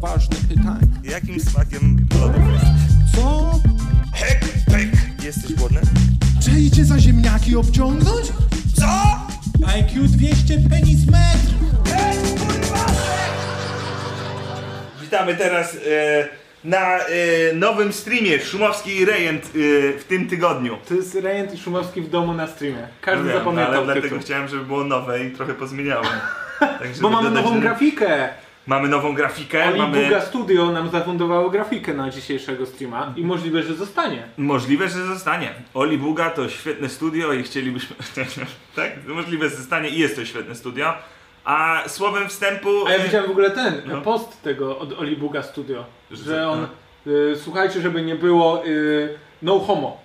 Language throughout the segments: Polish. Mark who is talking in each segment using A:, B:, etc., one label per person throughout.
A: ważne pytanie.
B: Jakim smakiem lodów jesteś?
A: Co?
B: Hek, pek. Jesteś głodny?
C: Czy idzie za ziemniaki obciągnąć?
B: Co?
A: IQ 200 penis metr!
B: Witamy teraz e, na e, nowym streamie Szumowski i Rejent e, w tym tygodniu.
D: To jest Rejent i Szumowski w domu na streamie. Każdy
B: No Wiem,
D: zapamiętał
B: ale
D: tytuł.
B: dlatego chciałem, żeby było nowe i trochę pozmieniałem. Tak, żeby
D: Bo mamy
B: dodać,
D: nową
B: że-
D: grafikę!
B: Mamy nową grafikę,
D: Oli
B: mamy...
D: Buga Studio nam zafundowało grafikę na dzisiejszego streama
B: Mhm.
D: i możliwe, że zostanie.
B: Możliwe, że zostanie. Oli Buga to świetne studio i chcielibyśmy... tak? Możliwe, że zostanie i jest to świetne studio. A słowem wstępu... E,
D: A ja widziałem w ogóle ten
B: No.
D: post tego od Oli Buga Studio,
B: Że-
D: że on y, słuchajcie, żeby nie było y, no homo.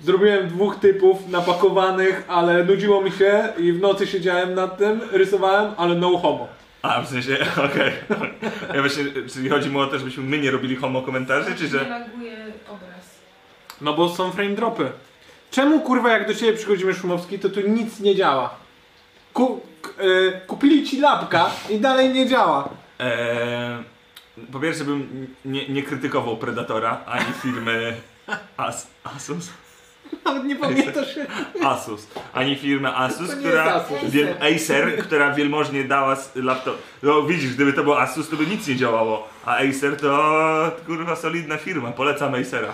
D: Zrobiłem dwóch typów napakowanych, ale nudziło mi się i w nocy siedziałem nad tym, rysowałem, ale no homo.
B: A, w sensie, okej. Ja właśnie, czyli chodzi mu o to, żebyśmy my nie robili homo komentarzy, czy
E: Nie
B: że...
E: laguje obraz.
D: No bo są frame dropy. Czemu kurwa jak do ciebie przychodzimy Szumowski, to tu nic nie działa? Ku, k, y, kupili ci lapka i dalej nie działa.
B: Eee, po pierwsze bym nie, nie krytykował Predatora, ani firmy As, Asus,
D: Nawet nie pamiętasz.
B: Asus, ani firmy Asus,
D: To nie
B: która...
D: jest Asus.
B: Wiel, Acer, która wielmożnie dała s- laptop... No widzisz, gdyby to był Asus, to by nic nie działało. A Acer to kurwa solidna firma, polecam Acera.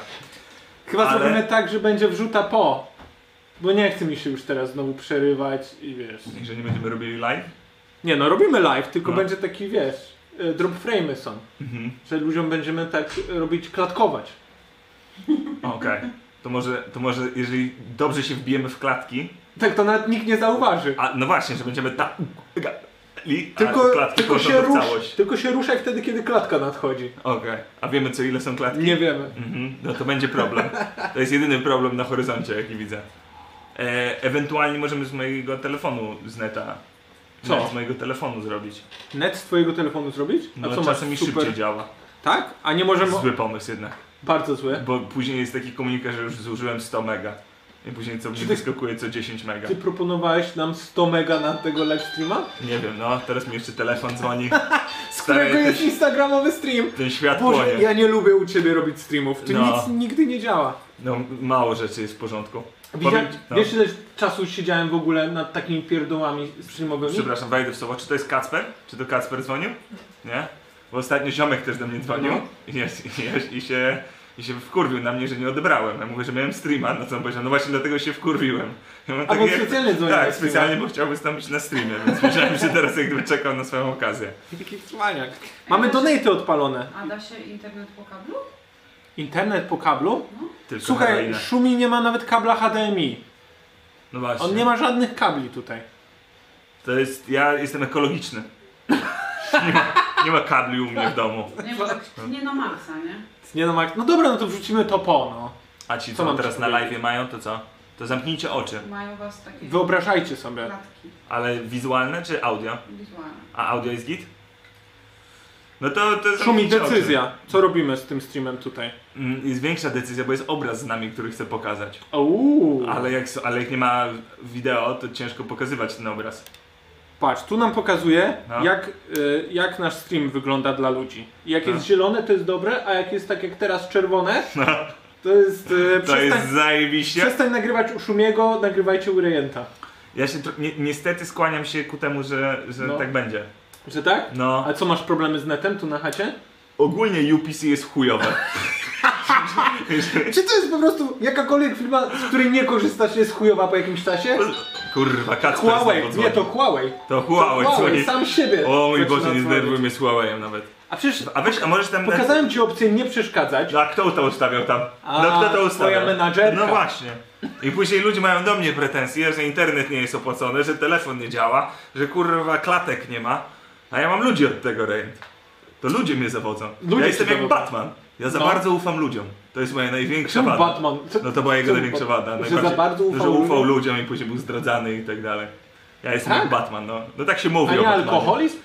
D: Chyba
B: Ale-
D: zrobimy tak, że będzie wrzuta po. Bo nie chce mi się już teraz znowu przerywać i wiesz.
B: I że nie będziemy robili live?
D: Nie no, robimy live, tylko
B: No.
D: będzie taki wiesz, y, drop frame'y są.
B: Mhm.
D: Że ludziom będziemy tak y, robić klatkować.
B: Okej. To może, to może, jeżeli dobrze się wbijemy w klatki,
D: Tak to nawet nikt nie zauważy.
B: A no właśnie, że będziemy ta. Li,
D: Tylko,
B: a klatki
D: tylko,
B: wchodzą
D: się
B: w
D: rusz,
B: całość.
D: tylko się ruszaj wtedy, kiedy klatka nadchodzi.
B: Okej. A wiemy co ile są klatki?
D: Nie wiemy.
B: Mhm. No to będzie problem. To jest jedyny problem na horyzoncie, jaki widzę. E, ewentualnie możemy z mojego telefonu z neta.
D: Co?
B: net Z mojego telefonu zrobić.
D: Net z twojego telefonu zrobić?
B: No
D: A co masz
B: czasem mi
D: super?
B: szybciej działa.
D: Tak? A nie możemy...
B: Zły pomysł jednak.
D: Bardzo zły.
B: Bo później jest taki komunikat, że już zużyłem 100 mega. I później co mi
D: ty-
B: wyskakuje co 10 mega.
D: Ty proponowałeś nam 100 mega na tego livestreama?
B: Nie wiem, no teraz mi jeszcze telefon dzwoni.
D: Z którego
B: ten,
D: jest instagramowy stream?
B: ten świat
D: Boże,
B: płonie.
D: ja nie lubię u ciebie robić streamów. Ty
B: No.
D: nic nigdy nie działa.
B: No mało rzeczy jest w porządku.
D: Widzia...
B: Powiem- no.
D: Wiesz ile czasu siedziałem w ogóle nad takimi pierdołami streamowymi?
B: Przepraszam, wejdę w słowo. Czy to jest Kacper? Czy to Kacper dzwonił? Nie? Bo ostatnio ziomek też do mnie dzwonił
D: No.
B: i, ja, i, ja, i, się, i się wkurwił na mnie, że nie odebrałem. Ja mówię, że miałem streama, na co on powiedział, no właśnie dlatego się wkurwiłem. Ja mówię,
D: A bo
B: jak-
D: specjalnie dzwonił na
B: Tak,
D: streama.
B: specjalnie, bo chciał wystąpić na streamie, więc myślałem, że teraz jakby czekał na swoją okazję.
D: Jaki cwaniak. Mamy donaty odpalone.
E: A da się internet po kablu?
D: Internet po kablu?
B: Tylko
D: Słuchaj,
B: heroinę.
D: Szumi nie ma nawet kabla HDMI.
B: no właśnie.
D: On nie ma żadnych kabli tutaj.
B: To jest, ja jestem ekologiczny. Nie ma, nie ma kabli u mnie w domu.
E: Nie, bo tak nie na maksa, nie?
D: Nie no, Mark, no dobra, no to wrzucimy to po, no.
B: A ci,
D: Co
B: co
D: mam
B: teraz
D: ci
B: na
D: powiedzieć?
B: live mają, to co? To zamknijcie oczy.
E: Mają was takie
D: Wyobrażajcie sobie.
E: klatki
B: Ale wizualne czy audio?
E: wizualne.
B: A audio jest git? No to, to jest...
D: Szumi, decyzja. Co robimy z tym streamem tutaj?
B: Mm, Jest większa decyzja, bo jest obraz z nami, który chcę pokazać.
D: Uuu.
B: Ale jak, s- ale jak nie ma wideo, to ciężko pokazywać ten obraz.
D: Patrz, tu nam pokazuje,
B: No.
D: jak, y, jak nasz stream wygląda dla ludzi. Jak
B: No.
D: jest zielone, to jest dobre, a jak jest tak jak teraz czerwone, No. to jest. Y,
B: To
D: przestań,
B: jest zajebiście.
D: przestań nagrywać u Szumiego, nagrywajcie u Rejenta.
B: Ja się tro- ni niestety skłaniam się ku temu, że, że
D: No.
B: tak będzie.
D: Że tak?
B: No.
D: A co masz problemy z netem tu na chacie?
B: Ogólnie UPC jest chujowe.
D: Czy to jest po prostu jakakolwiek firma, z której nie korzystasz, jest chujowa po jakimś czasie?
B: Kurwa, Kacper
D: Huawei,
B: znowu
D: nie to
B: dzwoni.
D: Huawei.
B: To Huawei,
D: to
B: dzwoni.
D: Huawei sam siebie.
B: O mój
D: zaczyna
B: Boże, nie
D: dzwonić.
B: zdenerwuj mnie z Huawei'em nawet.
D: A przecież
B: A weź, a możesz tam...
D: pokazałem ci opcję nie przeszkadzać.
B: No a kto to ustawiał tam?
D: A,
B: no kto to ustawiał?
D: twoja menadżerka.
B: No właśnie. I później ludzie mają do mnie pretensje, że internet nie jest opłacony, że telefon nie działa, że kurwa klatek nie ma. A ja mam ludzi od tego rejent. To ludzie mnie zawodzą.
D: Ludzie
B: ja
D: cię
B: jestem jak
D: zawodzą.
B: Batman. Ja za
D: No.
B: bardzo ufam ludziom. To jest moja największa
D: Czemu
B: wada.
D: Batman? Co-
B: No to była jego
D: czemu
B: największa
D: Batman?
B: wada.
D: Że
B: Najbardziej-
D: za bardzo
B: Że
D: ufał
B: ufał
D: ludziom?
B: ludziom i później był zdradzany i tak dalej. Ja jestem
D: Tak?
B: jak Batman, no. No tak się
D: A
B: mówi o
D: nie
B: Batmanie.
D: alkoholizm?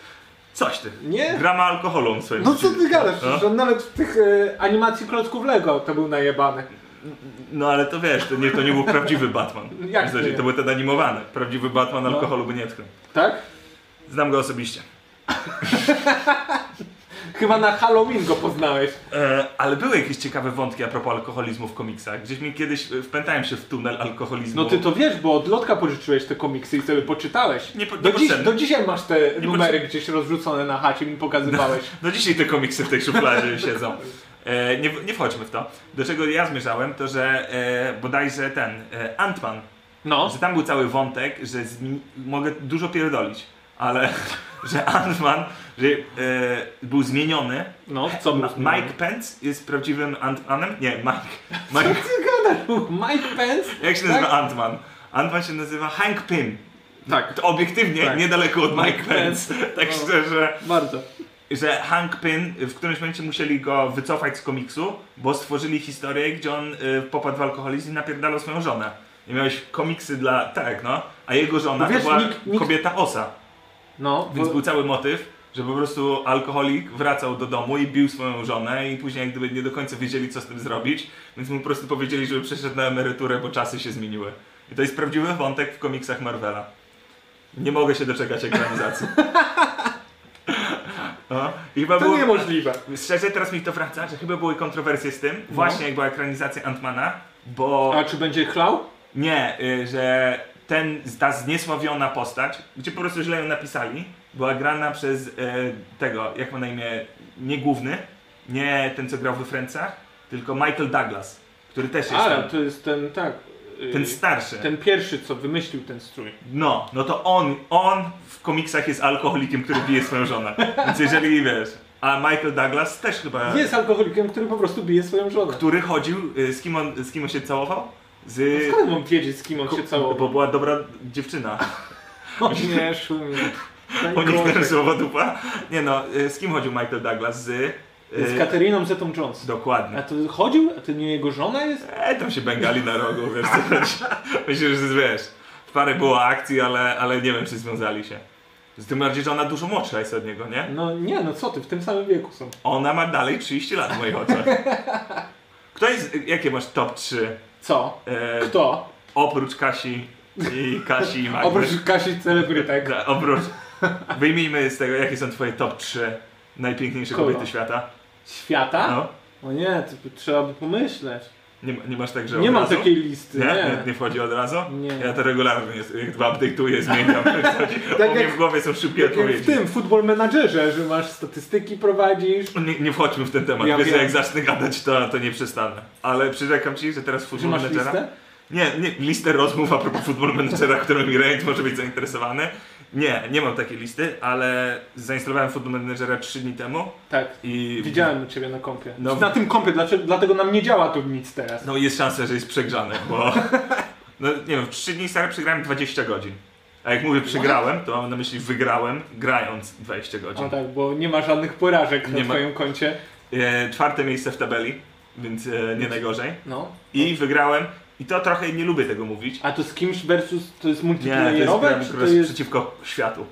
B: Coś ty.
D: Nie.
B: Grama alkoholu on swoim
D: No co
B: przeciw-
D: ty gadasz?
B: No.
D: Przecież on nawet w tych e, animacji klocków Lego to był najebany.
B: No ale to wiesz, to nie, to nie był prawdziwy Batman.
D: Jak
B: w zasadzie,
D: nie? No.
B: to był ten animowany. Prawdziwy Batman alkoholu by nie tknął.
D: Tak?
B: Znam go osobiście.
D: Chyba na Halloween go poznałeś.
B: E, ale były jakieś ciekawe wątki a propos alkoholizmu w komiksach. Gdzieś mi kiedyś e, wpętałem się w tunel alkoholizmu.
D: No ty to wiesz, bo od Lotka pożyczyłeś te komiksy i sobie poczytałeś.
B: Nie po-
D: do, dziś,
B: niepotrzebne.
D: do dzisiaj masz te numery gdzieś rozrzucone na chacie, mi pokazywałeś.
B: No dzisiaj te komiksy w tej szufladzie siedzą. E, nie, w- nie wchodźmy w to. Do czego ja zmierzałem, to że e, bodajże ten e, Antman,
D: No.
B: że tam był cały wątek, że z, nim- mogę dużo pierdolić, ale że Antman że, e, był zmieniony.
D: No, co
B: Ma-
D: był
B: Mike Pence jest prawdziwym Antmanem? Nie, Mike. Mike
D: Mike Pence?
B: jak się nazywa Antman? Antman się nazywa Hank Pym.
D: Tak,
B: To obiektywnie
D: Tak.
B: niedaleko od Mike,
D: Mike No.
B: Pence. Tak szczerze.
D: bardzo.
B: że Hank Pym w którymś momencie musieli go wycofać z komiksu, bo stworzyli historię, gdzie on y, popadł w alkoholizm i napierdalał swoją żonę. I miałeś komiksy dla... tak, no. A jego żona
D: No
B: to
D: wiesz,
B: była
D: nikt- nikt-
B: kobieta osa.
D: No,
B: Więc
D: bo-
B: był cały motyw, że po prostu alkoholik wracał do domu i bił swoją żonę i później jak gdyby nie do końca wiedzieli, co z tym zrobić, więc mu po prostu powiedzieli, żeby przeszedł na emeryturę, bo czasy się zmieniły. I to jest prawdziwy wątek w komiksach Marvela. Nie mogę się doczekać ekranizacji. No, i chyba
D: to
B: było-
D: niemożliwe.
B: Szczerze, teraz mi to wraca, że chyba były kontrowersje z tym, właśnie jak była ekranizacja Antmana, bo
D: No. A czy będzie chlał?
B: nie, y, że ten, ta zniesławiona postać, gdzie po prostu źle ją napisali, była grana przez y, tego, jak ma na imię, nie główny, nie ten, co grał we Francach, tylko Michael Douglas, który też jest
D: Ale
B: tam,
D: to jest ten, tak. yy,
B: ten starszy.
D: ten pierwszy, co wymyślił ten strój.
B: No, no to on, on w komiksach jest alkoholikiem, który bije swoją żonę. Więc jeżeli wiesz, a Michael Douglas też chyba...
D: Jest alkoholikiem, który po prostu bije swoją żonę.
B: który chodził, y, z kim on, z kim on się całował? Z...
D: No Skąd mam wiedzieć, z kim on się
B: Bo
D: całował?
B: była dobra dziewczyna.
D: O nie, szumie.
B: Uniknąłem słowa dupa. Nie no, y, z kim chodził Michael Douglas? Z... y,
D: Z Kateriną Zetą Jones. A
B: Dokładnie.
D: to chodził? A to nie jego żona jest?
B: E, tam się bęgali na rogu, wiesz co chodzi. Myślę, że wiesz, w parę było akcji, ale, ale nie wiem, czy związali się. Z tym bardziej, że ona dużo młodsza jest od niego, nie?
D: No nie, no co ty, w tym samym wieku są.
B: Ona ma dalej 30 lat w moich oczach. Kto jest, jakie masz top 3?
D: Co?
B: E,
D: Kto?
B: oprócz Kasi i Kasi i Magdy.
D: Oprócz Kasi celebrytek.
B: Tak, oprócz. Wyjmijmy z tego, jakie są twoje top 3 najpiękniejsze
D: Kogo?
B: kobiety świata.
D: Świata?
B: No.
D: O nie, to trzeba by pomyśleć.
B: Nie, ma- nie masz tak, że
D: Nie
B: od
D: mam
B: razu?
D: takiej listy,
B: Nie? nie?
D: nie.
B: Nie wchodzi od razu?
D: Nie.
B: Ja to regularnie jest- jak dwa update'uję, zmieniam. tak mnie
D: jak-
B: w głowie są szybkie
D: Jak
B: odpowiedzi.
D: w tym, futbol menadżerze, że masz statystyki, prowadzisz.
B: Nie, nie wchodźmy w ten temat.
D: Ja
B: Wiesz,
D: wiem.
B: jak zacznę gadać, to, to nie przestanę. Ale przyrzekam ci, że teraz
D: Czy
B: futbol
D: masz
B: menedżera.
D: listę?
B: Nie, nie, listę rozmów a propos futbol menedżera, którym Irene może być zainteresowany. Nie, nie mam takiej listy, ale zainstalowałem futbol menedżera 3 dni temu
D: Tak.
B: i
D: Widziałem u ciebie na kompie.
B: No.
D: Na tym kompie, dlaczego, dlatego nam nie działa tu nic teraz.
B: No jest szansa, że jest przegrzany, bo no nie wiem, w 3 dni stary przegrałem 20 godzin. A jak mówię przegrałem, to mam na myśli wygrałem grając 20 godzin.
D: A tak, bo nie ma żadnych porażek na
B: Nie ma-
D: twoim koncie.
B: E, czwarte miejsce w tabeli, więc e, nie najgorzej.
D: No.
B: I wygrałem i to trochę nie lubię tego mówić.
D: A to z kimś versus, to jest
B: Nie, to jest
D: multiplayerowe,
B: gram
D: czy
B: to
D: to jest...
B: przeciwko światu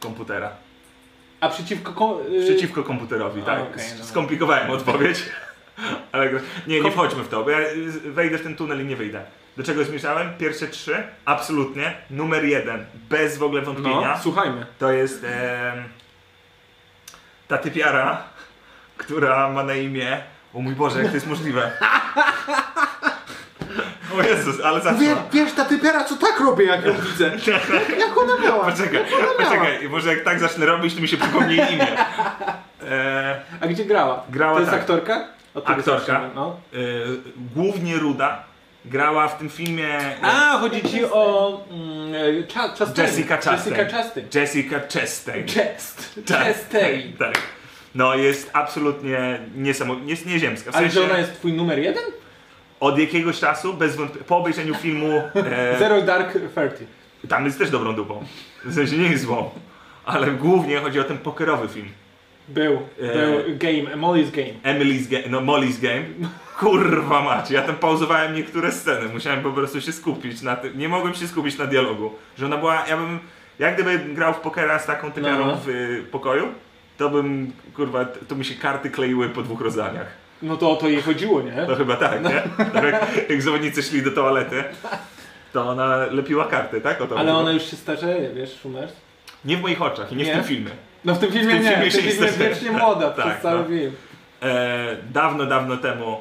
B: komputera.
D: A przeciwko... ko- y,
B: Przeciwko komputerowi,
D: A,
B: tak.
D: okej,
B: S-
D: dobra.
B: Skomplikowałem odpowiedź. Ale gra- nie, nie wchodźmy w to, bo ja y, wejdę w ten tunel i nie wyjdę. Do czego zmierzałem? Pierwsze trzy, absolutnie. Numer jeden, bez w ogóle wątpienia,
D: No, słuchajmy.
B: to jest em, ta typiara, która ma na imię... O mój Boże, jak to jest możliwe? O Jezus, ale
C: Wie,
B: zaszła.
C: wiesz, ta typiara co tak robię, jak ją widzę. Jak ona miała?
B: Poczekaj, poczekaj, może jak tak zacznę robić, to mi się przypomni jej imię. E,
D: A gdzie grała?
B: Grała
D: To jest
B: tak.
D: aktorka? Od tego
B: Aktorka.
D: słyszymy, No.
B: y, głównie Ruda grała w tym filmie y,
D: A, chodzi ci o... Mm, y, Cza- Chastain.
B: Jessica Chastain.
D: Jessica Chastain.
B: Jessica Chastain.
D: Chest.
B: Tak,
D: Chastain.
B: Tak. No jest absolutnie niesamowita, jest nieziemska. W
D: Ale że
B: sensie,
D: ona jest twój numer jeden?
B: od jakiegoś czasu, bez wątpienia, po obejrzeniu filmu, e,
D: Zero Dark Thirty.
B: tam jest też dobrą dupą. W sensie nie jest złą. Ale głównie chodzi o ten pokerowy film.
D: Był,
B: E,
D: był game, Molly's Game.
B: Emily's Game, no Molly's Game. Kurwa macie, ja tam pauzowałem niektóre sceny, musiałem po prostu się skupić na tym, nie mogłem się skupić na dialogu. Że ona była, ja bym, jak gdyby grał w pokera z taką typiarą
D: No.
B: w y, pokoju, to bym, kurwa, t- to mi się karty kleiły po dwóch rozdaniach.
D: No to o to jej chodziło, nie?
B: To chyba tak, nie? Tak jak, jak zawodnicy szli do toalety, to ona lepiła karty, tak? O to
D: Ale
B: chodziło.
D: ona już się starzeje, wiesz, Schumer?
B: Nie w moich oczach i nie,
D: Nie?
B: w tym filmie.
D: No w tym filmie
B: tym
D: nie,
B: filmie
D: w tym
B: się
D: filmie
B: istnieje.
D: wiecznie młoda
B: Tak,
D: przez cały
B: no.
D: film.
B: E, dawno, dawno temu,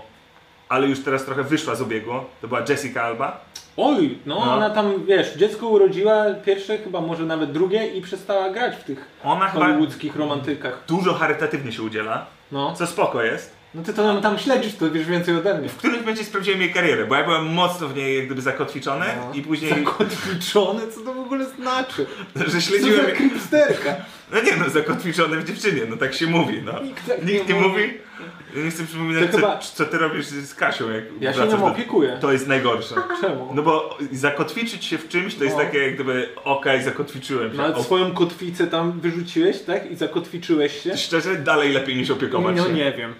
B: ale już teraz trochę wyszła z obiegu, to była Jessica Alba.
D: Oj, no,
B: No.
D: ona tam, wiesz, dziecko urodziła pierwsze, chyba może nawet drugie i przestała grać w tych
B: Ona chyba
D: hollywoodzkich romantykach.
B: dużo charytatywnie się udziela,
D: No.
B: co spoko jest.
D: No ty to tam, tam śledzisz, to wiesz więcej ode mnie.
B: W którymś momencie sprawdziłem jej karierę, bo ja byłem mocno w niej jak gdyby zakotwiczony
D: No.
B: i później,
D: Zakotwiczony, co to w ogóle znaczy?
B: że
D: Co za
B: śledziłem...
D: kripsterka?
B: No nie no, zakotwiczony w dziewczynie, no tak się mówi, no.
D: Nikt tak
B: Nikt nie
D: nie
B: mówi? Ja nie chcę przypominać,
D: To
B: co,
D: chyba-
B: co ty robisz z Kasią, jak
D: Ja się
B: wracasz
D: nią
B: do-
D: opiekuję.
B: Znaczy, To jest najgorsze.
D: Czemu?
B: No bo zakotwiczyć się w czymś to jest
D: No.
B: takie jak gdyby okej, zakotwiczyłem się.
D: Nawet
B: O,
D: No, swoją kotwicę tam wyrzuciłeś, tak? I zakotwiczyłeś się?
B: szczerze, dalej lepiej niż opiekować
D: No
B: się.
D: nie wiem.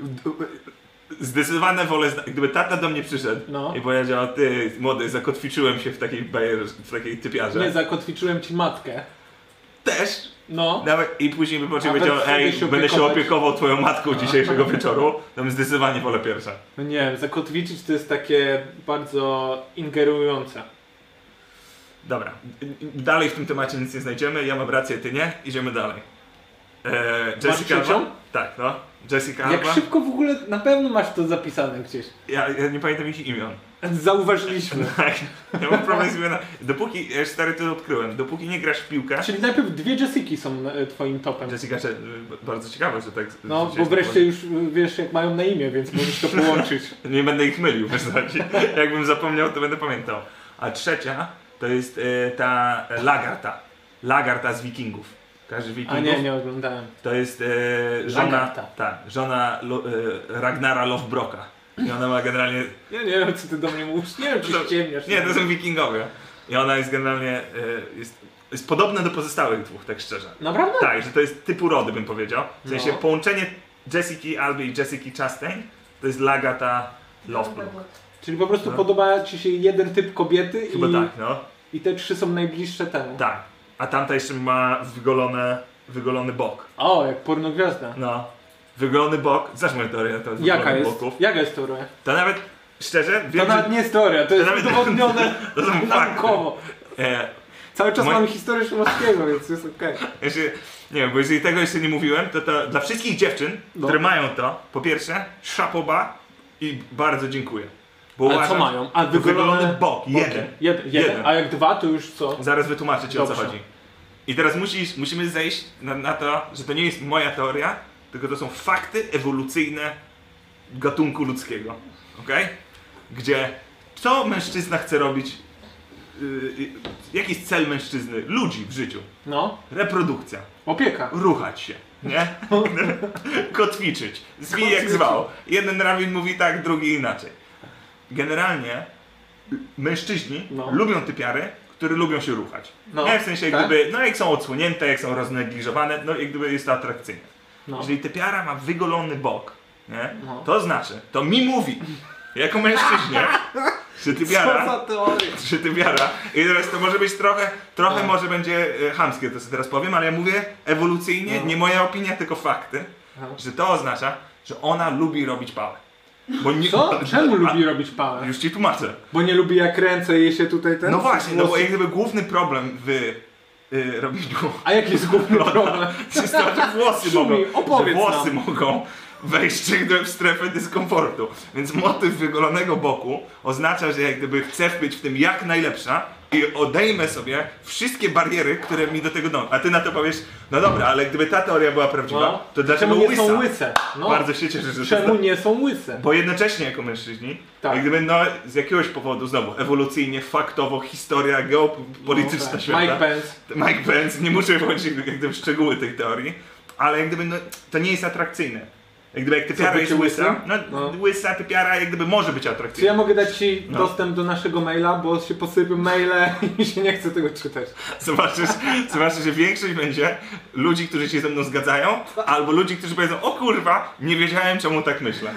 B: Zdecydowane wolę, zna- gdyby tata do mnie przyszedł
D: No.
B: i powiedział, ty młody, zakotwiczyłem się w takiej bajer, w takiej typiarze.
D: Nie, zakotwiczyłem ci matkę.
B: Też.
D: No.
B: Nawet, I później by potem
D: A
B: powiedział,
D: będę
B: ej,
D: się
B: będę się
D: opiekować.
B: opiekował twoją matką dzisiejszego wieczoru, to bym zdecydowanie wolę pierwsza.
D: No nie wiem, zakotwiczyć to jest takie bardzo ingerujące.
B: Dobra, dalej w tym temacie nic nie znajdziemy, ja mam rację, ty nie, idziemy dalej. Eee, Jessica
D: trzecią?
B: Alba? Tak, no. Jessica
D: Jak
B: Alba.
D: szybko w ogóle, na pewno masz to zapisane gdzieś.
B: Ja, ja nie pamiętam ich imion.
D: Zauważyliśmy.
B: Tak. Ja mam problem z imionami. Dopóki, ja już stary to odkryłem, dopóki nie grasz w piłkę...
D: Czyli najpierw dwie Jessiki są e, twoim topem.
B: Jessica, Cze- y, bardzo ciekawe, że tak...
D: No,
B: że
D: bo
B: się-
D: wreszcie już e, wiesz jak mają na imię, więc możesz to połączyć.
B: Nie będę ich mylił, wiesz co chodzi. Jakbym zapomniał, to będę pamiętał. A trzecia to jest e, ta e, Lagarta. Lagarta z Wikingów. Każdy Wikingów.
D: A nie, nie oglądałem.
B: To jest e, żona,
D: Lagarta.
B: tak, żona Lo, e, Ragnara Lovebroka. I ona ma generalnie.
D: Ja nie wiem co ty do mnie mówisz, No nie wiem czy
B: To-
D: ściemniasz.
B: Nie, to są wikingowie. I ona jest generalnie. E, jest, jest podobna do pozostałych dwóch, tak szczerze.
D: Naprawdę?
B: Tak, że to jest typu rody, bym powiedział. W sensie
D: No.
B: połączenie Jessiki Alby i Jessiki Chastain to jest Lagata Lovebrook.
D: Czyli po prostu
B: No.
D: podoba ci się jeden typ kobiety
B: Chyba
D: i,
B: tak, no.
D: i te trzy są najbliższe temu.
B: Tak. A tamta jeszcze ma wygolone, wygolony bok.
D: O, jak pornogwiazda.
B: No. Wygolony bok. Znasz moją teorię na temat
D: Jaka
B: wygolonych
D: jest,
B: boków?
D: jaka jest teoria?
B: To nawet, szczerze,
D: To
B: wiem, że...
D: nawet nie jest teoria, to jest
B: nawet-
D: udowodnione
B: To są fakty.
D: naukowo.
B: E,
D: Cały czas
B: Moje-
D: mamy historię Szumowskiego, więc jest okej.
B: ja się, znaczy, nie wiem, bo jeżeli tego jeszcze nie mówiłem, to, to dla wszystkich dziewczyn,
D: No.
B: które mają to, po pierwsze, szapoba i bardzo dziękuję. Bo
D: Ale co
B: uważam-
D: mają? A
B: Wygolony
D: wygolone...
B: bok, jeden.
D: Jeden, jeden.
B: Jeden.
D: A jak dwa, to już co?
B: Zaraz wytłumaczę ci o co
D: Dobrze.
B: chodzi. I teraz musisz, musimy zejść na, na to, że to nie jest moja teoria, tylko to są fakty ewolucyjne gatunku ludzkiego. Okej? Gdzie co mężczyzna chce robić? Yy, yy, jaki jest cel mężczyzny, ludzi w życiu?
D: No,
B: Reprodukcja.
D: opieka.
B: Ruchać się. Nie? Kotwiczyć. Zwij jak zwał. Jeden rabin mówi tak, drugi inaczej. Generalnie y, mężczyźni
D: No.
B: lubią typiary, które lubią się ruchać.
D: No.
B: Nie, w sensie jak
D: Tak?
B: gdyby, no jak są odsłonięte, jak są roznegliżowane, no jak gdyby jest to atrakcyjne.
D: No.
B: Jeżeli typiara ma wygolony bok, nie?
D: No.
B: To znaczy, to mi mówi, jako mężczyźnie, że typiara...
D: Co za No. teoria?
B: Czy ty wiara? I teraz to może być trochę, trochę może będzie e, chamskie to, co teraz powiem, ale ja mówię ewolucyjnie,
D: No.
B: nie moja opinia, tylko fakty,
D: No.
B: że to oznacza, że ona lubi robić pałę. Bo nie,
D: Co? Czemu
B: A,
D: lubi robić pałę?
B: Już ci tłumaczę.
D: Bo nie lubi jak ręce jej się tutaj ten...
B: No właśnie, no bo
D: włosy-
B: jak gdyby główny problem w y, robieniu
D: A jaki jest główny problem?
B: Jest to, No, że włosy
D: Szumi,
B: mogą, że
D: opowiedz
B: włosy
D: nam.
B: mogą wejść jak gdyby w strefę dyskomfortu. Więc motyw wygolonego boku oznacza, że jak gdyby chcę być w tym jak najlepsza i odejmę sobie wszystkie bariery, które mi do tego dążą. A ty na to powiesz, no dobra, ale gdyby ta teoria była prawdziwa,
D: No.
B: to dlaczego
D: Czemu nie są
B: łysa?
D: łyse? No.
B: Bardzo się cieszę, że to
D: Czemu nie są łyse?
B: bo jednocześnie jako mężczyźni,
D: Tak.
B: jak gdyby no, z jakiegoś powodu, znowu ewolucyjnie, faktowo, historia, geopolityczna
D: No tak.
B: świata.
D: Mike Pence.
B: Mike Pence, nie muszę wchodzić jak gdyby w szczegóły tych teorii, ale jak gdyby no, to nie jest atrakcyjne. Jak gdyby jak typiara
D: Co,
B: jest
D: bycie
B: łysa,
D: łysym?
B: no,
D: No.
B: łysa typiara jak gdyby może być
D: Czy ja
B: atrakcyjna.
D: mogę dać ci
B: No.
D: dostęp do naszego maila, bo się posypią maile i się nie chce tego czytać.
B: No Zobaczysz, zobaczysz, że większość będzie ludzi, którzy się ze mną zgadzają, albo ludzi, którzy powiedzą, o kurwa, nie wiedziałem czemu tak myślę.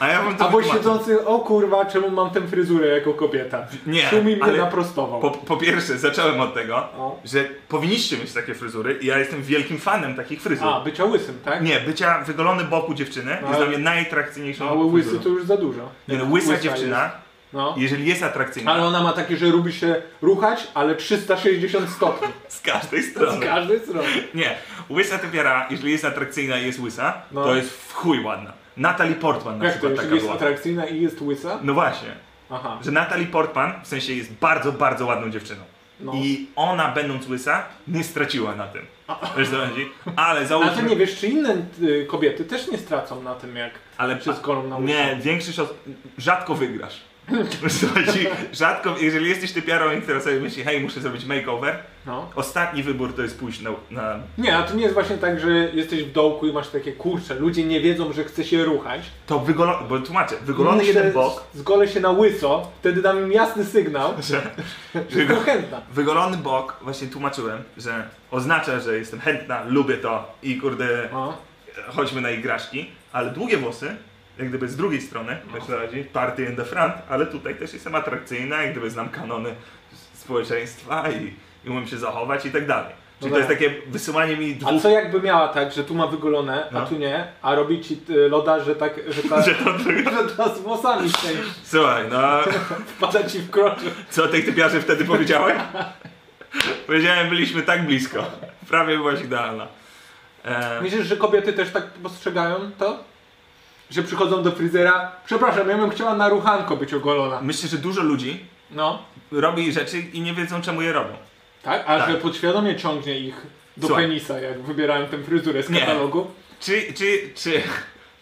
B: A ja wam to
D: Albo
B: wytłumaczę.
D: siedzący, o kurwa, czemu mam tę fryzurę jako kobieta?
B: Nie,
D: Szumi mnie
B: ale-
D: naprostował.
B: po, po pierwsze, zacząłem od tego,
D: O.
B: że powinniście mieć takie fryzury i ja jestem wielkim fanem takich fryzur.
D: A, bycia łysym, tak?
B: Nie, bycia wygolony boku dziewczyny
D: No,
B: jest dla
D: ale- No,
B: mnie najatrakcyjniejszą
D: Ale łysy
B: fryzurą.
D: to już za dużo.
B: Nie, no,
D: Jak
B: łysa,
D: łysa
B: dziewczyna
D: No.
B: Jeżeli jest atrakcyjna,
D: Ale ona ma takie, że lubi się ruchać, ale 360 stopni.
B: z każdej
D: Z
B: strony.
D: każdej strony.
B: Nie, łysa typiara, jeżeli jest atrakcyjna i jest łysa,
D: No.
B: to jest w chuj ładna. Natalie Portman na
D: Jak to,
B: przykład taka
D: jeśli jest
B: była.
D: atrakcyjna i jest łysa?
B: No właśnie,
D: Aha.
B: że Natalie Portman w sensie jest bardzo, bardzo ładną dziewczyną.
D: No.
B: I ona będąc łysa, nie straciła na tym. Wiesz co chodzi? Ale
D: Ale ty
B: załóżmy...
D: nie wiesz, czy inne y, kobiety też nie stracą na tym, jak
B: Ale
D: się z kolą na
B: Nie, większość os- rzadko wygrasz. Wiesz co chodzi? Rzadko, jeżeli jesteś typiarą i teraz sobie myśli, hej, muszę zrobić makeover,
D: No.
B: ostatni wybór to jest pójść na, na
D: Nie, a to nie jest właśnie tak, że jesteś w dołku i masz takie kurcze, ludzie nie wiedzą, że chce się ruchać.
B: to wygolony, bo tłumaczę, wygolony
D: Muszę
B: jeden bok,
D: z- Zgolę się na łyso, wtedy dam im jasny sygnał,
B: że,
D: że
B: że
D: jestem chętna.
B: wygolony bok, właśnie tłumaczyłem, że oznacza, że jestem chętna, lubię to i kurde,
D: No.
B: chodźmy na igraszki, ale długie włosy, jak gdyby z drugiej strony, wiesz co chodzi, party in the front, ale tutaj też jestem atrakcyjna, jak gdyby znam kanony społeczeństwa i, i umiem się zachować i tak dalej. Czyli
D: No
B: to jest
D: tak.
B: takie wysyłanie mi
D: A
B: dwóch,
D: co jakby miała tak, że tu ma wygolone, a
B: No.
D: tu nie, a robi ci y, loda, że tak, że ta,
B: że
D: że
B: to...
D: ta z włosami szczęść
B: Słuchaj, no...
D: wpada ci w kroczy.
B: Co o tej typiarze wtedy powiedziałem? Powiedziałem, byliśmy tak blisko. Prawie byłaś idealna. E,
D: Myślisz, że kobiety też tak postrzegają to? Że przychodzą do fryzjera, przepraszam, ja bym chciała na ruchanko być ogolona.
B: myślę, że dużo ludzi
D: No,
B: robi rzeczy i nie wiedzą czemu je robią.
D: tak? A
B: Tak.
D: że podświadomie ciągnie ich do
B: Słuchaj.
D: penisa, jak wybierałem tę fryzurę z
B: Nie.
D: katalogu.
B: Czy, czy, czy,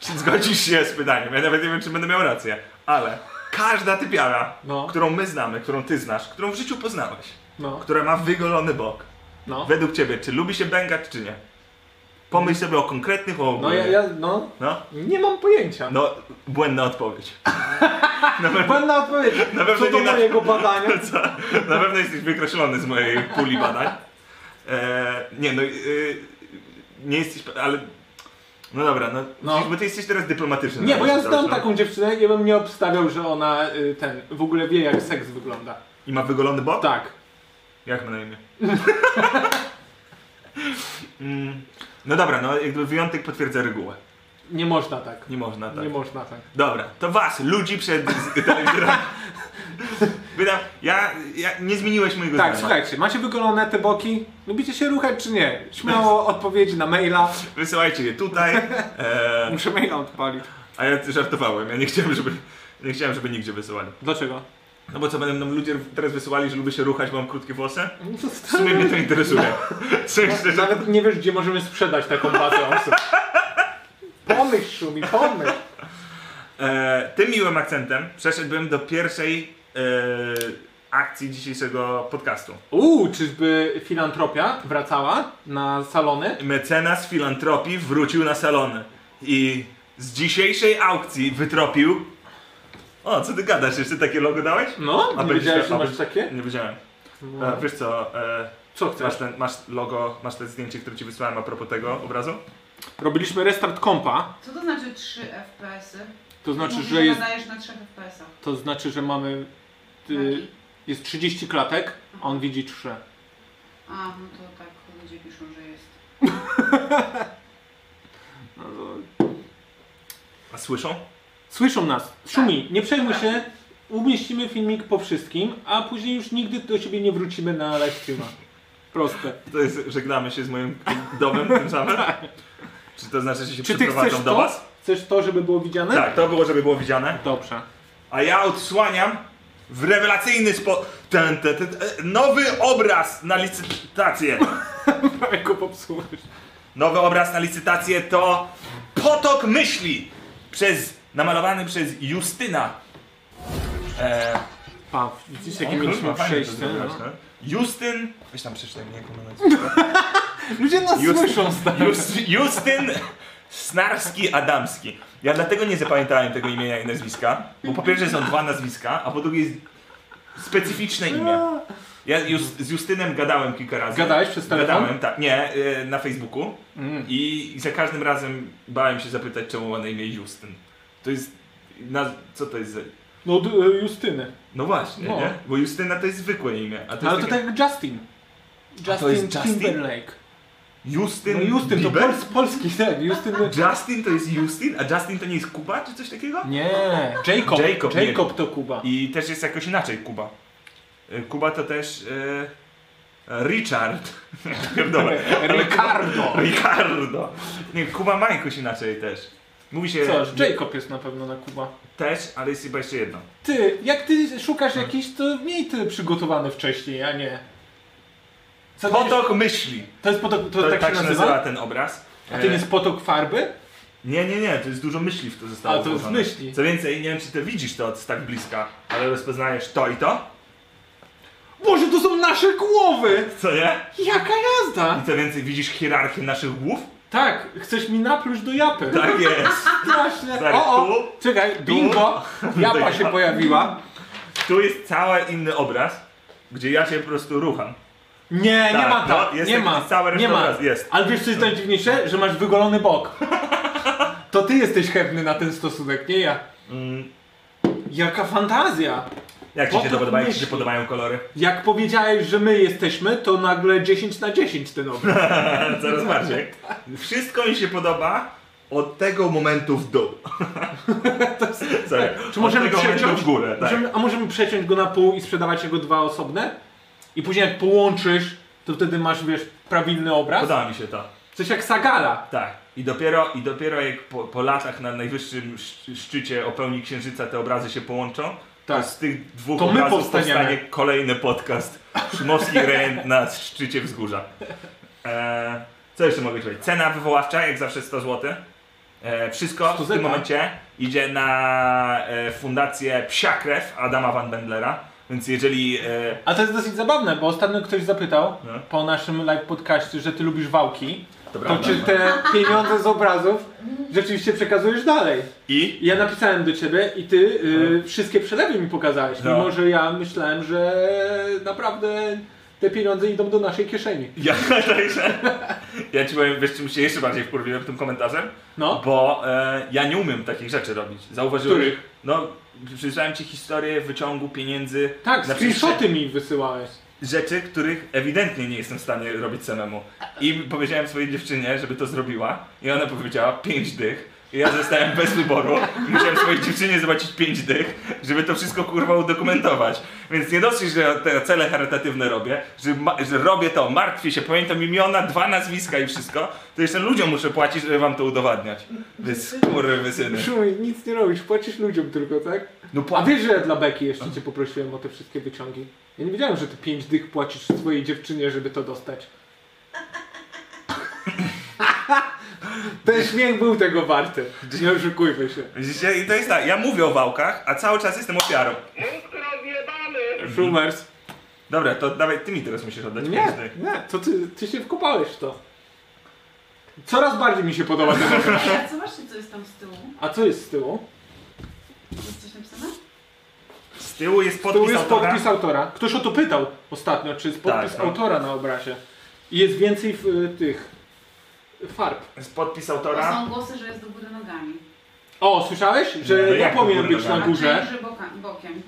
B: czy zgodzisz się z pytaniem? Ja nawet nie wiem, czy będę miał rację, ale każda typiara,
D: No.
B: którą my znamy, którą ty znasz, którą w życiu poznałeś,
D: No,
B: która ma wygolony bok,
D: no.
B: według ciebie, czy lubi się bęgać, czy nie? Pomyśl sobie o konkretnych, o
D: Mm. No ja, ja, no,
B: no,
D: nie mam pojęcia.
B: no, błędna odpowiedź. No, Na pewno-
D: Błędna odpowiedź.
B: Na pewno
D: Co do
B: nie na-
D: mojego badania.
B: Co? Na pewno jesteś wykreślony z mojej puli badań. E, nie, no. E, nie jesteś. pe- Ale. No dobra, no,
D: No.
B: widzisz, Bo ty jesteś teraz dyplomatyczny.
D: Nie, bo ja
B: Teraz,
D: znam
B: no.
D: taką dziewczynę i bym nie obstawiał, że ona y, ten w ogóle wie jak seks wygląda.
B: I ma wygolony bok?
D: Tak.
B: Jak ma na imię? Mm, no dobra, no jakby wyjątek potwierdza regułę.
D: Nie można tak.
B: Nie można tak.
D: Nie można tak.
B: Dobra, to was, ludzi przed z- telewizorem. Wydam, ja, ja, nie zmieniłeś mojego
D: Tak,
B: zdania.
D: słuchajcie, macie wykonane te boki? Lubicie się ruchać czy nie? Śmiało odpowiedzi na maila.
B: Wysyłajcie je tutaj. E,
D: Muszę maila odpalić.
B: A ja żartowałem, ja nie chciałem, żeby, nie chciałem, żeby nigdzie wysyłali.
D: Dlaczego?
B: No bo co, będą nam ludzie teraz wysyłali, że lubię się ruchać, bo mam krótkie włosy?
D: No to
B: W sumie mnie to interesuje. Coś, szczerze,
D: Nawet nie wiesz, gdzie możemy sprzedać taką bazę osób. Pomyśl, Szumi, pomyśl.
B: e, tym miłym akcentem przeszedłbym do pierwszej e, akcji dzisiejszego podcastu.
D: Uuu, czyżby filantropia wracała na salony?
B: Mecenas filantropii wrócił na salony i z dzisiejszej aukcji wytropił... O, co ty gadasz? Jeszcze takie logo dałeś?
D: No,
B: A
D: nie
B: będziesz-
D: wiedziałeś, że
B: a
D: masz
B: będziesz-
D: takie? No.
B: Nie wiedziałem. E, wiesz co, e,
D: Co
B: masz,
D: chcesz?
B: ten, masz logo, masz te zdjęcie, które ci wysłałem a propos tego obrazu?
D: Robiliśmy restart kompa,
E: Co to znaczy 3 FPS-y?
D: to znaczy,
E: Mówisz,
D: że jest,
E: y? nadajesz na 3 FPS-ach.
D: to znaczy, że mamy, y,
E: Taki?
D: jest 30 klatek, a on widzi 3.
E: A, no to tak ludzie piszą, że jest.
B: A słyszą?
D: Słyszą nas. Szumi, nie przejmuj się. Umieścimy filmik po wszystkim, a później już nigdy do ciebie nie wrócimy na livestreama. Proste.
B: To jest, żegnamy się z moim domem tym samym? Czy to znaczy, że się
D: Tak. Czy ty chcesz
B: przeprowadzą do
D: to?
B: was?
D: Chcesz to, żeby było widziane?
B: Tak, to było, żeby było widziane.
D: Dobrze.
B: A ja odsłaniam w rewelacyjny sposób ten, ten, ten, e, nowy obraz na licytację.
D: Prawie go popsułeś.
B: Nowy obraz na licytację to Potok Myśli przez, namalowany przez Justyna. E,
D: Pa, widzisz jakie
B: o,
D: mieliśmy
B: kurwa, fajnie to
D: przejście?
B: zrobiłeś,
D: No.
B: no. Justyn... Weź tam przeczytaj mnie, jak mam na
D: Ludzie nas
B: Just-
D: słyszą, stary.
B: Just, Justyn Snarski-Adamski. Ja dlatego nie zapamiętałem tego imienia i nazwiska, bo po pierwsze są dwa nazwiska, a po drugie jest specyficzne imię. Ja Jus- z Justynem gadałem kilka razy.
D: Gadałeś przez telefon?
B: Gadałem, tak. Nie, y, na Facebooku.
D: Mm.
B: I, I za każdym razem bałem się zapytać, czemu ma na imię Justyn. To jest... Na, co to jest za...
D: No, d- y, Justyny.
B: No właśnie,
D: No.
B: nie? Bo Justyna to jest zwykłe imię. A to
D: Ale
B: jest
D: to
B: takie...
D: tak jak Justin. Justin
B: to jest Justin?
D: Timberlake.
B: Justyn
D: No Justyn, to
B: Bieber?
D: pols, polski tak, ten, Justyn...
B: Justin to jest Justin, a Justin to nie jest Kuba, czy coś takiego?
D: Nie, Jacob,
B: Jacob,
D: Jacob,
B: nie.
D: to Kuba.
B: I też jest jakoś inaczej Kuba. Y, Kuba to też... y, Richard. Pierdolę.
D: Ricardo!
B: Ricardo. Nie, Kuba ma jakoś inaczej też. Mówi się
D: Coś, Jacob jest na pewno na Kuba.
B: też, ale jest chyba jeszcze jedno.
D: Ty, jak ty szukasz jakiś, to mniej ty przygotowany wcześniej, a nie... Co to, jest,
B: Potok myśli.
D: to jest potok, to,
B: To,
D: tak, się nazywa?
B: ten obraz. E,
D: A to nie jest potok farby?
B: Nie, nie, nie, to jest dużo myśli w to zostało
D: A, to jest
B: włożone.
D: myśli.
B: Co więcej, nie wiem czy ty widzisz to z tak bliska, ale rozpoznajesz to i to,
D: Boże, to są nasze głowy!
B: co nie?
D: Jaka jazda!
B: I co więcej, widzisz hierarchię naszych głów?
D: Tak, chcesz mi napluć do japy.
B: Tak jest.
D: Straszne.
B: Stary,
D: O, o,
B: tu, Tak.
D: czekaj, bingo! Japa się pojawiła.
B: Tu jest cały inny obraz, gdzie ja się po prostu rucham.
D: Nie,
B: Tak,
D: nie ma
B: no,
D: tak.
B: jest
D: nie
B: taki
D: ma.
B: cały
D: nie ma.
B: restaurac, jest.
D: Ale wiesz co jest najdziwniejsze? Że masz wygolony bok. To ty jesteś chętny na ten stosunek, nie ja.
B: Mm,
D: Jaka fantazja!
B: jak ci się
D: Potok
B: to podoba, jak ci się
D: myśli.
B: podobają kolory?
D: Jak powiedziałeś, że my jesteśmy, to nagle 10 na 10 ten obraz.
B: Coraz bardziej. Wszystko mi się podoba od tego momentu w dół. Sorry.
D: tak. Czy możemy
B: od tego momentu
D: przeciąć
B: w górę, tak.
D: Możemy, a możemy przeciąć go na pół i sprzedawać jego dwa osobne? I później jak połączysz, to wtedy masz, wiesz, prawilny obraz?
B: Podoba mi się to.
D: Coś jak Sagala.
B: Tak. I dopiero, i dopiero jak po, po latach na najwyższym sz- szczycie o pełni księżyca te obrazy się połączą, to
D: Tak.
B: z tych dwóch
D: To my
B: obrazów
D: powstaniemy.
B: powstanie kolejny podcast Szymowski Rejent na szczycie wzgórza. Eee, co jeszcze mogę ci powiedzieć? Cena wywoławcza, jak zawsze 100 zł. Eee, wszystko
D: 100
B: w tym
D: zeta.
B: momencie idzie na e, fundację Psia Krew Adama Van Bendlera, więc jeżeli... E,
D: A to jest dosyć zabawne, bo ostatnio ktoś zapytał
B: No.
D: po naszym live podcaście, że ty lubisz wałki.
B: to
D: To
B: prawda,
D: czy te pieniądze z obrazów rzeczywiście przekazujesz dalej?
B: I?
D: Ja napisałem do ciebie i ty y, wszystkie przelewy mi pokazałeś,
B: No.
D: mimo że ja myślałem, że naprawdę te pieniądze idą do naszej kieszeni.
B: Ja, także, ja ci powiem, wiesz czym się jeszcze bardziej wkurwiłem tym komentarzem?
D: No,
B: Bo e, ja nie umiem takich rzeczy robić. Zauważyłeś?
D: Których?
B: No, przyjrzałem ci historię wyciągu pieniędzy.
D: tak,
B: przecież
D: screenshoty mi wysyłałeś.
B: Rzeczy, których ewidentnie nie jestem w stanie robić samemu. I powiedziałem swojej dziewczynie, żeby to zrobiła. I ona powiedziała pięć dych. I ja zostałem bez wyboru. I musiałem swojej dziewczynie zobaczyć pięć dych, żeby to wszystko kurwa udokumentować. Więc nie dosyć, że ja te cele charytatywne robię, że, ma, że robię to, martwię się, pamiętam imiona, dwa nazwiska i wszystko, to jeszcze ludziom muszę płacić, żeby wam to udowadniać. Więc kurwy syny.
D: Szumi, nic nie robisz, płacisz ludziom tylko, tak?
B: No
D: A
B: płacę.
D: wiesz, że ja dla Beki jeszcze cię poprosiłem o te wszystkie wyciągi? Ja nie wiedziałem, że ty pięć dych płacisz swojej dziewczynie, żeby to dostać. Ten śmiech był tego warty. Nie oszukujmy się.
B: Widzicie? I to jest tak, ja mówię o wałkach, a cały czas jestem ofiarą.
D: Szumers.
B: Dobra, to dawaj, ty mi teraz musisz oddać
D: Nie,
B: pieniądze.
D: nie, to ty, ty się wkopałeś w to. Coraz bardziej mi się podoba ten obraz.
E: Ale zobaczcie, co jest tam z tyłu.
D: A co jest z tyłu?
E: Jest coś napisane?
B: Z tyłu jest
D: Z
B: podpis
D: tyłu jest
B: autora.
D: podpis autora. Ktoś o to pytał ostatnio, czy jest podpis
B: Tak, no.
D: autora na obrazie. I jest więcej w, y, tych farb.
B: Jest podpis
E: Bo
B: autora.
E: są głosy, że jest do góry nogami.
D: O, słyszałeś?
B: No
D: Że ja
B: jak
D: powinien
B: w ogóle
D: być
B: tak?
D: na
E: A
D: górze.
E: część, że boka, bokiem.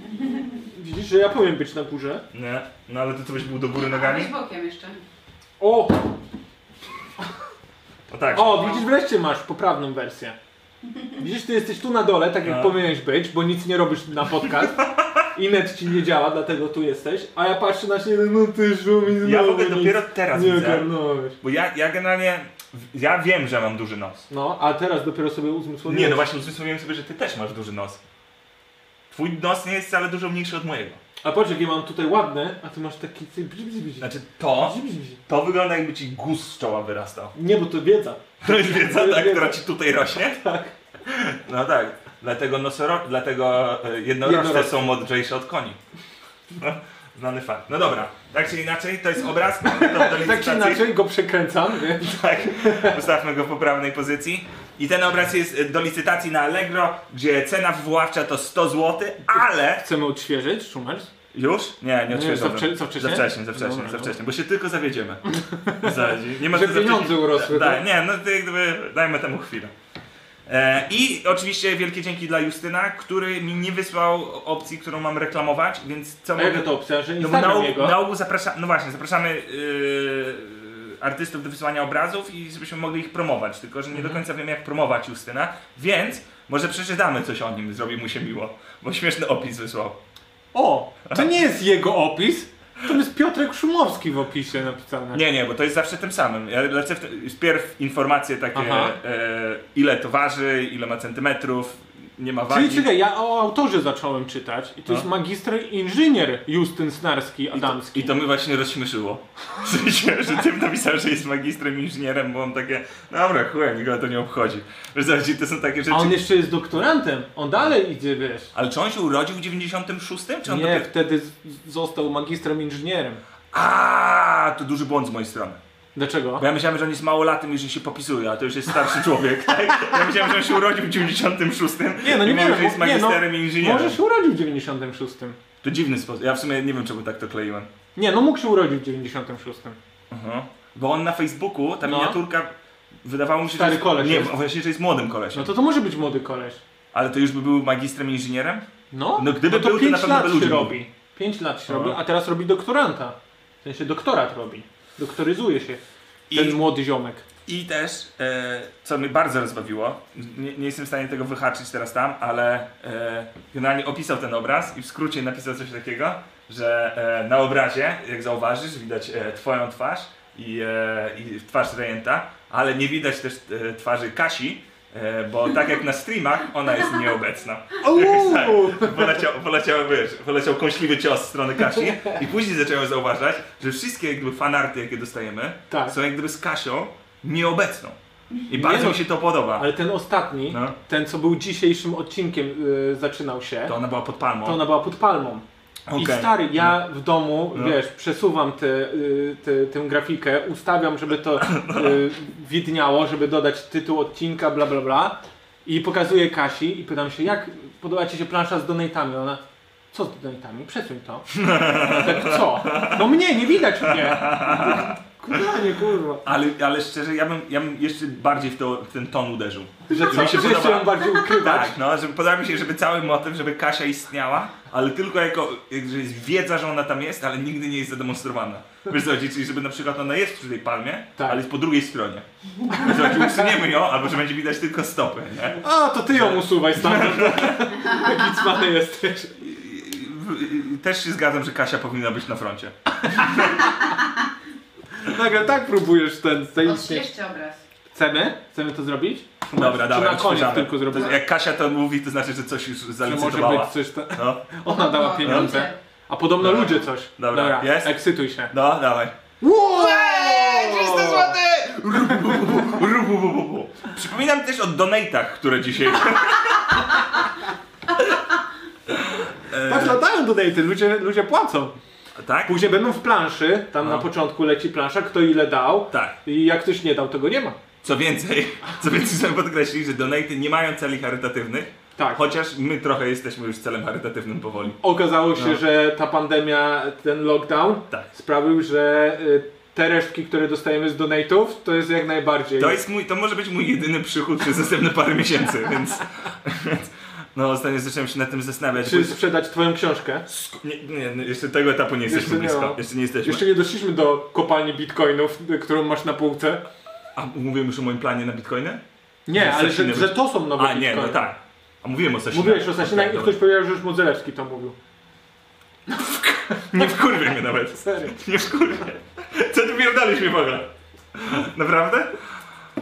D: Widzisz, że ja powinien być na górze.
B: Nie, no ale to co byś był do góry
E: A weź
B: nogami?
E: bokiem jeszcze.
D: O,
B: No tak.
D: o, widzisz, wreszcie masz poprawną wersję. Widzisz, ty jesteś tu na dole, tak jak
B: No.
D: powinieneś być, bo nic nie robisz na podcast. I net ci nie działa, dlatego tu jesteś. A ja patrzę na siebie, no ty szumi
B: Ja w ogóle dopiero teraz
D: no, Nie no.
B: widzę.
D: ogarnąłeś.
B: Bo ja, ja generalnie, ja wiem, że mam duży nos.
D: No, a teraz dopiero sobie uzmysłowiłeś.
B: Nie, no właśnie usłyszałem sobie, że ty też masz duży nos. Twój nos nie jest wcale dużo mniejszy od mojego.
D: A patrz, jakie mam tutaj ładne, a ty masz taki... ty- bzi, bzi, bzi.
B: Znaczy to,
D: Bzi, bzi, bzi.
B: to wygląda jakby ci guz z czoła wyrastał.
D: Nie, bo to wiedza.
B: To jest wiedza,
D: To jest
B: tak,
D: wiedza.
B: która ci tutaj rośnie?
D: Tak.
B: No tak. Dlatego, nosoro... Dlatego e, jednorożce
D: Jednorożce.
B: są mądrzejsze od koni. No, znany fakt. No dobra, tak czy inaczej, to jest obraz. To do
D: Tak czy
B: licytacji.
D: inaczej go przekręcam, wiesz?
B: Tak, ustawmy go w poprawnej pozycji. I ten obraz jest e, do licytacji na Allegro, gdzie cena wywoławcza to 100 zł, ale...
D: Chcemy odświeżyć, Szumers?
B: Już? Nie, nie
D: za
B: odświeżamy.
D: wcze- za wcześnie?
B: Za wcześnie, za wcześnie,
D: Dobra,
B: za
D: no.
B: wcześnie, bo się tylko zawiedziemy. Zawiedzi. Nie ma
D: Że
B: co zawiedzieć.
D: pieniądze urosły,
B: Da,
D: tak?
B: nie, no to jak gdyby dajmy temu chwilę. E, I oczywiście wielkie dzięki dla Justyna, który mi nie wysłał opcji, którą mam reklamować, więc co
D: A
B: mogę...
D: jaka to opcja, że
B: No bo na,
D: Instagram
B: ogół-
D: jego?
B: na ogół zapraszamy, no właśnie, zapraszamy yy, artystów do wysyłania obrazów i żebyśmy mogli ich promować. Tylko, że nie
D: Mhm.
B: do końca wiem, jak promować Justyna, więc może przeczytamy coś o nim, zrobi mu się miło, bo śmieszny opis wysłał.
D: O, to nie jest jego opis, to jest Piotrek Szumowski w opisie napisane.
B: Nie, nie, bo to jest zawsze tym samym. Ja lecę w te, wpierw informacje takie,
D: Aha.
B: e, ile to waży, ile ma centymetrów, nie ma wagi.
D: Czyli czekaj, ja o autorze zacząłem czytać i to
B: No.
D: jest magister inżynier Justyn Snarski Adamski.
B: I to mnie właśnie rozśmieszyło. W sensie, że tym napisał, że jest magistrem, inżynierem, bo on takie, dobra, chuj, nikogo to nie obchodzi. Wiesz, zobaczcie, to są takie rzeczy.
D: A on jeszcze jest doktorantem, on dalej idzie, wiesz.
B: Ale czy on się urodził w 96? Czy on
D: Nie,
B: dopiero-
D: wtedy z- został magistrem inżynierem.
B: A, to duży błąd z mojej strony.
D: Dlaczego?
B: Bo ja myślałem, że on jest małolatym i że się popisuje, a to już jest starszy człowiek. Tak? Ja myślałem, że on się urodził w 96.
D: Nie, no nie
B: I mówił,
D: wiem,
B: że jest
D: bo- nie, no,
B: magisterem i inżynierem.
D: Może się urodził w 96.
B: To dziwny sposób. Ja w sumie nie wiem, czemu tak to kleiłem.
D: Nie, no mógł się urodzić w 96.
B: Mhm. Bo on na Facebooku, ta
D: No.
B: miniaturka, wydawało mi się,
D: Stary
B: że jest,
D: koleś
B: nie,
D: jest.
B: właśnie, że jest młodym kolesiem.
D: No to to może być młody koleś.
B: Ale to już by był magistrem, inżynierem?
D: No,
B: No gdyby
D: no to
B: był, to
D: pięć
B: na pewno
D: lat
B: by
D: się
B: ludzi
D: robi. 5 lat się
B: No.
D: robi, a teraz robi doktoranta. W sensie doktorat robi. Doktoryzuje się ten
B: I-
D: młody ziomek.
B: I też, e, co mnie bardzo rozbawiło, nie, nie jestem w stanie tego wyhaczyć teraz tam, ale e, generalnie opisał ten obraz i w skrócie napisał coś takiego, że e, na obrazie, jak zauważysz, widać e, twoją twarz i, e, i twarz rejenta, ale nie widać też e, twarzy Kasi, e, bo tak jak na streamach, ona jest nieobecna.
D: Uuu!
B: Poleciał, poleciał, wiesz, poleciał kąśliwy cios w stronę Kasi i później zacząłem zauważać, że wszystkie jakby fanarty, jakie dostajemy,
D: Tak.
B: są jak gdyby z Kasią nieobecną. I bardzo
D: no.
B: mi się to podoba.
D: Ale ten ostatni,
B: No.
D: ten co był dzisiejszym odcinkiem y, zaczynał się,
B: To
D: to,
B: ona była pod palmą.
D: ona była pod palmą. I
B: Okej.
D: stary, ja w domu,
B: No.
D: wiesz, przesuwam te, y, te, tę grafikę, ustawiam, żeby to y, widniało, żeby dodać tytuł odcinka, bla bla bla. I pokazuję Kasi i pytam się, jak podoba ci się plansza z donatami? Ona, co z donatami? Przesuń to. tak co? No mnie, nie widać mnie. Kurwa, nie kurwa.
B: Ale, ale szczerze, ja bym, ja bym jeszcze bardziej w, to, w ten ton uderzył.
D: Że co,
B: mi się
D: że jeszcze
B: podoba.
D: ją bardziej ukrywać.
B: Tak, no, żeby, podoba mi się, żeby cały motyw, żeby Kasia istniała, ale tylko jako, jak- że jest wiedza, że ona tam jest, ale nigdy nie jest zademonstrowana. Wiesz co, chodzi? czyli żeby na przykład ona jest przy tej palmie,
D: Tak.
B: ale jest po drugiej stronie. Wiesz co, chodzi? usuniemy ją, albo że będzie widać tylko stopy, nie?
D: A, to ty ją usuwaj stamtąd. Jaki cwany jesteś.
B: W- Też się zgadzam, że Kasia powinna być na froncie.
D: Nagle tak próbujesz ten zaistnieć.
E: Odświeżcie obraz.
D: Chcemy? Chcemy to zrobić?
B: Dobra, dawaj,
D: Czy na koniec
B: odświeżamy.
D: tylko
B: To jest-
D: zrobimy?
B: Jak Kasia to mówi, to znaczy, że coś już
D: Że może być
B: zalicytowała.
D: coś tam.
B: No,
D: Ona dała
E: No,
D: pieniądze.
E: ludzie.
D: A podobno
B: Dobra.
D: ludzie coś.
B: Dobra, jest?
D: ekscytuj się.
B: no, dawaj.
D: Wow!
B: Ru, bu, bu, bu, bu. Przypominam też o donatach, które dzisiaj... Eee.
D: Tak latają tutaj, ty ludzie, ludzie płacą.
B: Tak?
D: Później będą w planszy, tam
B: No.
D: na początku leci plansza, kto ile dał.
B: Tak.
D: I jak ktoś nie dał, tego nie ma.
B: Co więcej, co więcej chcemy podkreślić, że donaty nie mają celi charytatywnych,
D: Tak.
B: chociaż my trochę jesteśmy już celem charytatywnym powoli.
D: Okazało się,
B: No.
D: że ta pandemia, ten lockdown
B: Tak.
D: sprawił, że y, te resztki, które dostajemy z donate'ów, to jest jak najbardziej.
B: To, jest mój, to może być mój jedyny przychód przez następne parę miesięcy, więc... więc no, ostatnio zacząłem się nad tym zastanawiać.
D: Czy sprzedać twoją książkę?
B: Nie, nie, nie, jeszcze tego etapu nie jesteśmy
D: Jeszcze nie
B: blisko.
D: ma.
B: jeszcze nie jesteśmy.
D: Jeszcze nie doszliśmy do kopalni bitcoinów, y, którą masz na półce.
B: A mówiłem już o moim planie na bitcoiny?
D: Nie, ale że,
B: Sasiny
D: że
B: być-
D: to są nowe
B: A nie,
D: bitcoiny.
B: no tak. A mówiłem o Sasinach.
D: Mówiłeś o Sasinach i
B: Dobra.
D: ktoś powiedział, że już Modzelewski to mówił.
B: Nie wkurwię mnie nawet.
D: Serio.
B: Nie wkurwię. Co ty pierdolisz mi w ogóle? Naprawdę?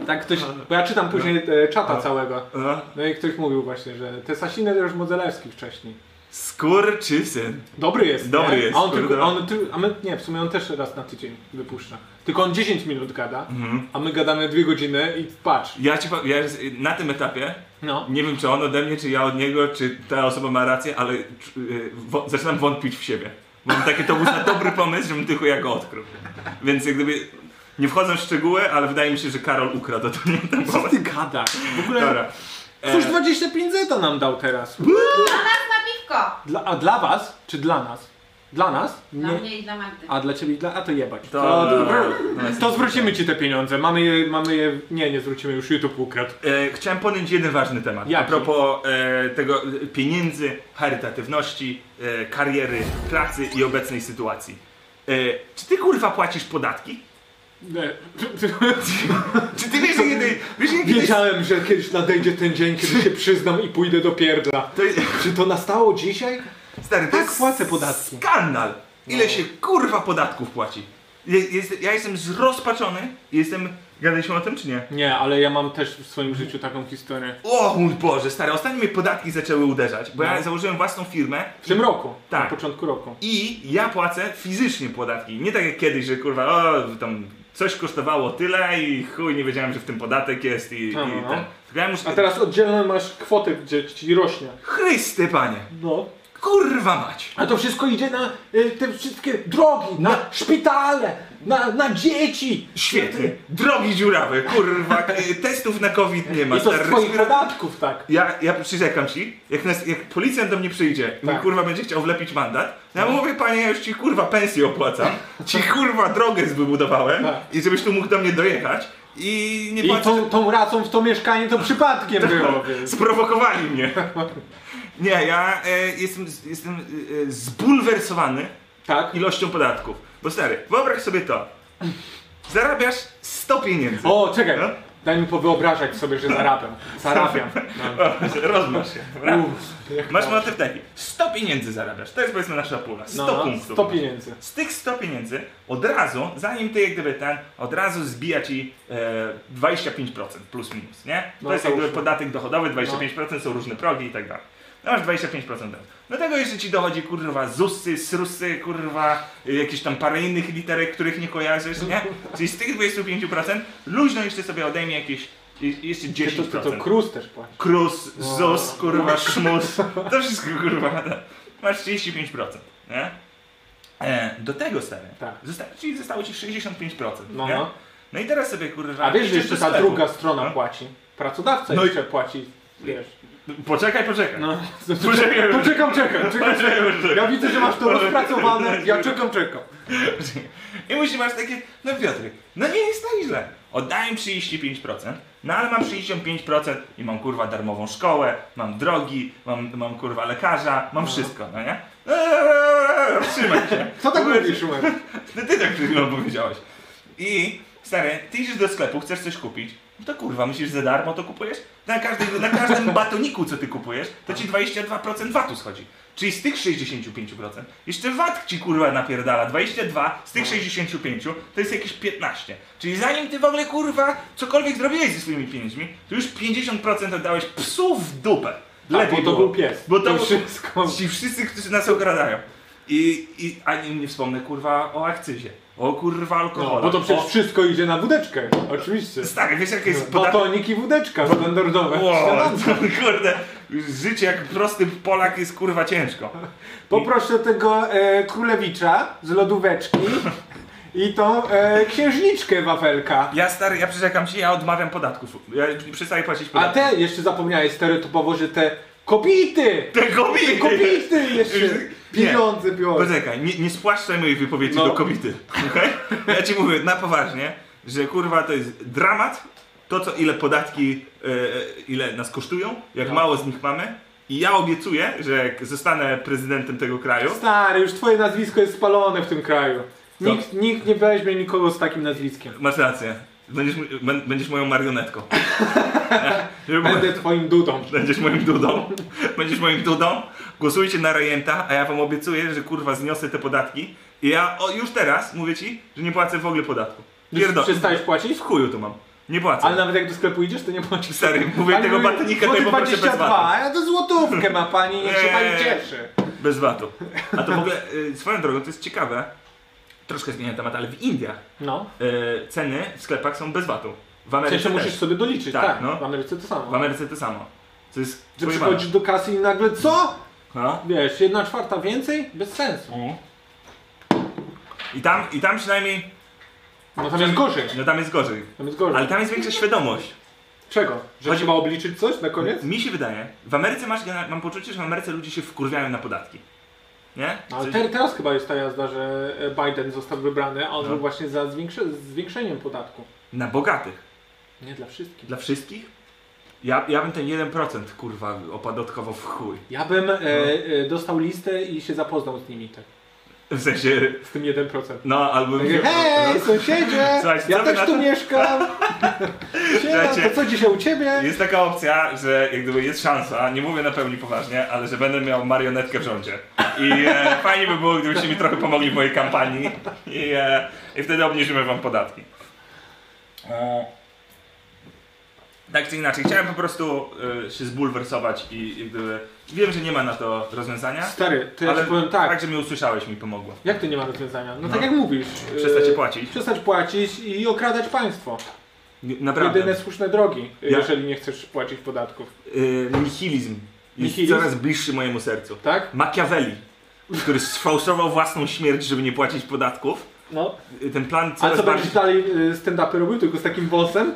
D: Tak ktoś, bo ja czytam później e, czata całego.
B: No.
D: No i ktoś mówił właśnie, że te Sasiny to już Modzelewski wcześniej.
B: Skurczysyn.
D: Dobry jest,
B: Dobry
D: nie?
B: jest,
D: A on
B: kurde.
D: tylko, a on, ty, a my, nie, w sumie on też raz na tydzień wypuszcza. Tylko on 10 minut gada,
B: Mhm.
D: a my gadamy 2 godziny i patrz.
B: Ja ci powiem, ja na tym etapie
D: No.
B: nie wiem czy on ode mnie, czy ja od niego, czy ta osoba ma rację, ale y, wo- zaczynam wątpić w siebie. Mam takie to był za dobry pomysł, żebym tylko ja go odkrył. Więc jak gdyby nie wchodzę w szczegóły, ale wydaje mi się, że Karol ukradł to nie ten
D: Co
B: pomysł.
D: ty gadasz? W ogóle...
B: No. Dobra. E.
D: Cóż 25 zeta nam dał teraz.
E: Na piwko!
D: Dla, a dla was? Czy dla nas? Dla nas?
E: Dla
D: Nie.
E: mnie i dla Magdy.
D: A dla ciebie i dla... A to jebać.
B: To- no,
D: to zwrócimy ci te pieniądze. Mamy je, mamy je... Nie, nie zwrócimy, już YouTube ukradł.
B: E, chciałem podjąć jeden ważny temat.
D: Jaki?
B: A propos e, tego e, pieniędzy, charytatywności, e, kariery, pracy i obecnej sytuacji. E, czy ty kurwa płacisz podatki?
D: Nie.
B: Czy ty wiesz, że kiedy... Wiesz, że kiedyś...
D: Wiedziałem, że kiedyś nadejdzie ten dzień, kiedy się przyznam i pójdę do pierdla.
B: To jest...
D: Czy to nastało dzisiaj?
B: Stary, to
D: Tak
B: jest
D: płacę podatki.
B: skandal! Ile się kurwa podatków płaci? Je, jest, ja jestem zrozpaczony i jestem... Gadaliśmy o tym czy nie?
D: Nie, ale ja mam też w swoim życiu taką historię.
B: O mój Boże, stary, ostatnio mnie podatki zaczęły uderzać, bo ja
D: No.
B: założyłem własną firmę
D: W tym roku.
B: Tak.
D: Na początku roku.
B: I ja płacę fizycznie podatki. Nie tak jak kiedyś, że kurwa, o, tam coś kosztowało tyle i chuj, nie wiedziałem, że w tym podatek jest i,
D: No,
B: i
D: no.
B: ten. Tylko ja muszę...
D: A teraz oddzielne masz kwotę, gdzie ci rośnie.
B: Chryste, panie!
D: No.
B: Kurwa mać!
D: A to wszystko idzie na y, te wszystkie drogi,
B: No.
D: na szpitale, na, na dzieci.
B: Świetny! Drogi dziurawy, kurwa, y, testów na COVID nie ma.
D: I to
B: stary,
D: z twoich
B: respira-
D: podatków, tak.
B: Ja, ja przyrzekam ci, jak, nas, jak policjant do mnie przyjdzie i mi
D: Tak. No.
B: kurwa będzie chciał wlepić mandat, ja mu mówię, panie, ja już ci kurwa pensję opłacam, ci kurwa drogę wybudowałem
D: Tak.
B: i żebyś tu mógł do mnie dojechać i Tak. nie
D: I
B: płacisz
D: tą, tą racą w to mieszkanie to przypadkiem było. więc-
B: Sprowokowali mnie. Nie, ja e, jestem, z- jestem e, e, zbulwersowany
D: Tak.
B: ilością podatków. Bo stary, wyobraź sobie to. Zarabiasz 100 pieniędzy.
D: O, czekaj.
B: No.
D: Daj mi powyobrażać sobie, że zarabiam. Zarabiam. No.
B: Rozmasz się. dobra?
D: Uff, jak
B: Masz
D: ma-
B: motyw taki. 100 pieniędzy zarabiasz. To jest powiedzmy nasza pula. 100
D: no,
B: punktów.
D: 100 pieniędzy.
B: Z tych 100 pieniędzy od razu, zanim ty jak gdyby ten, od razu zbija ci e, 25% plus minus, nie? To
D: No,
B: jest jak gdyby
D: załóżmy.
B: podatek dochodowy, 25% są różne progi i tak dalej. No masz 25%. Do No tego jeszcze ci dochodzi kurwa ZUSy, SRUSy, kurwa y, jakieś tam parę innych literek, których nie kojarzysz, nie? Czyli z tych 25% luźno jeszcze sobie odejmie jakieś i- jeszcze
D: Ty to, ty to
B: 10%.
D: Cruz też płaci.
B: Krus, ZUS, kurwa, szmus. To wszystko kurwa. no. Masz 35%, nie? E, do tego stary.
D: Tak.
B: Zosta- czyli zostało ci 65%.
D: No,
B: nie?
D: no.
B: no i teraz sobie kurwa.
D: A wiesz,
B: idziesz
D: że jeszcze
B: do
D: ta
B: sklepu.
D: druga strona
B: No.
D: płaci. Pracodawca
B: No i-
D: jeszcze płaci. Wiesz.
B: Poczekaj, poczekaj.
D: No.
B: Poczekaj,
D: Poczekam, czekam, czekam.
B: Poczekaj, poczekaj.
D: Ja widzę, że masz to rozpracowane. Ja czekam, czekam.
B: I musisz masz takie, no Piotrek, no nie jest tak źle. Oddałem 35%, no ale mam 65% i mam kurwa darmową szkołę, mam drogi, mam, mam kurwa lekarza, mam wszystko, no nie? Eee, Trzymaj się.
D: Co tak mówisz, Szumer?
B: No ty tak przed chwilą powiedziałeś. I stary, ty idziesz do sklepu, chcesz coś kupić, no to kurwa, myślisz, że za darmo to kupujesz? Na, każdej, na każdym batoniku, co ty kupujesz, to ci 22% VAT-u schodzi. Czyli z tych 65% jeszcze VAT ci kurwa napierdala. 22 z tych
D: No.
B: 65 to jest jakieś 15. Czyli zanim ty w ogóle kurwa cokolwiek zrobiłeś ze swoimi pieniędzmi, to już 50% oddałeś psu w dupę.
D: Tak, bo to
B: było.
D: był pies.
B: Bo to,
D: To wszystko.
B: Ci wszyscy, którzy nas okradają. I, i ani nie wspomnę kurwa o akcyzie. O kurwa alkoholu.
D: No, bo to przecież No,
B: O,
D: wszystko idzie na wódeczkę. Oczywiście.
B: stary, wiesz jakie jest podatek?
D: Batonik i wódeczka standardowe.
B: Wow,
D: Śniadanie.
B: to, kurde, życie jak prosty Polak jest kurwa ciężko.
D: Poproszę tego e, królewicza z lodóweczki i tą e, księżniczkę wafelka.
B: Ja stary, ja przyrzekam ci, ja odmawiam podatków. Ja przestaję płacić
D: A
B: podatki.
D: te, jeszcze zapomniałeś stereotypowo, że te kopity!
B: Te kobiety!
D: Kopity jeszcze! Pieniądze biorą.
B: Poczekaj, nie, nie spłaszczaj mojej wypowiedzi
D: No.
B: do kobiety. okej? Ja ci mówię na poważnie, że kurwa to jest dramat, to co ile podatki, e, e, ile nas kosztują, jak mało z nich mamy. I ja obiecuję, że jak zostanę prezydentem tego kraju,
D: Stary, już twoje nazwisko jest spalone w tym kraju.
B: Co?
D: Nikt, nikt nie weźmie nikogo z takim nazwiskiem.
B: masz rację, będziesz, m- ben- będziesz moją marionetką. Żeby mo-
D: Będę twoim dudą.
B: Będziesz moim dudą. Będziesz moim dudą. Głosujcie na rejenta, a ja wam obiecuję, że kurwa zniosę te podatki. I ja o, już teraz mówię ci, że nie płacę w ogóle podatku. Pierdol.
D: Przestałeś płacić?
B: W chuju to mam. Nie płacę.
D: Ale nawet jak do sklepu idziesz, to nie płacisz.
B: Stary, mówię
D: Pani
B: tego
D: mówi,
B: batonika, to ja
D: złoty
B: poproszę bez
D: 22,
B: VAT-u.
D: a ja to złotówkę ma pani, niech się pani
B: Eee.
D: cieszy.
B: Bez VAT-u. A to w ogóle, y, swoją drogą, to jest ciekawe. Troszkę zmieniam temat, ale w Indiach
D: No.
B: y, ceny w sklepach są bez VAT-u. W
D: W
B: Ameryce
D: sensie musisz
B: też.
D: sobie doliczyć,
B: Tak,
D: tak.
B: no.
D: W Ameryce to
B: W
D: samo.
B: Ameryce to samo. Co jest
D: Że
B: pojebane.
D: przychodzisz do kasy i nagle co?
B: No.
D: Wiesz, jedna czwarta więcej? Bez sensu.
B: I tam, I tam przynajmniej,
D: No tam jest gorzej.
B: no tam jest gorzej.
D: Tam jest gorzej.
B: Ale tam jest większa świadomość.
D: Czego? Że
B: Chodzi-
D: trzeba obliczyć coś na koniec?
B: Mi się wydaje, w Ameryce masz, genera- mam poczucie, że w Ameryce ludzie się wkurwiają na podatki. Nie?
D: No, ale
B: Coś-
D: ter, teraz chyba jest ta jazda, że e, Biden został wybrany, a on
B: No.
D: był właśnie za zwiększe, zwiększeniem podatku.
B: Na bogatych.
D: Nie dla wszystkich.
B: Dla wszystkich? Ja, ja bym ten 1% kurwa opodatkował w chuj.
D: Ja bym e, e, dostał listę i się zapoznał z nimi tak.
B: W sensie,
D: Z tym 1%.
B: no albo...
C: Takie, Hej, sąsiedzie!
B: Słuchajcie, co
C: ja
B: wy
C: też
B: na
C: tu
B: to?
C: mieszkam! Siema,
B: Słuchajcie.
C: to co dzisiaj u ciebie?
B: no, Jest taka opcja, że jak gdyby jest szansa, nie mówię na pełni poważnie, ale że będę miał marionetkę w rządzie. I e, fajnie by było, gdybyście mi trochę pomogli w mojej kampanii i, e, i wtedy obniżymy wam podatki. E, tak czy inaczej, chciałem po prostu e, się zbulwersować i jak gdyby, wiem, że nie ma na to rozwiązania,
D: Stary, to ja
B: ale
D: ci powiem tak.
B: fakt, że mnie usłyszałeś mi pomogło.
D: Jak to nie ma rozwiązania? No,
B: No.
D: tak jak mówisz.
C: E,
B: Przestacie
D: yy,
B: płacić.
D: Przestać płacić i okradać państwo.
B: Naprawdę.
D: Jedyne słuszne drogi, y,
B: Ja-
D: jeżeli nie chcesz płacić podatków.
B: Y, nihilizm jest
D: Nihilizm?
B: coraz bliższy mojemu sercu.
D: Tak?
B: Machiavelli, który sfałszował własną śmierć, żeby nie płacić podatków.
D: No.
B: Y, Ten plan
D: A
B: coraz
D: co
B: bardziej...
D: będziesz dalej y, stand-upy robił, tylko z takim bossem?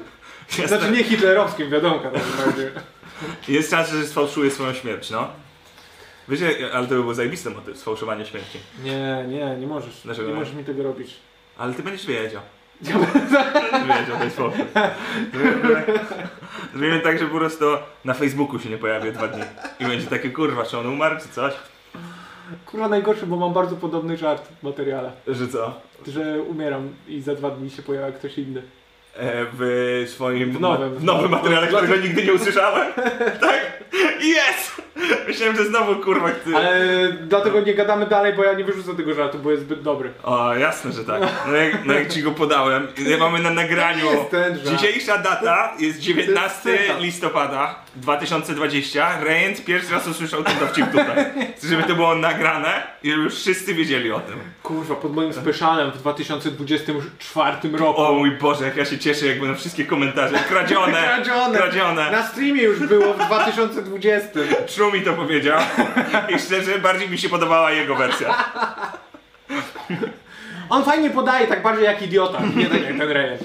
B: Jest,
D: Znaczy nie hitlerowskim, wiadomo. tak naprawdę.
B: jest szansa, że sfałszuje swoją śmierć, no. Wiecie, ale to by był zajebisty motyw, sfałszowanie śmierci.
D: Nie, nie, nie możesz.
B: Dlaczego
D: nie
B: nie?
D: możesz mi tego robić.
B: Ale ty będziesz wiedział. Będziesz wiedział, to jest powód. Zrobimy tak, że po prostu na Facebooku się nie pojawię dwa dni. I będzie takie, kurwa, czy on umarł, czy coś?
D: Kurwa najgorszy, bo mam bardzo podobny żart w materiale.
B: Że co?
D: Że umieram i za dwa dni się pojawia ktoś inny.
B: E, W swoim
D: W nowym.
B: w nowym materiale, którego nigdy nie usłyszałem. Tak? Jest! Myślałem, że znowu kurwa ty.
D: Ale dlatego nie gadamy dalej, bo ja nie wyrzucę tego żartu, bo jest zbyt dobry.
B: O, jasne, że tak. No jak, no jak ci go podałem, ja mamy na nagraniu.
D: To nie jest ten żart.
B: Dzisiejsza data jest 19
D: cytat.
B: listopada 2020. Rejent pierwszy raz usłyszał ten dowcip tutaj. Chcę, żeby to było nagrane i żeby już wszyscy wiedzieli o tym.
D: Kurwa, pod moim specialem w 2024 roku.
B: O mój Boże, jak ja się cieszę, jak będą wszystkie komentarze. Kradzione!
D: Kradzione.
B: Kradzione!
D: Na streamie już było w 2020.
B: True mi to powiedział. I szczerze, bardziej mi się podobała jego wersja.
D: On fajnie podaje, tak bardziej jak idiota, nie tak jak ten rejen.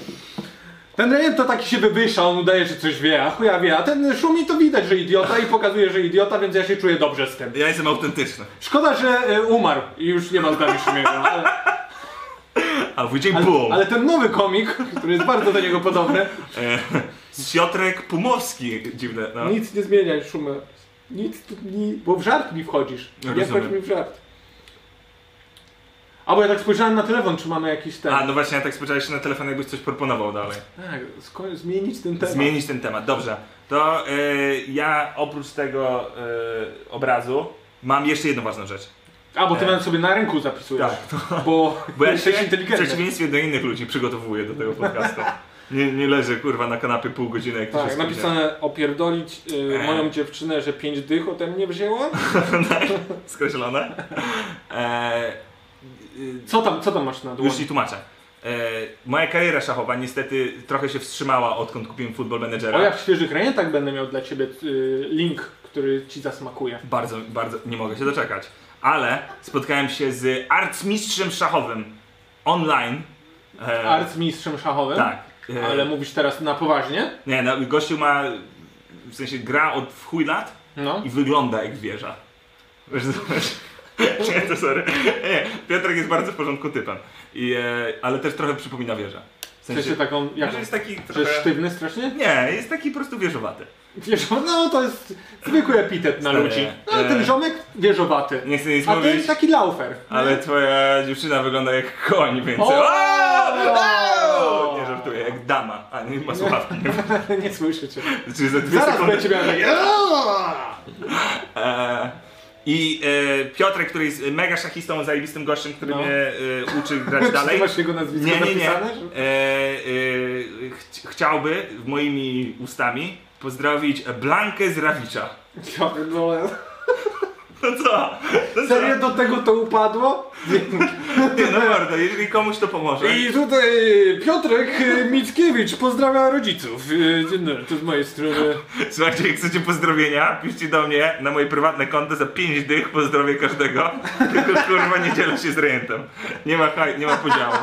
D: Ten rejen to taki się wybysza, on udaje, że coś wie, a chuja wie, a ten szumi to widać, że idiota i pokazuje, że idiota, więc ja się czuję dobrze z tym.
B: Ja jestem autentyczny.
D: Szkoda, że e, umarł i już nie ma z nami Szumiego, ale,
B: A wyjdzie
D: ale,
B: boom.
D: ale ten nowy komik, który jest bardzo do niego podobny,
B: E, Siotrek Pumowski. Dziwne, no.
D: nic nie zmieniaj Szumę. Nic tu nie... bo w żart mi wchodzisz. Nie
B: Rozumiem.
D: wchodź mi w żart. A bo ja tak spojrzałem na telefon, czy mamy jakiś ten...
B: A, no właśnie, ja tak spojrzałeś się na telefon, jakbyś coś proponował dalej.
D: Tak, sko- zmienić ten temat.
B: Zmienić ten temat, dobrze. To y, ja oprócz tego y, obrazu mam jeszcze jedną ważną rzecz.
D: A, bo ty
B: E.
D: nawet sobie na ręku zapisujesz.
B: Tak, to,
D: Bo,
B: bo ja się
D: jesteś
B: w
D: inteligentny.
B: przeciwieństwie do innych ludzi przygotowuję do tego podcastu. Nie, nie leżę kurwa na kanapie pół godziny, jak to się
D: Tak,
B: spóźnia.
D: napisane opierdolić y,
B: E.
D: moją dziewczynę, że pięć dych ode mnie wzięła?
B: Skreślone. E, y,
D: Co tam, co tam masz na
B: Już ci
D: dłoni?
B: tłumaczę. E, moja kariera szachowa niestety trochę się wstrzymała odkąd kupiłem Football Managera.
D: O, jak w świeżych rejentach będę miał dla ciebie y, link, który ci zasmakuje.
B: Bardzo, bardzo, nie mogę się doczekać. Ale spotkałem się z arcmistrzem szachowym online. E,
D: Arcmistrzem szachowym?
B: Tak. E,
D: Ale mówisz teraz na poważnie?
B: Nie, no, gościu ma, w sensie gra od w chuj lat
D: No.
B: i wygląda jak wieża. Wiesz, zobacz. Nie, to sorry. Nie, Piotrek jest bardzo w porządku typem. I, e, ale też trochę przypomina wieża. W
D: W sensie
B: sensie,
D: taką, jak,
B: że jest taki
D: że jest
B: trochę...
D: sztywny strasznie?
B: Nie, jest taki po prostu wieżowaty.
D: Wieżo, no to jest zwykły epitet na
B: Stary,
D: ludzi. No, ale
B: e.
D: ten ziomek wieżowaty.
B: Nie chcę nic
D: A tak- ty
B: mówić,
D: taki laufer.
B: ale twoja dziewczyna wygląda jak koń, więc...
D: O!
B: Nie żartuję, jak dama. A, nie ma słuchawki.
D: Nie słyszycie.
B: Znaczy, za dwie
D: Zaraz
B: sekundy...
D: będzie miał taki...
B: E, I e, Piotrek, który jest mega szachistą, zajebistym gościem, który
D: No.
B: mnie e, uczy grać
D: Czy ty
B: dalej.
D: masz jego nazwisko
B: Nie, nie, nie. E,
D: napisane? że-
B: e, chci- chciałby moimi ustami pozdrowić Blankę z Rawicza.
D: Ja pierdolę.
B: No co? No co?
D: Serio do tego to upadło?
B: Nie, no mordo, jeżeli komuś to pomoże.
D: I tutaj Piotrek y, Mickiewicz pozdrawia rodziców. Y, Dzień dobry, to z mojej strony.
B: Słuchajcie, jak chcecie pozdrowienia, piszcie do mnie na moje prywatne konto za 5 dych, pozdrowię każdego. Tylko kurwa nie dzielę się z rejentem. Nie ma, haj- nie ma podziału.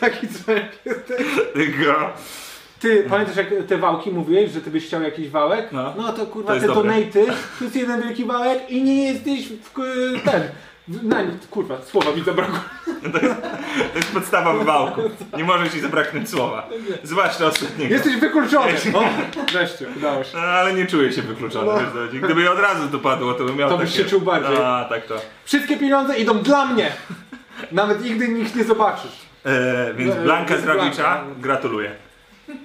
D: Taki człowiek.
B: Tylko...
D: Ty, pamiętasz jak te wałki mówiłeś, że ty byś chciał jakiś wałek?
B: No.
D: to kurwa
B: To jest
D: te
B: dobre.
D: donaty, to jest jeden wielki wałek i nie jesteś w, k- ten... w- Na, kurwa, słowa mi zabrakło.
B: To jest podstawa wywałku. Nie może ci zabraknąć słowa. Zwłaszcza ostatniego.
D: Jesteś wykluczony! O, wreszcie, udało się.
B: No, ale nie czuję się wykluczony. wiesz, Dawidzik. Gdyby od razu to padło, to bym miał
D: No. To byś
B: takie-
D: się czuł bardziej.
B: A, tak to.
D: Wszystkie pieniądze idą dla mnie!
C: Nawet nigdy nikt nie zobaczysz.
B: E, więc
D: No,
B: Blanka
D: więc
B: z Rawicza,
D: Blanka.
B: gratuluję.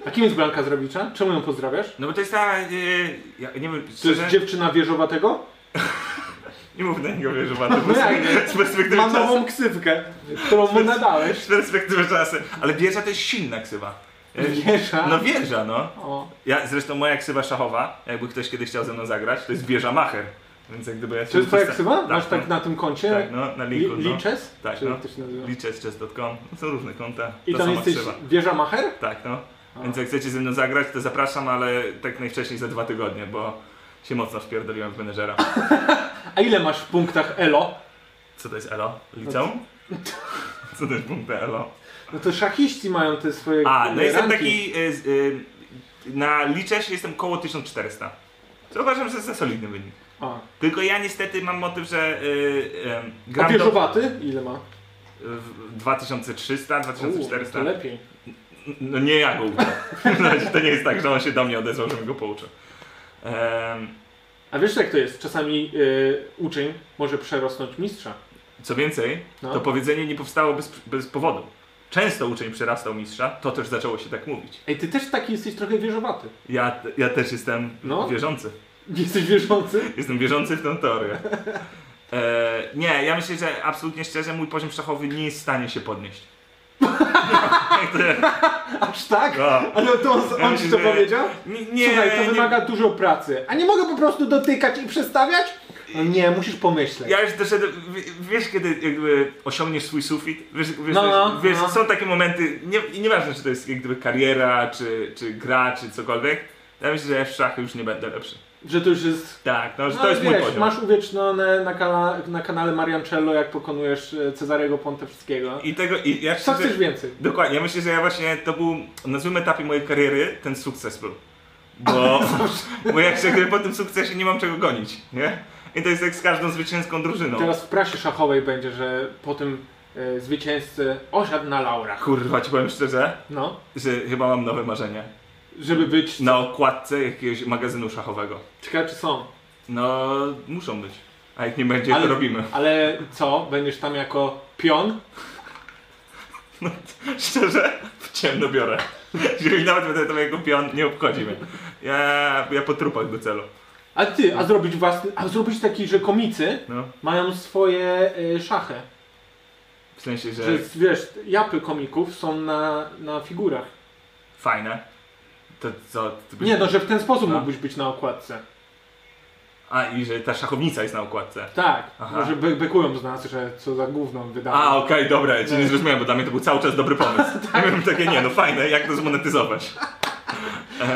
D: A kim jest Blanka z Robicza? Czemu ją pozdrawiasz?
B: No bo to jest ta, e, ja nie wiem,
D: To jest
B: szczerze,
D: dziewczyna wieżowatego?
B: nie mów na niego wieżowatego,
D: No jak?
B: z perspektywy
C: Mam
B: czasu.
C: nową ksywkę.
D: Którą mu nadałeś?
B: Z perspektywy czasu, ale wieża to jest silna ksywa. E,
D: Wieża?
B: No wieża, no.
D: O.
B: Ja, zresztą moja ksywa szachowa, jakby ktoś kiedyś chciał ze mną zagrać, to jest wieża macher. Więc jak gdyby ja się
D: Czy jest twoja
B: wysta-
D: ksywa?
B: Tak,
D: Masz tak
B: no,
D: na tym koncie?
B: tak, no, na
D: Li-
B: linku, no.
D: Liches?
B: Tak,
D: Czy
B: no.
D: jak to się nazywa?
B: Liczę z chess.com, no, są różne konta,
D: I
B: to
D: tam
B: sama
D: jesteś
B: ksywa.
D: wieża macher?
B: Tak, no.
D: A.
B: Więc jak chcecie ze mną zagrać, to zapraszam, ale tak najwcześniej za dwa tygodnie, bo się mocno wpierdoliłem w menedżera.
D: A ile masz w punktach elo?
B: Co to jest ELO? Liceum? Co to jest punkt ELO?
D: No to szachiści mają te swoje
B: A, no
D: ranki.
B: jestem taki... Y, z- y, na licześ jestem koło 1400. Co uważam, że jest za solidny wynik.
D: A,
B: Tylko ja niestety mam motyw, że y, y,
D: a
B: gram do-
D: wieżowaty ile ma?
B: w 2300,
D: U, to
B: 2400.
D: lepiej.
B: No nie ja go uczę. to nie jest tak, że on się do mnie odezwał, żebym go pouczył. Em,
D: A wiesz jak to jest? Czasami y, uczeń może przerosnąć mistrza.
B: co więcej,
D: No.
B: to powiedzenie nie powstało bez, bez powodu. Często uczeń przerastał mistrza, to też zaczęło się tak mówić.
D: Ej, ty też taki jesteś trochę wieżowaty.
B: Ja, ja też jestem
D: No.
B: wierzący.
D: Nie jesteś wierzący?
B: Jestem wierzący w tę teorię. E, nie, ja myślę, że absolutnie szczerze mój poziom szachowy nie jest w stanie się podnieść.
D: Aż tak?
B: No.
D: Ale to on, on ci to
B: Nie.
D: powiedział?
B: Nie, nie,
D: Słuchaj, to
B: nie-
D: wymaga dużo pracy. A nie mogę po prostu dotykać i przestawiać? No nie, musisz pomyśleć.
B: Ja już doszedłem, w- wiesz kiedy jakby osiągniesz swój sufit? Wiesz, wiesz,
D: No, no,
B: wiesz
D: no.
B: są takie momenty, nie, i nieważne czy to jest jak gdyby kariera, czy, czy gra, czy cokolwiek. Ja myślę, że ja w szachy już nie będę lepszy.
D: Że to już jest...
B: Tak, no, że
D: No,
B: to
D: ale
B: jest mój
D: wiesz,
B: poziom.
D: masz uwiecznione na, kana na kanale Mariancello, jak pokonujesz e, Cezarego Pontewskiego.
B: I No. tego, i ja
D: Co
B: szczerze-
D: chcesz więcej?
B: Dokładnie, ja myślę, że ja właśnie to był na złym etapie mojej kariery ten sukces był. Bo, bo jak się po tym sukcesie nie mam czego gonić, nie? I to jest jak z każdą zwycięską drużyną.
D: Teraz w prasie szachowej będzie, że po tym e, zwycięzcy osiadł na laurach.
B: Kurwa, ci powiem szczerze,
D: No,
B: że chyba mam nowe marzenie.
D: żeby być...
B: Na okładce jakiegoś magazynu szachowego.
D: Ciekawe czy są.
B: No, muszą być. A jak nie będzie,
D: Ale-
B: to robimy.
D: Ale co? Będziesz tam jako pion?
B: Szczerze, w ciemno biorę. Jeżeli nawet będę to jako pion, nie obchodzi mnie. Ja, ja po trupach do celu.
D: A ty, a zrobić własny... A zrobić taki, że komicy
B: No,
D: mają swoje e, szachy.
B: w sensie, że
D: Że wiesz, japy komików są na, na figurach.
B: fajne. To co? to by-
D: Nie, no że w ten sposób
B: No.
D: mógłbyś być na okładce.
B: A, i że ta szachownica jest na okładce.
D: Tak,
B: Aha.
D: może be bekują z nas, że co za gówno wydano.
B: A, okej, dobra, ja cię nie zrozumiałem, bo dla mnie to był cały czas dobry pomysł.
D: Tak.
B: Ja miałem takie, nie no fajne, jak to zmonetyzować?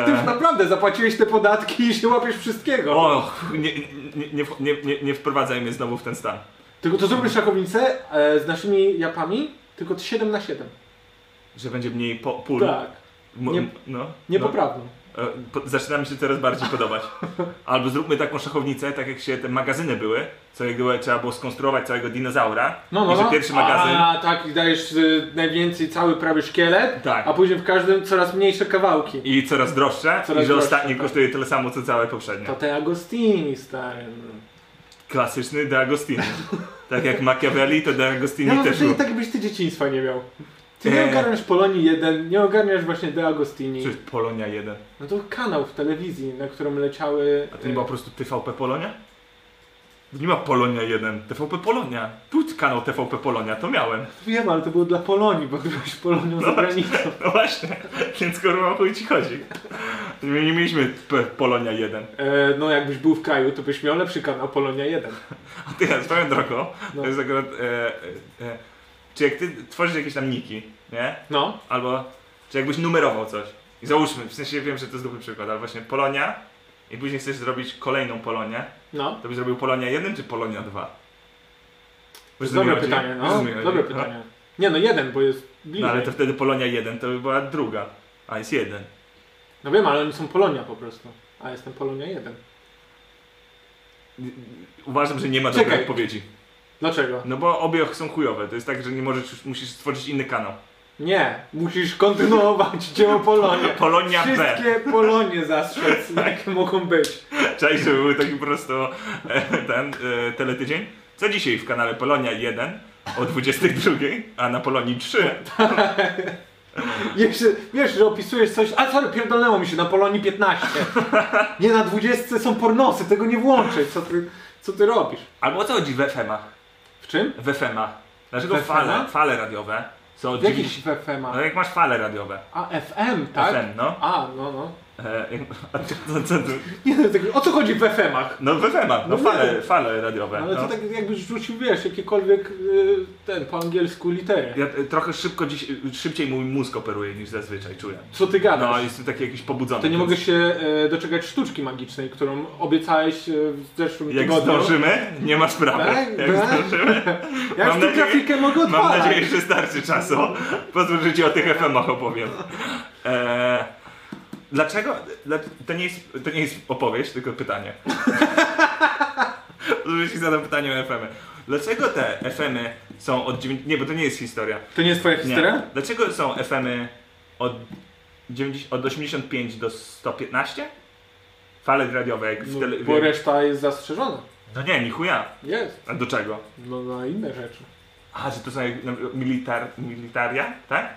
D: Ty już naprawdę zapłaciłeś te podatki i się łapiesz wszystkiego.
B: e. O, nie, nie, nie, nie, nie, nie wprowadzaj mnie znowu w ten stan.
D: Tylko to zrobisz szachownicę e, z naszymi Japami, tylko 7 na 7.
B: Że będzie mniej po, pól.
D: Tak,
B: Mo-
D: Nie-
B: no, no.
D: niepoprawną.
B: E, po- Zaczyna mi się coraz bardziej podobać. Albo zróbmy taką szachownicę, tak jak się te magazyny były, co jak było, trzeba było skonstruować całego dinozaura.
D: No, no,
B: I że
D: no.
B: pierwszy magazyn.
D: A, tak, i dajesz y, najwięcej cały prawie szkielet,
B: Tak.
D: a później w każdym coraz mniejsze kawałki.
B: I coraz droższe,
D: Coraz
B: i że
D: droższe,
B: ostatnie
D: tak.
B: kosztuje tyle samo co całe poprzednie.
D: To te Agostini, stary. no.
B: Klasyczny De Agostini. tak jak Machiavelli, to De Agostini
D: Ja mam
B: też
D: wrażenie,
B: był.
D: tak jakbyś ty dzieciństwa nie miał. Ty nie
B: Eee.
D: ogarniasz Polonii 1, nie ogarniasz właśnie De Agostini.
B: Przecież Polonia 1.
D: No to kanał w telewizji, na którym leciały...
B: A to nie
D: e,
B: była po prostu TVP Polonia? Nie ma Polonia 1, TVP Polonia. Tu kanał TVP Polonia, to miałem.
D: Wiem, ale to było dla Polonii, bo byłeś Polonią za granicą.
B: No właśnie, więc kurwa o chuj ci chodzi. My nie mieliśmy P- Polonia 1.
D: E, no jakbyś był w kraju, to byś miał lepszy kanał Polonia 1.
B: A ty, ja swoją drogą,
D: No.
B: to jest akurat... E, e, e, czy jak ty tworzysz jakieś tam niki, nie?
D: No,
B: Albo czy jakbyś numerował coś. I załóżmy, w sensie wiem, że to jest dobry przykład, ale właśnie Polonia i później chcesz zrobić kolejną Polonię,
D: no.
B: to byś zrobił Polonia 1 czy Polonia 2? Wiesz, co mi
D: Dobre
B: chodzi?
D: pytanie,
B: Wiesz, co
D: no.
B: mi chodzi?
D: Dobre
B: No.
D: pytanie. Nie no, jeden, bo jest bliżej.
B: No
D: No,
B: ale to wtedy Polonia 1 to by była druga, a jest 1.
D: No wiem, ale oni są Polonia po prostu. A jestem Polonia 1.
B: Uważam, że nie ma
D: Czekaj.
B: dobrej odpowiedzi.
D: Dlaczego?
B: No bo obie są chujowe, to jest tak, że nie możesz, musisz stworzyć inny kanał.
D: Nie, musisz kontynuować dzieło Polonia.
B: Polonia B.
D: Wszystkie Polonie zastrzec, jakie mogą być.
B: Cześć, żeby był taki po prostu e, ten e, teletydzień. Co dzisiaj w kanale Polonia 1 o 22, a na Polonii 3.
D: Jeszcze, wiesz, że opisujesz coś, a sorry, pierdolnęło mi się, na Polonii 15. Nie, na 20 są pornosy, tego nie włączę, co ty, co ty robisz?
B: Albo o co chodzi w FM-a?
D: W czym?
B: W FM-a. Dlaczego
D: W FM-a?
B: fale, fale radiowe są od
D: W jakichś
B: 90...
D: FM
B: No
D: a
B: jak masz fale radiowe.
D: A, FM, tak?
B: FM, no.
D: A, no, no.
B: E, jak- a ty- co, co, tu?
D: Nie, no, tak, o co chodzi w FM-ach?
B: no w FM-a, no
D: No
B: fale,
D: wiem.
B: fale radiowe.
D: Ale
B: no.
D: to tak jakbyś rzucił, wiesz, jakiekolwiek y, ten, po angielsku litery.
B: Ja e, trochę szybko dziś, szybciej mój mózg operuje niż zazwyczaj czuję.
D: Co ty gadasz?
B: No, jestem taki jakiś pobudzony.
D: To nie
B: więc
D: mogę się e, doczekać sztuczki magicznej, którą obiecałeś e, w zeszłym
B: Jak
D: tygodniu.
B: zdążymy, nie ma sprawy.
D: Tak,
B: Jak
D: tak.
B: zdążymy.
D: Ja już
B: Mam
D: tę
B: nadzieję-
D: grafikę mogę
B: Mam
D: odpalać.
B: nadzieję, że starczy czasu. Pozwól, że ci o tych FM-ach opowiem. Eee, dlaczego? dla- To nie, jest, to nie jest opowieść, tylko pytanie. Pozwól, że ci zadam pytanie o FM-y. Dlaczego te FM-y są od dziewięć- Nie, bo to nie jest historia.
D: To nie jest twoja
B: Nie.
D: historia?
B: Dlaczego są FM-y od, 90, od 85 do 115? Fale radiowe jak w
D: No,
B: tele...
D: bo reszta jest zastrzeżona.
B: No nie, ni chuja.
D: Jest.
B: A do czego?
D: No na inne rzeczy.
B: A, że to są jak, no, militar, militaria, tak?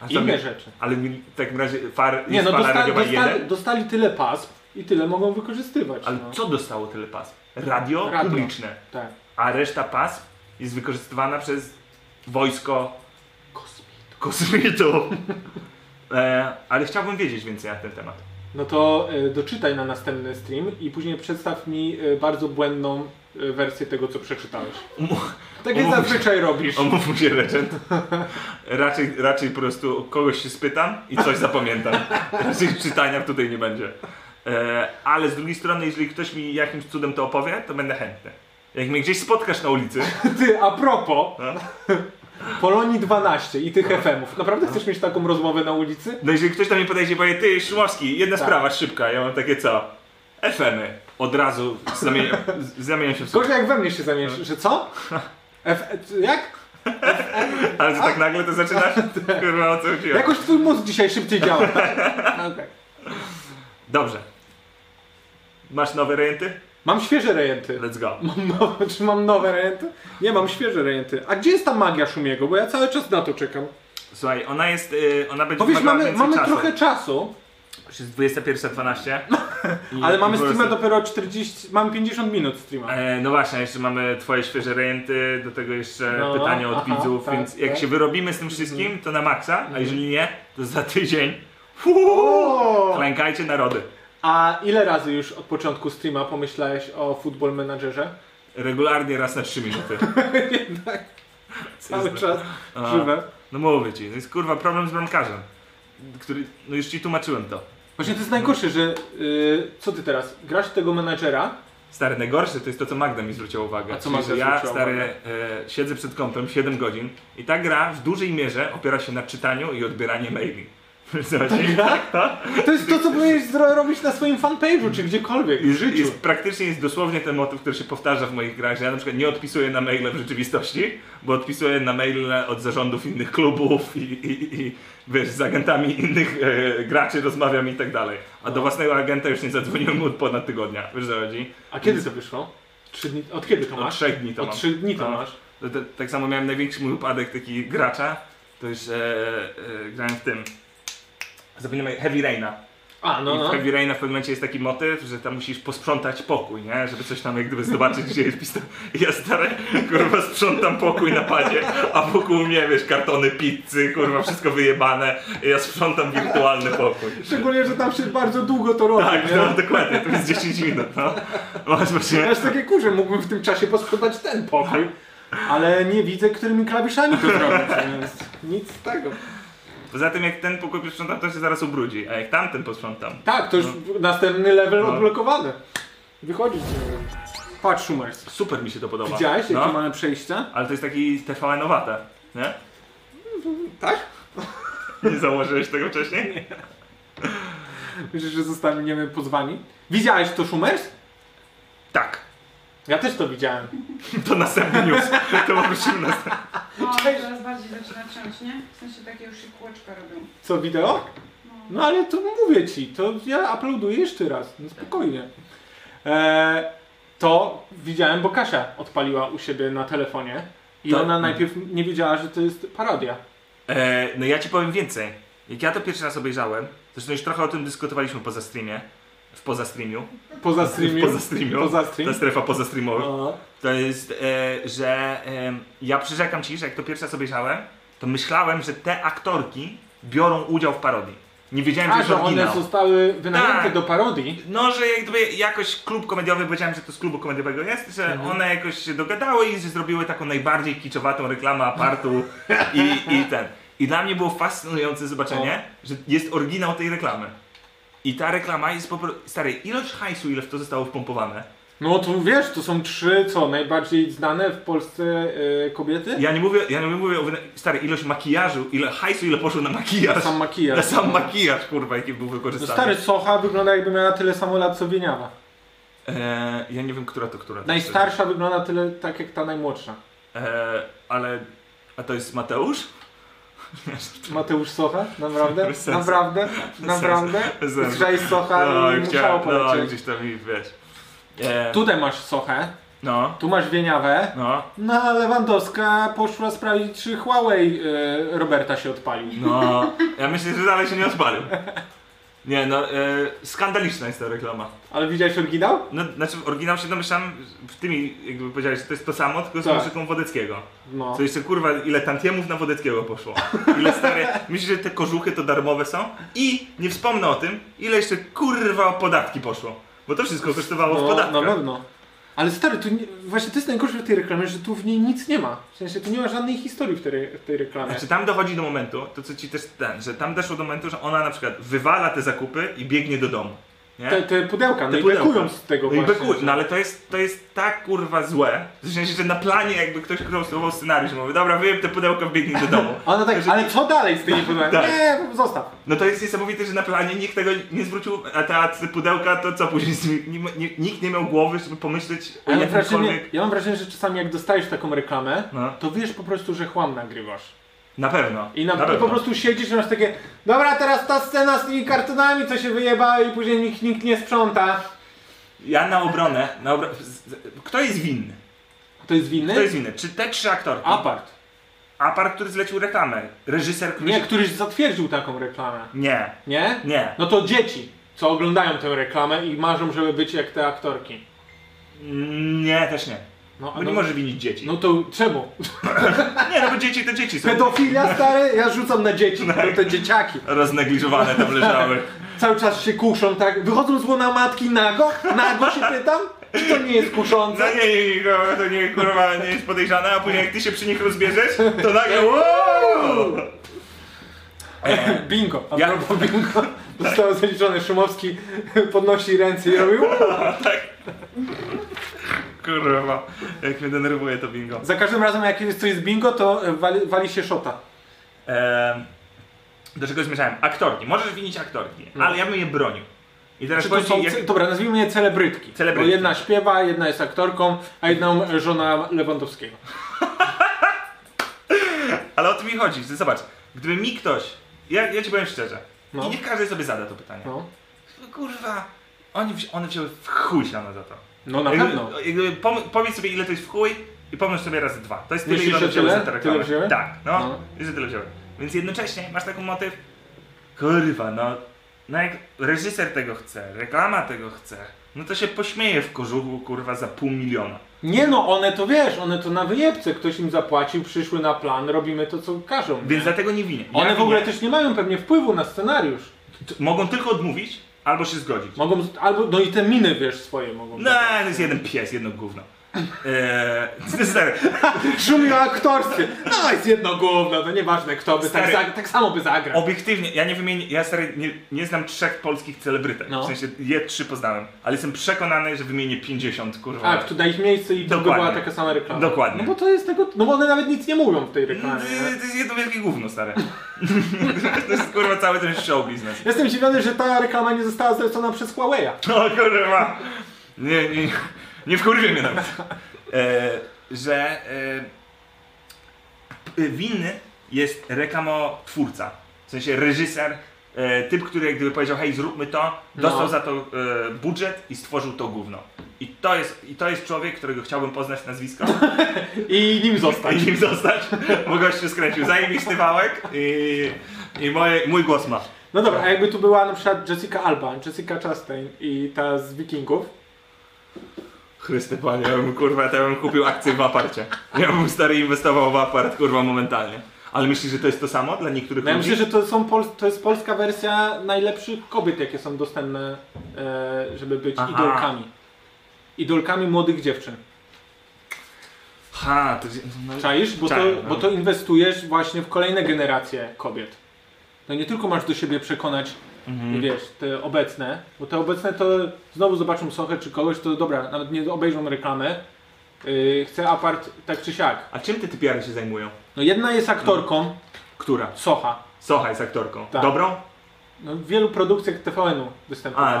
B: A co
D: Inne
B: mi-
D: rzeczy.
B: Ale mil, w takim razie far,
D: Nie,
B: jest
D: no
B: fala
D: dostali,
B: radiowa
D: dostali,
B: 1.
D: dostali tyle pasm i tyle mogą wykorzystywać.
B: Ale
D: no.
B: co dostało tyle pasm? Radio,
D: Radio.
B: publiczne.
D: Tak.
B: A reszta pasm jest wykorzystywana przez wojsko kosmitów. e, ale chciałbym wiedzieć więcej na ten temat.
D: No to e, doczytaj na następny stream i później przedstaw mi e, bardzo błędną e, wersję tego, co przeczytałeś. Tak jak
B: umówmy się.
D: zazwyczaj robisz.
B: Omówmy się legend. Raczej, raczej po prostu o kogoś się spytam i coś zapamiętam. Raczej czytania tutaj nie będzie. E, ale z drugiej strony, jeżeli ktoś mi jakimś cudem to opowie, to będę chętny. Jak mnie gdzieś spotkasz na ulicy,
D: Ty, a propos
B: No.
D: Polonii 12 i tych FM-ów. Naprawdę chcesz mieć taką rozmowę na ulicy?
B: no jeżeli ktoś do mnie podejdzie i powie, ty Szumowski, jedna
D: Tak.
B: sprawa szybka, ja mam takie co? FM-y. Od razu zamieniam, z- zamieniam się w słuch.
D: Gorzej jak we mnie się zamiesz,
B: No.
D: że co? F, jak?
B: Ale to tak nagle to zaczynasz? Kurwa, o co chodziło?
D: Jakoś twój mózg dzisiaj szybciej działa.
B: Tak.
D: Okej.
B: Dobrze. Masz nowe rejenty?
D: Mam świeże rejenty.
B: Let's go.
D: Mam nowe, czy mam nowe rejenty? Nie, mam świeże rejenty. A gdzie jest ta magia Szumiego? Bo ja cały czas na to czekam.
B: Słuchaj, ona jest, y, ona będzie
D: Powiesz,
B: wymagała
D: mamy,
B: więcej
D: mamy
B: czasu.
D: trochę czasu,
B: Już jest 21.12. I-
D: ale mamy
B: i po
D: streama
B: prostu-
D: dopiero 40... Mam 50 minut streama.
B: E, no właśnie, jeszcze mamy twoje świeże rejenty, do tego jeszcze
D: No,
B: pytania od
D: aha,
B: widzów,
D: tak,
B: więc jak
D: tak. Mhm.
B: się wyrobimy z tym wszystkim, to na maksa, a jeżeli nie, to za tydzień
D: O!
B: klękajcie narody.
D: A ile razy już od początku streama pomyślałeś o Football Managerze?
B: Regularnie raz na 3 minuty.
D: Jednak cały
B: Jest-
D: czas
B: A,
D: żywe.
B: No mówię ci, to jest kurwa problem z bramkarzem, który, no już ci tłumaczyłem to.
D: Właśnie to jest najgorsze, że y, co ty teraz? Grasz w tego menadżera,
B: Stary, najgorsze to jest to, co Magda mi zwróciła uwagę.
D: A co
B: Czyli,
D: Magda
B: że Ja,
D: zwróciła
B: stary,
D: uwagę?
B: e, siedzę przed kąpem 7 godzin i ta gra w dużej mierze opiera się na czytaniu i odbieraniu maili.
D: Tak?
B: tak? Zobacz,
D: to jest to, co powinieneś zro- robić na swoim fanpage'u czy gdziekolwiek w
B: jest,
D: życiu.
B: jest, praktycznie jest dosłownie ten motyw, który się powtarza w moich grach, że ja na przykład nie odpisuję na maile w rzeczywistości, bo odpisuję na maile od zarządów innych klubów i, i, i wiesz, z agentami innych e, graczy rozmawiam i tak dalej. A
D: No.
B: do własnego agenta już nie zadzwoniłem od ponad tygodnia. Wiesz, co chodzi?
D: A kiedy to wyszło? Trzy dni, od kiedy to
B: Od
D: masz?
B: trzech No, dni to
D: Od
B: mam.
D: trzy dni to
B: No.
D: masz.
B: To, to, tak samo miałem największy mój upadek taki gracza, to już e, e, grałem w tym. Zapomniałem Heavy Raina.
D: A, no,
B: I w
D: no.
B: Heavy Raina w pewnym momencie jest taki motyw, że tam musisz posprzątać pokój, nie? Żeby coś tam jak gdyby zobaczyć, gdzie jest pistolet. I ja stary, kurwa, sprzątam pokój na padzie, a wokół mnie, wiesz, kartony pizzy, kurwa, wszystko wyjebane. I ja sprzątam wirtualny pokój.
D: Szczególnie, że tam się bardzo długo to robi,
B: Tak,
D: nie?
B: no, dokładnie, to jest 10 minut, no. Masz
D: Ja
B: właśnie...
D: aż takie kurze, mógłbym w tym czasie posprzątać ten pokój. Ale nie widzę, którymi klawiszami to zrobić, więc nic z tego.
B: Poza tym jak ten pokój posprzątam, to się zaraz ubrudzi, a jak tamten posprzątam,
D: Tak, to już następny level
B: No.
D: odblokowany. Wychodzisz z niego. Patrz, Schumers.
B: super mi się to podoba.
D: Widziałeś, jakie
B: no.
D: mamy przejścia?
B: Ale to jest taki TVN-owate, nie?
D: Tak?
B: Nie założyłeś tego wcześniej?
D: Myślisz, że zostaniemy pozwani? Widziałeś to Schumers?
B: Tak.
D: Ja też to widziałem.
B: To następny news. To poprosimy następny.
E: O,
D: Cześć.
E: coraz bardziej zaczyna ciąć, nie? W sensie takie już się kółeczka robią.
D: Co, wideo?
E: No.
D: No ale to mówię ci, to ja uploaduję jeszcze raz, no spokojnie. E, Eee, to widziałem, bo Kasia odpaliła u siebie na telefonie I
B: To-
D: ona najpierw nie wiedziała, że to jest parodia.
B: E, no ja ci powiem więcej. Jak ja to pierwszy raz obejrzałem, zresztą już trochę o tym dyskutowaliśmy poza streamie, w poza streamiu,
D: Poza streamie.
B: poza streamiu,
D: Poza
B: ta
D: stream.
B: strefa poza streamowa,
D: O,
B: to jest, e, że e, ja przyrzekam ci, że jak to pierwszy raz obejrzałem, to myślałem, że te aktorki biorą udział w parodii. Nie wiedziałem, że
D: A,
B: jest
D: że one
B: oryginał.
D: zostały wynajęte
B: Tak.
D: do parodii.
B: No, że jakby jakoś klub komediowy, powiedziałem, że to z klubu komediowego jest, że
D: Mhm.
B: one jakoś się dogadały i że zrobiły taką najbardziej kiczowatą reklamę apartu i, i ten. I dla mnie było fascynujące zobaczenie, że jest oryginał tej reklamy. I ta reklama jest po prostu... Stary, ilość hajsu, ile w to zostało wpompowane.
D: No to wiesz, to są trzy, co, najbardziej znane w Polsce e, kobiety?
B: Ja nie mówię, ja nie mówię o... wyna- Stary, ilość makijażu, ile hajsu, ile poszło na makijaż.
D: Sam makijaż.
B: na sam makijaż, kurwa, jaki był
D: No
B: wykorzystany.
D: stary Socha wygląda jakby miała tyle samo lat co Wieniawa.
B: Eee, ja nie wiem, która to która.
D: Najstarsza wygląda tyle tak jak ta najmłodsza.
B: Eee, ale... A to jest Mateusz?
D: Mateusz Socha? Naprawdę?
B: Bez sensu.
D: Naprawdę? Naprawdę?
B: Bez sensu.
D: Zgrzaj Socha
B: No,
D: Tak, i musiało
B: chciałem, no,
D: polecieć.
B: gdzieś tam i wiesz. E,
D: Tutaj masz Sochę,
B: No,
D: tu masz Wieniawę,
B: no,
D: no a Lewandowska poszła sprawdzić czy Huawei e, Roberta się odpalił.
B: no. Ja myślę, że dalej się nie odpalił. Nie, no, e, skandaliczna jest ta reklama.
D: Ale widziałeś oryginał?
B: No, znaczy, oryginał się domyślam, w tymi, jakby powiedziałeś, że to jest to samo, tylko z
D: Tak.
B: muzyką Wodeckiego.
D: No.
B: Co jeszcze, kurwa, ile tantiemów na Wodeckiego poszło. Ile stare, myślisz, że te kożuchy to darmowe są? I, nie wspomnę o tym, ile jeszcze, kurwa, podatki poszło. Bo to wszystko kosztowało w
D: No,
B: podatkach.
D: na pewno. Ale stary, tu nie, właśnie to jest najgorsze w tej reklamie, że tu w niej nic nie ma. W sensie tu nie ma żadnej historii w tej, re- w tej reklamie.
B: Znaczy tam dochodzi do momentu, to co ci też ten, że tam doszło do momentu, że ona na przykład wywala te zakupy i biegnie do domu. Nie?
D: te, te pudełka, no
B: Te
D: i
B: pudełka.
D: bekują z tego
B: no i
D: właśnie.
B: beku, no ale to jest, to jest tak kurwa złe, w sensie, że na planie jakby ktoś konstruował scenariusz, mówi dobra wyjem te pudełko, biegnij do domu.
D: A Ona tak,
B: Że-
D: ale co dalej z tymi pudełkami?
B: Tak.
D: Nie, zostaw.
B: No to jest niesamowite, że na planie nikt tego nie zwrócił, a te, a te pudełka to co później, z nimi- nie, ma- nie, nikt nie miał głowy, żeby pomyśleć o
D: Ja mam, wrażenie,
B: jakimkolwiek...
D: ja mam wrażenie, że czasami jak dostajesz taką reklamę,
B: No,
D: to wiesz po prostu, że chłam nagrywasz.
B: na pewno.
D: I, na, i
B: pewno.
D: po prostu siedzisz i masz takie, dobra, teraz ta scena z tymi kartonami, co się wyjeba i później nikt, nikt nie sprząta.
B: Ja na obronę, na obro... z- z- kto jest winny?
D: To jest winny?
B: Kto jest winny? Czy te trzy aktorki?
D: Apart.
B: Apart, który zlecił reklamę. Reżyser, który.
D: Nie,
B: się-
D: któryś zatwierdził taką reklamę.
B: nie,
D: Nie?
B: nie.
D: No to dzieci, co oglądają tę reklamę i marzą, żeby być jak te aktorki.
B: Nie, też nie.
D: No,
B: Bo
D: no,
B: nie może winić dzieci.
D: no to czemu?
B: Nie, no bo dzieci to dzieci są.
D: Pedofilia, stary? Ja rzucam na dzieci, no te dzieciaki.
B: Roznegliżowane tam leżały.
D: Cały czas się kuszą, tak? Wychodzą z łona matki nago? Nago się pytam? Czy to nie jest
B: No
D: kuszące?
B: nie, nie, nie, kurwa, to nie, kurwa, nie jest podejrzane, a później jak ty się przy nich rozbierzesz, to nagle wow! E,
D: Bingo. A
B: Ja-
D: propos bingo, zostało zaliczone. Szumowski podnosi ręce i robił.
B: kurwa, jak mnie denerwuje to bingo.
D: Za każdym razem jak jest coś z bingo, to e, wali, wali się szota.
B: E, do czego zmierzałem? Aktorki. Możesz winić aktorki, ale ja bym je bronił. I teraz
D: Czy No. Znaczy, to
B: powiem
D: są,
B: ci, jak...
D: Dobra, nazwijmy je celebrytki.
B: Celebrytki.
D: Bo jedna śpiewa, jedna jest aktorką, a jedna żona Lewandowskiego.
B: Ale o to mi chodzi, że zobacz, gdyby mi ktoś, ja, ja ci powiem szczerze,
D: No.
B: i niech każdy sobie zada to pytanie.
D: No,
B: Kurwa, oni, wzi- one wzięły w chuj siano za to.
D: no na
B: Jakby-
D: pewno.
B: jakby pom- powiedz sobie ile to jest w chuj i pomnóż sobie razy dwa. To jest tyle,
D: Myślisz,
B: ile one
D: że
B: wzięły za
D: tyle?
B: tę
D: Tyle
B: reklamę.
D: wzięły?
B: Tak, no,
D: No.
B: i że tyle wzięły. Więc jednocześnie masz taką motyw, kurwa, no, no jak reżyser tego chce, reklama tego chce, no to się pośmieje w kożuchu, kurwa, za pół miliona.
D: Nie no, one to wiesz, one to na wyjebce. Ktoś im zapłacił, przyszły na plan, robimy to co każą.
B: Więc dlatego nie winię. Ja
D: One w ogóle
B: winię.
D: też nie mają pewnie wpływu na scenariusz.
B: T- Mogą tylko odmówić albo się zgodzić.
D: Mogą, tak. z- albo, no i te miny wiesz swoje mogą.
B: No, to jest jeden pies, jedno gówno. Eee, stary,
D: Szumi o aktorstwie. No jest jedno gówno, to nieważne kto by tak,
B: Stary.
D: za, tak samo by zagrał.
B: obiektywnie, ja nie wymienię, ja stary nie, nie znam trzech polskich celebrytek,
D: No.
B: w sensie je trzy poznałem, ale jestem przekonany, że wymienię 50, kurwa.
D: Tak, tu na ich miejsce i to by
B: Dokładnie.
D: była taka sama reklama.
B: Dokładnie.
D: No bo to jest tego, no bo one nawet nic nie mówią w tej reklamie. nie?
B: Mm, To jest jedno wielkie gówno, stary. to jest kurwa cały ten show biznes.
D: Jestem zdziwiony, że ta reklama nie została zlecona przez Huawei'a.
B: No kurwa. Nie, nie, nie wkurwie mnie nawet. E, że e, p- winny jest reklamotwórca, w sensie reżyser, e, typ, który jak gdyby powiedział, hej zróbmy to, dostał
D: No.
B: za to e, budżet i stworzył to gówno. I to jest, i to jest człowiek, którego chciałbym poznać nazwisko
D: I nim
B: i
D: zostać.
B: nim zostać, bo gość się skręcił. Zajebisty wałek i, i moje, mój głos ma.
D: No dobra, a jakby tu była na przykład Jessica Alba, Jessica Chastain i ta z Wikingów.
B: Chryste panie, ja bym, kurwa, to ja bym kupił akcję w aparcie. Ja bym stary inwestował w apart, kurwa, momentalnie. Ale myślisz, że to jest to samo dla niektórych
D: No ja
B: ludzi?
D: myślę, że to, są pol- to jest polska wersja najlepszych kobiet, jakie są dostępne, e, żeby być
B: Aha.
D: idolkami. Idolkami młodych dziewczyn.
B: Ha, to... No,
D: Czaisz? Bo,
B: Czaję,
D: to,
B: no.
D: bo to inwestujesz właśnie w kolejne generacje kobiet. No nie tylko masz do siebie przekonać,
B: Mhm.
D: wiesz, te obecne, bo te obecne to znowu zobaczą Sochę czy kogoś, to dobra, nawet nie obejrzą reklamy. Yy, chcę apart tak czy siak.
B: A czym te typiary się zajmują?
D: No jedna jest aktorką,
B: Która?
D: Socha.
B: Socha jest aktorką.
D: Tak.
B: Dobrą?
D: No, w wielu produkcjach TVN-u występowała.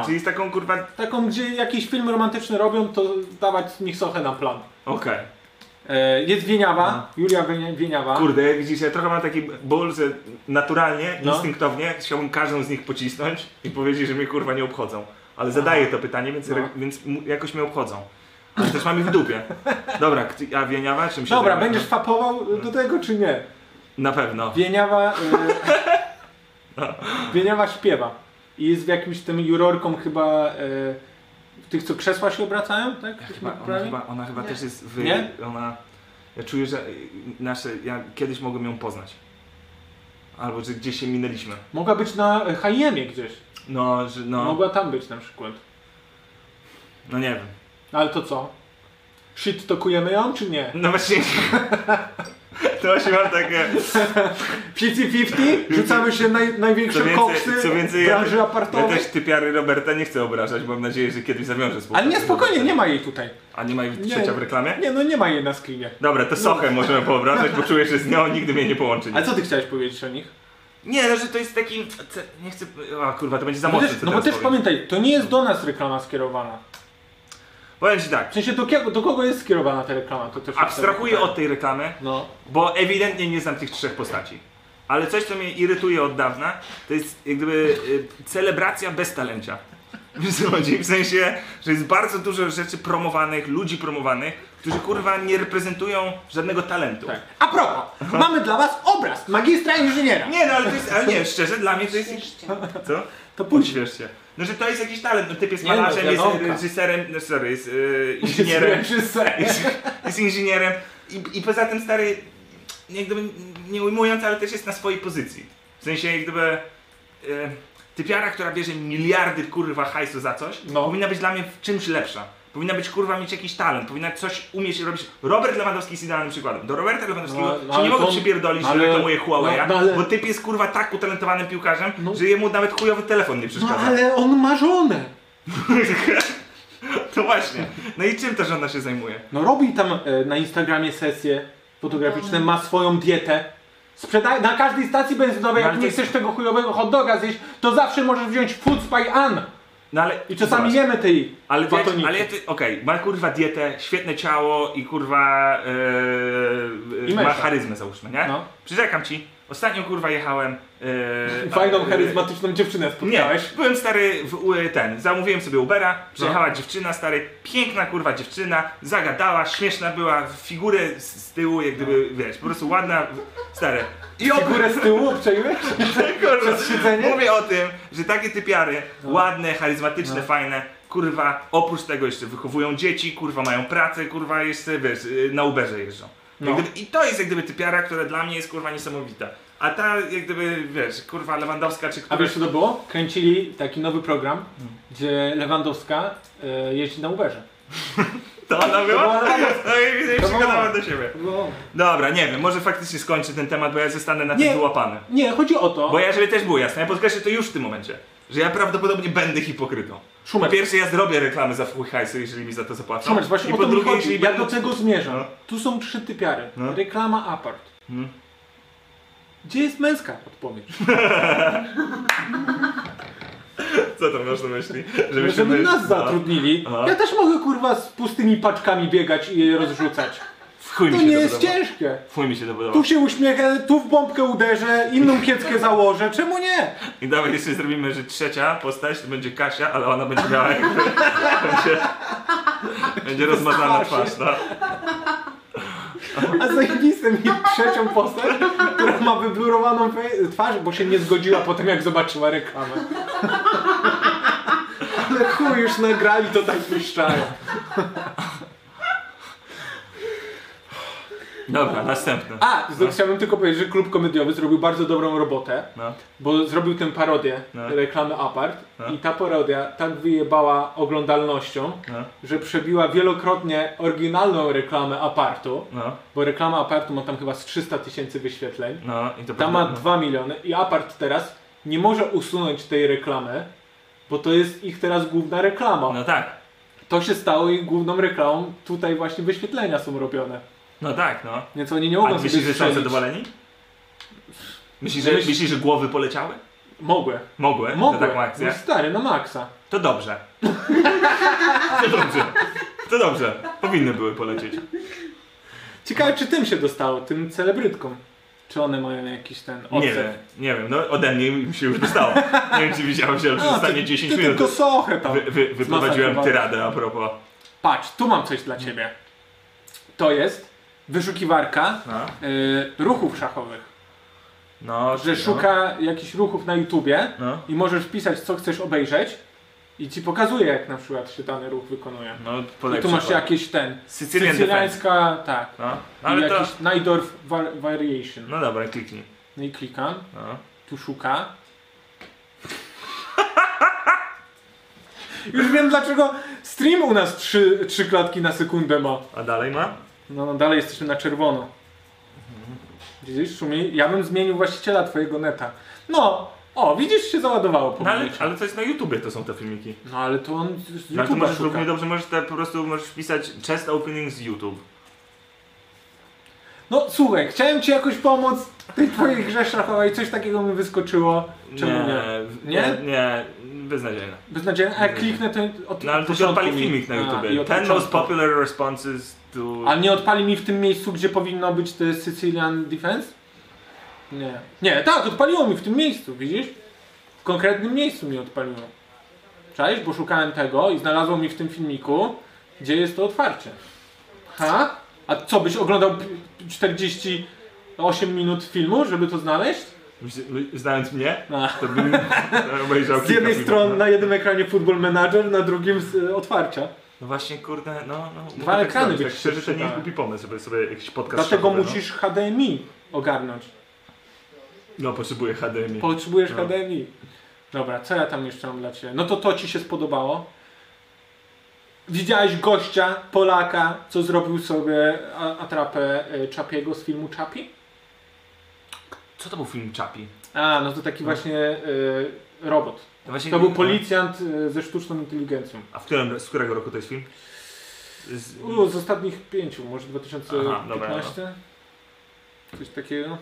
B: A, czyli jest taką kurwa...
D: Taką, gdzie jakiś film romantyczny robią, to dawać z nich Sochę na plan.
B: Okej.
D: E, jest Wieniawa, Julia Wienia- Wieniawa.
B: Kurde, widzisz, ja trochę mam taki ból, że naturalnie,
D: No.
B: instynktownie chciałbym każdą z nich pocisnąć i powiedzieć, że mnie kurwa nie obchodzą. Ale zadaję to pytanie, więc,
D: No.
B: więc mu- jakoś mnie obchodzą. Ale też mam ich w dupie. Dobra, kty- a Wieniawa czym się no.
D: Dobra,
B: zajmuje?
D: będziesz fapował do tego czy nie?
B: Na pewno.
D: Wieniawa. Y... Wieniawa śpiewa. I jest w jakimś tym jurorką chyba. Y... Tych, co krzesła się obracają, tak?
B: Chyba, ona
D: Prawie?
B: chyba, ona chyba też jest w...
D: Nie?
B: Ona... Ja czuję, że y, nasze... Ja kiedyś mogłem ją poznać. Albo że gdzieś się minęliśmy.
D: Mogła być na H&M gdzieś.
B: No, że no...
D: Mogła tam być na przykład.
B: No nie wiem.
D: No, Ale to co? Shit tokujemy ją, czy nie?
B: No właśnie... To właśnie mam takie...
D: 50-50? Rzucamy się naj, największe
B: Co więcej-
D: koksy
B: co więcej, ja
D: branży
B: też- Ja
D: apartowej.
B: też typiary Roberta nie chcę obrażać, bo mam nadzieję, że kiedyś zawiążę współpracę.
D: Ale nie, spokojnie, nie ma jej tutaj.
B: A nie ma jej trzecia w reklamie?
D: Nie, no nie ma jej na screenie.
B: Dobra, to Sochę możemy poobrażać, bo czuję, że z nią nigdy mnie nie połączy.
D: A co ty chciałeś powiedzieć o nich?
B: Nie, no, że to jest taki... co- Nie chcę... A kurwa, to będzie za
D: No bo
B: mocne,
D: też,
B: co
D: no bo
B: teraz
D: też
B: powiem.
D: pamiętaj, to nie jest do nas reklama skierowana.
B: Powiem ci
D: W
B: tak,
D: sensie do, kiego, do kogo jest skierowana ta reklama? To też
B: abstrahuję
D: jest
B: od tej reklamy,
D: pytanie. No.
B: bo ewidentnie nie znam tych trzech postaci. Ale coś, co mnie irytuje od dawna, to jest jak gdyby y, celebracja bez talencia. Wiesz, co chodzi? W sensie, że jest bardzo dużo rzeczy promowanych, ludzi promowanych, którzy kurwa nie reprezentują żadnego talentu.
D: Tak. A propos, mamy dla was obraz magistra inżyniera.
B: Nie, no ale to jest, ale nie, szczerze, dla mnie to jest...
E: Cieszcie.
B: Co?
D: To później.
B: Poświesz się. No, że to jest jakiś talent, no typ jest
D: Nie no,
B: malarzem, jest
D: wiadomo.
B: reżyserem, no sorry, jest y, inżynierem. jest, jest inżynierem i, i poza tym stary, jak gdyby, nie ujmując, ale też jest na swojej pozycji. W sensie jak gdyby e, typiara, która bierze miliardy kurwa hajsu za coś,
D: No.
B: powinna być dla mnie w czymś lepsza. Powinna być kurwa mieć jakiś talent, powinna coś umieć robić. Robert Lewandowski jest idealnym przykładem. Do Roberta Lewandowskiego
D: No, no,
B: się nie
D: ale
B: mogę
D: to-
B: przypierdolić,
D: ale-
B: że reklamuje Huawei'a,
D: no, no, ale-
B: bo typ jest kurwa tak utalentowanym piłkarzem,
D: No.
B: że jemu nawet chujowy telefon nie
D: No
B: przeszkadza.
D: ale on ma żonę.
B: To właśnie. No i czym ta żona się zajmuje?
D: No robi tam e, na Instagramie sesje fotograficzne, ma swoją dietę. Sprzedaj, na każdej stacji benzynowej,
B: No, ale
D: jak
B: to
D: nie
B: jest-
D: chcesz tego chujowego hot doga zjeść, to zawsze możesz wziąć Food Spy An.
B: No ale
D: I czasami
B: Zobacz.
D: jemy tej
B: Ale, wiesz,
D: batoniki.
B: ale ty, okej, ma kurwa dietę, świetne ciało i kurwa
D: I
B: yy, ma
D: męża.
B: charyzmę załóżmy, nie?
D: No.
B: Przyrzekam ci, ostatnio kurwa jechałem... Yy,
D: Fajną, charyzmatyczną dziewczynę
B: Nie,
D: spotkałeś.
B: byłem stary w u- e, ten, zamówiłem sobie Ubera, przyjechała
D: No.
B: dziewczyna stary, piękna kurwa dziewczyna, zagadała, śmieszna była, figurę z, z tyłu jak gdyby, wiesz, po prostu ładna, stary. I ob-
D: Figurę z tyłu przejmujesz?
B: Kurwa,
D: siedzenie? No.
B: Mówię o tym, że takie typiary, ładne, charyzmatyczne, fajne, kurwa, oprócz tego jeszcze wychowują dzieci, kurwa, mają pracę, kurwa, jeszcze, wiesz, y, na Uberze jeżdżą.
D: No.
B: Jak gdyby, I to jest jak gdyby typiara, która dla mnie jest kurwa niesamowita. A ta jak gdyby, wiesz, kurwa Lewandowska czy
D: A
B: która...
D: wiesz co to było? Kręcili taki nowy program, gdzie Lewandowska y, jeździ na Uberze.
B: To ona była?
D: była Lewandowska.
B: No i widzę,
D: To
B: przekonała
D: była.
B: do siebie. Dobra, nie wiem, może faktycznie skończę ten temat, bo ja zostanę na
D: Nie.
B: tym wyłapany.
D: Nie, chodzi o to,
B: Bo ja, żeby też było jasne, ja podkreślę to już w tym momencie, że ja prawdopodobnie będę hipokrytą. Po
D: Szumer,
B: pierwsze, ja zrobię reklamę za fuj hajsu, jeżeli mi za to zapłacą.
D: Szumer właśnie
B: I
D: No, o
B: po
D: to mi
B: drugie,
D: chodzi.
B: jeżeli
D: Ja
B: będą-
D: do tego zmierzam.
B: No.
D: Tu są trzy typiary.
B: No.
D: Reklama apart.
B: No.
D: Gdzie jest męska odpowiedź?
B: Co tam masz na myśli? Żeby
D: No, Żeby
B: my-
D: nas zatrudnili.
B: Aha.
D: Ja też mogę kurwa z pustymi paczkami biegać i je rozrzucać.
B: W chuj
D: To
B: mi się
D: nie jest
B: podoba. No.
D: ciężkie.
B: Fuj mi się dobudowało.
D: Tu się uśmiechę, tu w bombkę uderzę, inną kieckę założę, czemu nie?
B: I dawaj jeszcze zrobimy, że trzecia postać to będzie Kasia, ale ona będzie miała jakby... będzie, Będzie rozmazana twarz, no.
D: A zajebiste mi trzecią postać, która ma wyblurowaną fe- twarz, bo się nie zgodziła po tym jak zobaczyła reklamę. Ale chuj, już nagrali to tak puszczają.
B: Dobra, następny.
D: A, z- chciałbym tylko powiedzieć, że klub komediowy zrobił bardzo dobrą robotę,
B: No.
D: bo zrobił tę parodię
B: No.
D: reklamy Apart
B: No.
D: i ta parodia tak wyjebała oglądalnością,
B: No.
D: że przebiła wielokrotnie oryginalną reklamę Apartu,
B: No,
D: bo reklama Apartu ma tam chyba z 300 tysięcy wyświetleń.
B: no i to
D: Ta ma
B: no.
D: 2 miliony i Apart teraz nie może usunąć tej reklamy, bo to jest ich teraz główna reklama.
B: No tak,
D: To się stało ich główną reklamą, tutaj właśnie wyświetlenia są robione.
B: no tak, no.
D: Więc oni nie
B: A
D: mogą sobie
B: myślisz, że są
D: strzelić.
B: zadowoleni? Myślisz, że,
D: Myśl-
B: myślisz, że głowy poleciały?
D: Mogły.
B: Mogły,
D: Mogły.
B: na taką akcję.
D: No stary, na maksa.
B: To dobrze. To dobrze. To dobrze. Powinny były polecieć.
D: Ciekawe czy tym się dostało, tym celebrytkom. Czy one mają jakiś ten odzew?
B: Nie wiem, nie wiem. No ode mnie mi się już dostało. Nie wiem, czy widziałeś, ale
D: A,
B: zostanie
D: ty-
B: 10
D: ty
B: minut.
D: Tylko sochę tam.
B: Wy, wy, wyprowadziłem
D: Zmasakrowałem.
B: tyradę a propos.
D: Patrz, tu mam coś dla
B: No.
D: ciebie. To jest wyszukiwarka
B: No,
D: y, ruchów szachowych.
B: no
D: że szuka jakichś ruchów na YouTubie
B: No,
D: i możesz wpisać co chcesz obejrzeć i ci pokazuje jak na przykład się dany ruch wykonuje.
B: no,
D: I
B: podaj
D: tu masz
B: przykład.
D: jakiś ten,
B: Sicilian Defense.
D: sycyliańska, tak,
B: No, no
D: ale
B: ale to...
D: jakiś Najdorf var- Variation.
B: No dobra, kliknij.
D: No i klikam,
B: No.
D: tu szuka. Już wiem dlaczego stream u nas 3, trzy klatki na sekundę ma.
B: A dalej ma?
D: No, no dalej jesteśmy na czerwono.
B: Mhm.
D: Widzisz, Szumi? Ja bym zmienił właściciela twojego neta. No, o, widzisz, się załadowało po
B: No, ale,
D: ale...
B: ale to jest na YouTubie, to są te filmiki.
D: No ale to on z- z
B: No, ale to
D: YouTube'a
B: możesz
D: szuka.
B: równie dobrze, możesz te, po prostu możesz wpisać chest opening z YouTube.
D: No słuchaj, chciałem ci jakoś pomóc w tej twojej grze szachowej, coś takiego mi wyskoczyło. Czemu nie?
B: Tak. Nie?
D: Nie?
B: Nie, beznadziejne.
D: Beznadziejnie, a jak kliknę to od
B: No ale to się
D: początku
B: odpali
D: mi-
B: filmik na
D: A, i
B: YouTubie.
D: od
B: Ten most
D: początku.
B: popular responses to...
D: A nie odpali mi w tym miejscu, gdzie powinno być te Sicilian Defense? Nie. Nie, tak, odpaliło mi w tym miejscu, widzisz? W konkretnym miejscu mi odpaliło. Cześć, bo szukałem tego i znalazło mi w tym filmiku, gdzie jest to otwarcie. Ha? A co, byś oglądał p- 48 minut filmu, żeby to znaleźć?
B: Myśl- my- Znając mnie,
D: No.
B: to bym obejrzał
D: Z
B: kilka
D: jednej
B: filmów,
D: strony
B: no.
D: na jednym ekranie Football Manager, na drugim z, e, otwarcia.
B: No właśnie, kurde, no... no
D: Dwa
B: tak
D: ekrany
B: zrobić,
D: by
B: Tak
D: ci się
B: szczerze, to nie
D: przydały.
B: głupi pomysł, żeby sobie jakiś podcast
D: Dlatego
B: szachowy,
D: musisz HDMI ogarnąć.
B: No, no potrzebuję HDMI.
D: Potrzebujesz
B: No.
D: HDMI. Dobra, co ja tam jeszcze mam dla Ciebie? No to to Ci się spodobało? Widziałeś gościa, Polaka, co zrobił sobie a- atrapę y, Czapiego z filmu Czapi?
B: Co to był film Chapi?
D: A, no to taki właśnie y, robot.
B: No właśnie-
D: To był policjant y, ze sztuczną inteligencją.
B: A w którym, z którego roku to jest film? Z...
D: U, z ostatnich pięciu, może
B: Aha, dobra,
D: 2015? Coś takiego?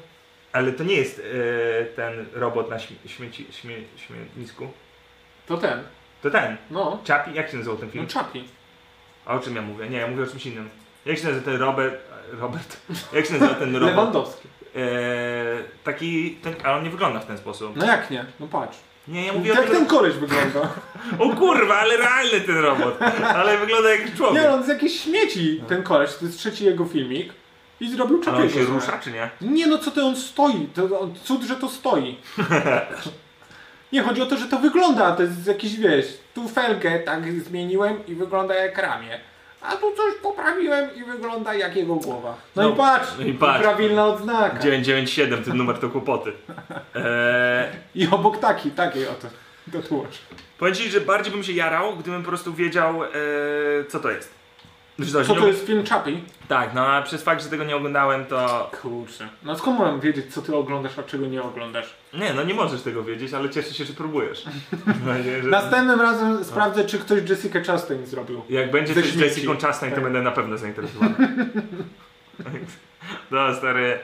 B: Ale to nie jest e, ten robot na śmie- śmieci, śmie- śmietnisku.
D: To ten,
B: To ten.
D: no.
B: Chapi, jak się nazywał ten film?
D: No Czapi.
B: A o czym ja mówię? Nie, ja mówię o czymś innym. Jak się nazywa ten Robert... Robert? Jak się nazywa ten robot?
D: Lewandowski.
B: E, taki... Ten, ale on nie wygląda w ten sposób.
D: No jak nie? No patrz.
B: Nie, ja mówię o
D: Jak
B: tym...
D: ten koleś wygląda?
B: O kurwa, ale realny ten robot. Ale wygląda jak człowiek.
D: Nie, no, on z jakiejś śmieci, ten koleś, to jest trzeci jego filmik i zrobił
B: Ale on
D: czepiego.
B: się rusza, czy nie?
D: Nie no, co ty, on stoi, to, on, cud, że to stoi. Nie, chodzi o to, że to wygląda, to jest jakiś, wiesz, tu felgę tak zmieniłem i wygląda jak ramię. A tu coś poprawiłem i wygląda jak jego głowa. No,
B: No,
D: i patrz,
B: no i patrz.
D: prawilna odznaka.
B: 997, ten numer to kłopoty. Eee,
D: I obok taki, takiej oto, tatuaż.
B: Powiem ci, że bardziej bym się jarał, gdybym po prostu wiedział, e, co to jest. Że
D: Co
B: nie-
D: to jest film Chapi?
B: Tak, no a przez fakt, że tego nie oglądałem, to.
D: Kurczę. No skąd mam wiedzieć, co ty oglądasz, a czego nie oglądasz?
B: Nie, no nie możesz tego wiedzieć, ale cieszę się, że próbujesz. Mam nadzieję, że-
D: Następnym razem sprawdzę, czy ktoś Jessica Chastain zrobił.
B: Jak będzie
D: Ze
B: coś z
D: śmieci.
B: Jessica Chastain, to
D: Tak.
B: będę na pewno zainteresowany. no stary.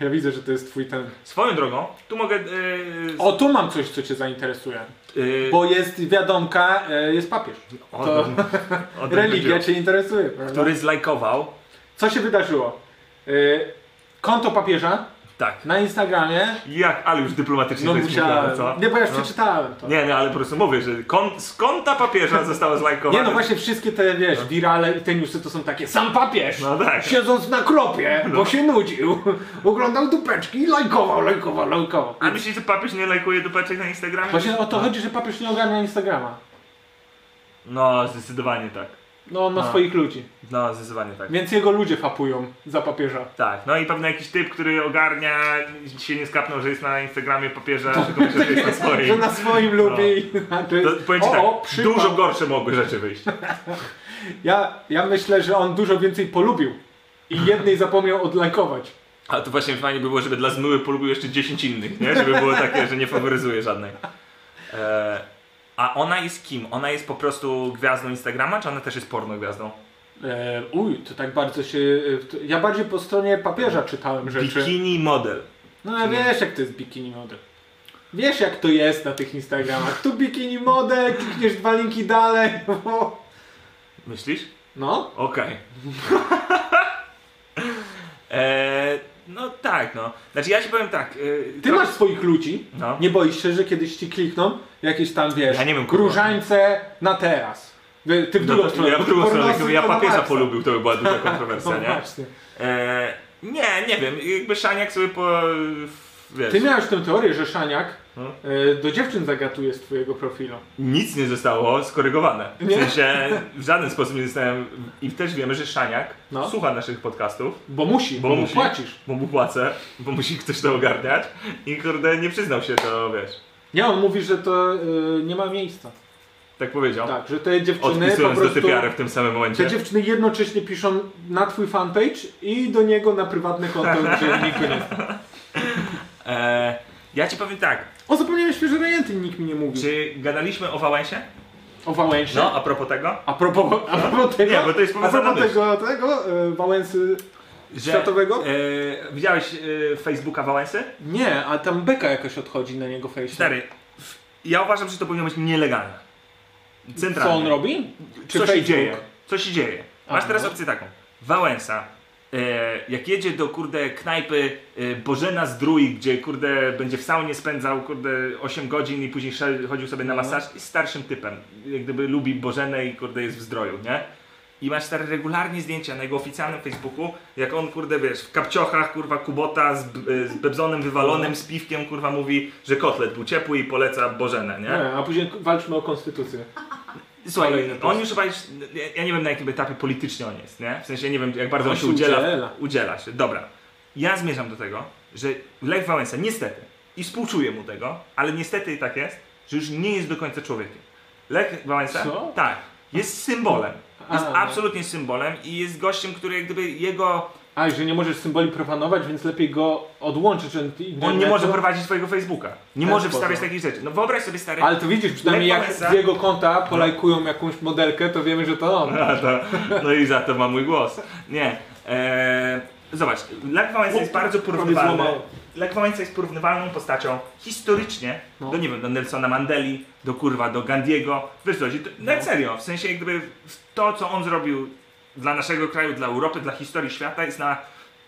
D: Ja widzę, że to jest twój ten.
B: Swoją drogą, tu mogę. E, s-
D: O, tu mam coś, co cię zainteresuje.
B: e,
D: Bo jest wiadomka, e, jest papież.
B: o,
D: to-
B: o, o,
D: Religia cię interesuje, prawda?
B: Który zlajkował.
D: Co się wydarzyło? E, Konto papieża
B: Tak.
D: Na Instagramie.
B: Jak, ale już dyplomatycznie
D: No
B: to jest
D: musiałem.
B: mówione, co?
D: Nie, bo ja już
B: No.
D: przeczytałem to.
B: Nie, nie, ale po prostu mówię, że kon, z konta papieża została zlajkowana.
D: Nie no właśnie wszystkie te wiesz, wirale i te newsy to są takie sam papież!
B: No tak.
D: Siedząc na kropie, bo się nudził, oglądał dupeczki i lajkował, lajkował, lajkował.
B: A myślisz, że papież nie lajkuje dupeczek na Instagramie?
D: Właśnie o to chodzi, że papież nie ogarnia Instagrama.
B: No, zdecydowanie tak.
D: No, na
B: No.
D: swoich ludzi.
B: No, zdecydowanie tak.
D: Więc jego ludzie fapują za papieża.
B: Tak, no i pewnie jakiś typ, który ogarnia, się nie skapnął, że jest na Instagramie papieża, tylko myślę, że jest na swoim.
D: No, tak, Że na swoim lubi. a To
B: No. To,
D: jest,
B: powiem ci
D: o,
B: tak,
D: o, przypał.
B: dużo gorsze mogły rzeczy wyjść.
D: Ja, ja myślę, że on dużo więcej polubił. I jednej zapomniał odlajkować.
B: A to właśnie fajnie by było, żeby dla zmyły polubił jeszcze 10 innych, nie? Żeby było takie, że nie faworyzuje żadnej. E, a ona jest kim? Ona jest po prostu gwiazdą Instagrama, czy ona też jest porno gwiazdą?
D: E, uj, to tak bardzo się... e, to- Ja bardziej po stronie papieża czytałem rzeczy.
B: Mm. Bikini model.
D: No ale wiesz jak to jest bikini model. Wiesz jak to jest na tych Instagramach. Tu bikini model, klikniesz dwa linki dalej. Bo...
B: Myślisz?
D: No.
B: Okej. E, no tak, no. Znaczy ja ci powiem tak. e,
D: Ty
B: trochę-
D: masz swoich ludzi.
B: No.
D: Nie boisz się, że kiedyś ci klikną jakieś tam, wiesz,
B: Ja nie wiem, kurwa.
D: różańce na teraz. Ty, ty w
B: No,
D: drugą
B: to-
D: stronę.
B: ja
D: bo
B: w
D: ty
B: drugą stronę,
D: pornosy
B: gdybym ja
D: to na
B: papieża
D: maksa.
B: polubił, to by była duża
D: No
B: kontrowersja, nie?
D: właśnie.
B: E, nie, nie wiem, jakby Szaniak sobie po... Wiesz,
D: Ty miałeś tę teorię, że Szaniak
B: No.
D: e, do dziewczyn zagatuje z twojego profilu.
B: nic nie zostało skorygowane. W
D: Nie?
B: sensie w żaden sposób nie zostałem... I też wiemy, że Szaniak
D: No.
B: słucha naszych podcastów,
D: Bo musi, bo,
B: Bo musi.
D: mu płacisz.
B: bo mu płacę, bo musi ktoś to ogarniać i kurde, nie przyznał się to, wiesz,
D: Nie, on mówi, że to e, nie ma miejsca.
B: tak powiedział.
D: Tak, że te dziewczyny po
B: Odpisując do
D: prostu...
B: typiary w tym samym momencie.
D: Te dziewczyny jednocześnie piszą na twój fanpage i do niego na prywatne konto, gdzie nikt go nie zna.
B: E, ja ci powiem tak,
D: O, zapomniałem świeże rejenty, nikt mi nie mówił.
B: czy gadaliśmy o Wałęsie?
D: O Wałęsie.
B: No, a propos tego,
D: A propos, a propos tego,
B: Nie, bo to jest
D: a
B: powiązane
D: propos
B: też.
D: tego, tego e, Wałęsy
B: że...
D: światowego?
B: E, widziałeś e, Facebooka Wałęsy?
D: Nie, a tam beka jakaś odchodzi na niego fejsie.
B: Stary, w- ja uważam, że to powinno być nielegalne. Centralnie.
D: Co on robi? Czy
B: Co się
D: Facebook?
B: dzieje? Co się dzieje? Masz
D: A,
B: teraz
D: no.
B: opcję taką. Wałęsa. E, jak jedzie do kurde knajpy e, Bożena Zdrój, gdzie kurde będzie w saunie spędzał kurde 8 godzin i później szedł- chodził sobie na
D: No.
B: masaż i starszym typem. Jak gdyby lubi Bożenę i kurde jest w zdroju, nie? I masz stare regularnie zdjęcia na jego oficjalnym Facebooku, jak on, kurde, wiesz, w kapciochach, kurwa, Kubota z, b- z bebzonem wywalonym, z piwkiem, kurwa, mówi, że kotlet był ciepły i poleca Bożenę, nie?
D: Nie, a później walczmy o konstytucję.
B: Słuchaj,
D: Kolejny post.
B: on już chyba jest, ja- ja nie wiem na jakim etapie politycznie on jest, nie? W sensie nie wiem jak bardzo on
D: On
B: się
D: się
B: udziela.
D: udziela.
B: Udziela się, dobra. Ja zmierzam do tego, że Lech Wałęsa niestety, i współczuję mu tego, ale niestety tak jest, że już nie jest do końca człowiekiem. Lech Wałęsa,
D: Co?
B: tak, jest symbolem. Jest
D: A. no.
B: absolutnie symbolem i jest gościem, który jak gdyby jego...
D: A, że nie możesz symboli profanować, więc lepiej go odłączyć od
B: On nie
D: internetu.
B: może prowadzić swojego Facebooka. Nie
D: Ten
B: może
D: sposób.
B: wstawiać takich rzeczy. No wyobraź sobie stary...
D: Ale to widzisz, przynajmniej
B: Lech
D: jak
B: Wałęsa-
D: z jego konta polajkują jakąś modelkę, to wiemy, że to on.
B: A to, no i za to ma mój głos. Nie. Eee, zobacz, Lech Wałęsa jest bardzo porównywalny.
D: złamało.
B: Lech Wałęsa jest porównywalną postacią historycznie
D: No.
B: do, nie wiem, do Nelsona Mandeli, do kurwa, do Gandiego. Wiesz co, chodzi, to- na serio, w sensie jak gdyby w- to, co on zrobił dla naszego kraju, dla Europy, dla historii świata jest na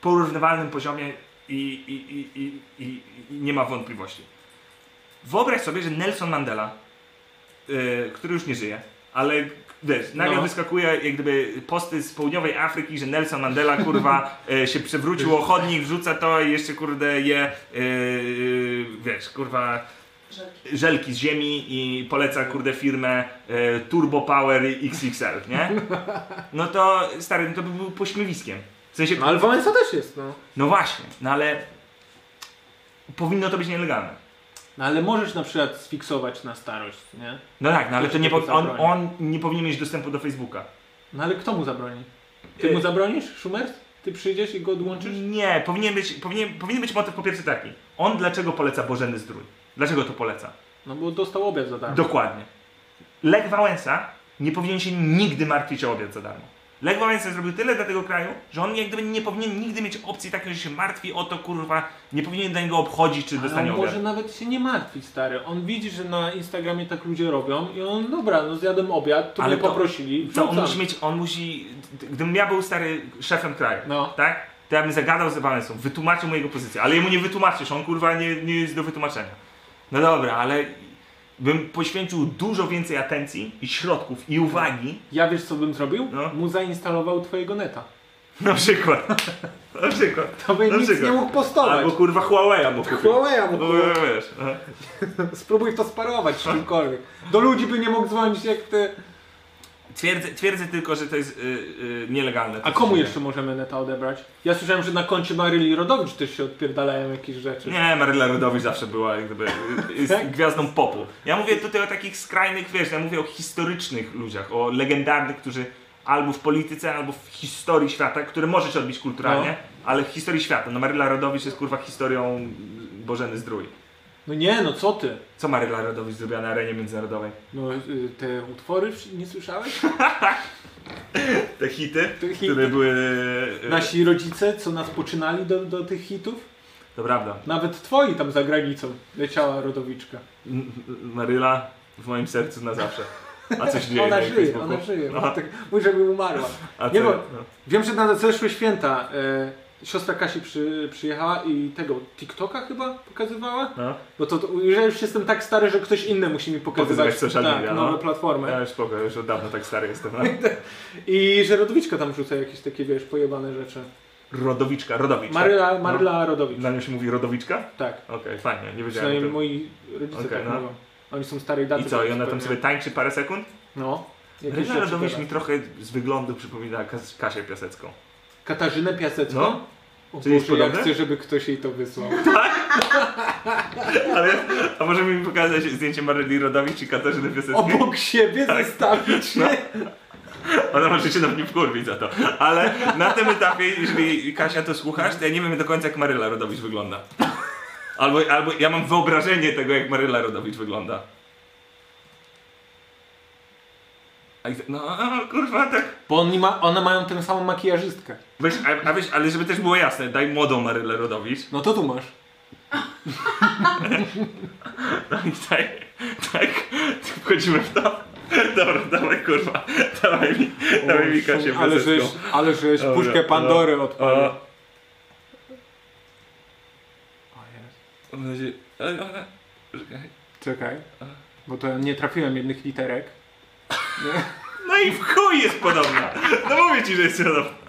B: porównywalnym poziomie i, i, i, i, i, i nie ma wątpliwości. Wyobraź sobie, że Nelson Mandela, yy, który już nie żyje, ale wiesz, nagle
D: No.
B: wyskakuje jak gdyby posty z południowej Afryki, że Nelson Mandela kurwa yy, się przewrócił o chodnik, wrzuca to i jeszcze kurde je, yy, wiesz, kurwa żelki z ziemi i poleca kurde firmę yy, Turbo Power XXL, nie? No to stary, no to by był pośmiewiskiem. W sensie,
D: No ale Wałęsa też jest, no.
B: no właśnie, no ale powinno to być nielegalne.
D: No ale możesz na przykład sfiksować na starość, nie?
B: No tak, no ale to nie
D: Ktoś
B: po, on,
D: zabroni.
B: on nie powinien mieć dostępu do Facebooka.
D: No ale kto mu zabroni? Ty
B: Y-
D: mu zabronisz, Szumers? Ty przyjdziesz i go odłączysz?
B: Nie, powinien być, powinien, powinien być motyw po pierwsze taki. On dlaczego poleca Bożeny Zdrój? Dlaczego to poleca?
D: No bo dostał obiad za darmo.
B: Dokładnie. Lech Wałęsa nie powinien się nigdy martwić o obiad za darmo. Lech Wałęsa zrobił tyle dla tego kraju, że on jak gdyby nie powinien nigdy mieć opcji takiej, że się martwi o to, kurwa, nie powinien do niego obchodzić, czy
D: Ale on
B: dostanie obiad.
D: może nawet się nie martwi, stary. On widzi, że na Instagramie tak ludzie robią i on, dobra, no zjadłem obiad, tu
B: Ale
D: mnie
B: to-
D: poprosili,
B: To
D: wrzucam.
B: on musi mieć, on musi, gdybym ja był stary szefem kraju,
D: No.
B: tak? to ja bym zagadał z Evanesem, wytłumaczył mu jego pozycję, ale jemu nie wytłumaczysz, on kurwa nie, nie jest do wytłumaczenia. No dobra, ale bym poświęcił dużo więcej atencji i środków i uwagi,
D: Ja wiesz co bym zrobił?
B: No.
D: Mu zainstalował twojego neta.
B: na przykład, na przykład,
D: To by
B: Na
D: nic
B: przykład.
D: nie mógł postować.
B: albo kurwa Huawei'a mu kupił.
D: Huawei'a mu
B: No,
D: kupił.
B: wiesz, no.
D: Spróbuj to sparować z czymkolwiek. Do ludzi by nie mógł dzwonić jak ty.
B: Twierdzę, twierdzę tylko, że to jest y, y, nielegalne.
D: A komu jeszcze możemy neta odebrać? Ja słyszałem, że na koncie Maryli Rodowicz też się odpierdalają jakieś rzeczy.
B: Nie, Maryla Rodowicz zawsze była jak gdyby, y,
D: Tak?
B: y, gwiazdą popu. Ja mówię tutaj o takich skrajnych, wiesz, ja mówię o historycznych ludziach, o legendarnych, którzy albo w polityce, albo w historii świata, które możesz odbić kulturalnie, ale w historii świata. No Maryla Rodowicz jest kurwa historią Bożeny Zdrój.
D: No nie, no co ty?
B: Co Maryla Rodowicz zrobiła na arenie międzynarodowej?
D: No y, te utwory wsz- nie słyszałeś?
B: Te hity,
D: Te hity.
B: które były... y,
D: Nasi rodzice, co nas poczynali do, do tych hitów?
B: To prawda.
D: Nawet twoi tam za granicą leciała Rodowiczka.
B: M- M- Maryla w moim sercu na zawsze. A coś dzieje na
D: Ona żyje,
B: Facebooku.
D: ona żyje.
B: Aha.
D: Tak, mój, żeby umarła.
B: A
D: Nie
B: co-
D: bo- Wiem, że na zeszłe święta e, siostra Kasi przy, przyjechała i tego TikToka chyba pokazywała?
B: no.
D: Bo to, to ja już jestem tak stary, że ktoś inny musi mi pokazywać
B: Pokazywać social
D: tak,
B: media, no.
D: nowe platformy.
B: Ja już spoko, już od dawna tak stary jestem. No.
D: I że Rodowiczka tam rzuca jakieś takie, wiesz, pojebane rzeczy.
B: Rodowiczka, Rodowiczka.
D: Maryla, Maryla Rodowicz,
B: Na nią się mówi Rodowiczka?
D: tak.
B: Okej, fajnie, nie wiedziałem.
D: Przynajmniej
B: o
D: moi rodzice
B: Okej,
D: tak
B: no.
D: mówią. Oni są starej daty. tak
B: tym. I co, i ona tam
D: zupełnie.
B: sobie tańczy parę sekund?
D: No. Jakieś
B: Maryla
D: rzeczy
B: Rodowicz
D: gada.
B: mi trochę z wyglądu przypomina Kas- Kasię Piasecką.
D: Katarzynę Piasecką?
B: No.
D: O
B: Czy jest
D: Boże, ja
B: podobne?
D: chcę, żeby ktoś jej to wysłał.
B: Ale, a może mi pokazać zdjęcie Maryli Rodowicz i Katarzyny Piaseckiej?
D: Obok siebie
B: Tak.
D: zostawić
B: No.
D: się.
B: Ona może się na mnie wkurwić za to. Ale na tym etapie, jeżeli Kasia to słuchasz, to ja nie wiem do końca jak Maryla Rodowicz wygląda. Albo, albo ja mam wyobrażenie tego, jak Maryla Rodowicz wygląda. A i- No kurwa, tak.
D: Bo oni ma, one mają tę samą makijażystkę.
B: Weź, a, a weź, ale żeby też było jasne, daj młodą Marylę Rodowicz.
D: No to tu masz.
B: No i daj, tak, wchodzimy w to. Dobra, dawaj kurwa, dawaj mi, dawaj mi Kasię
D: ale żeś,
B: Bezecką.
D: ale żeś
B: Dobra,
D: puszkę Pandory
B: no,
D: odpalił.
B: o. Mam nadzieję- ale ona- Czekaj.
D: Czekaj, bo to nie trafiłem jednych literek.
B: No i w chuj jest podobna. No mówię ci, że jest podobna.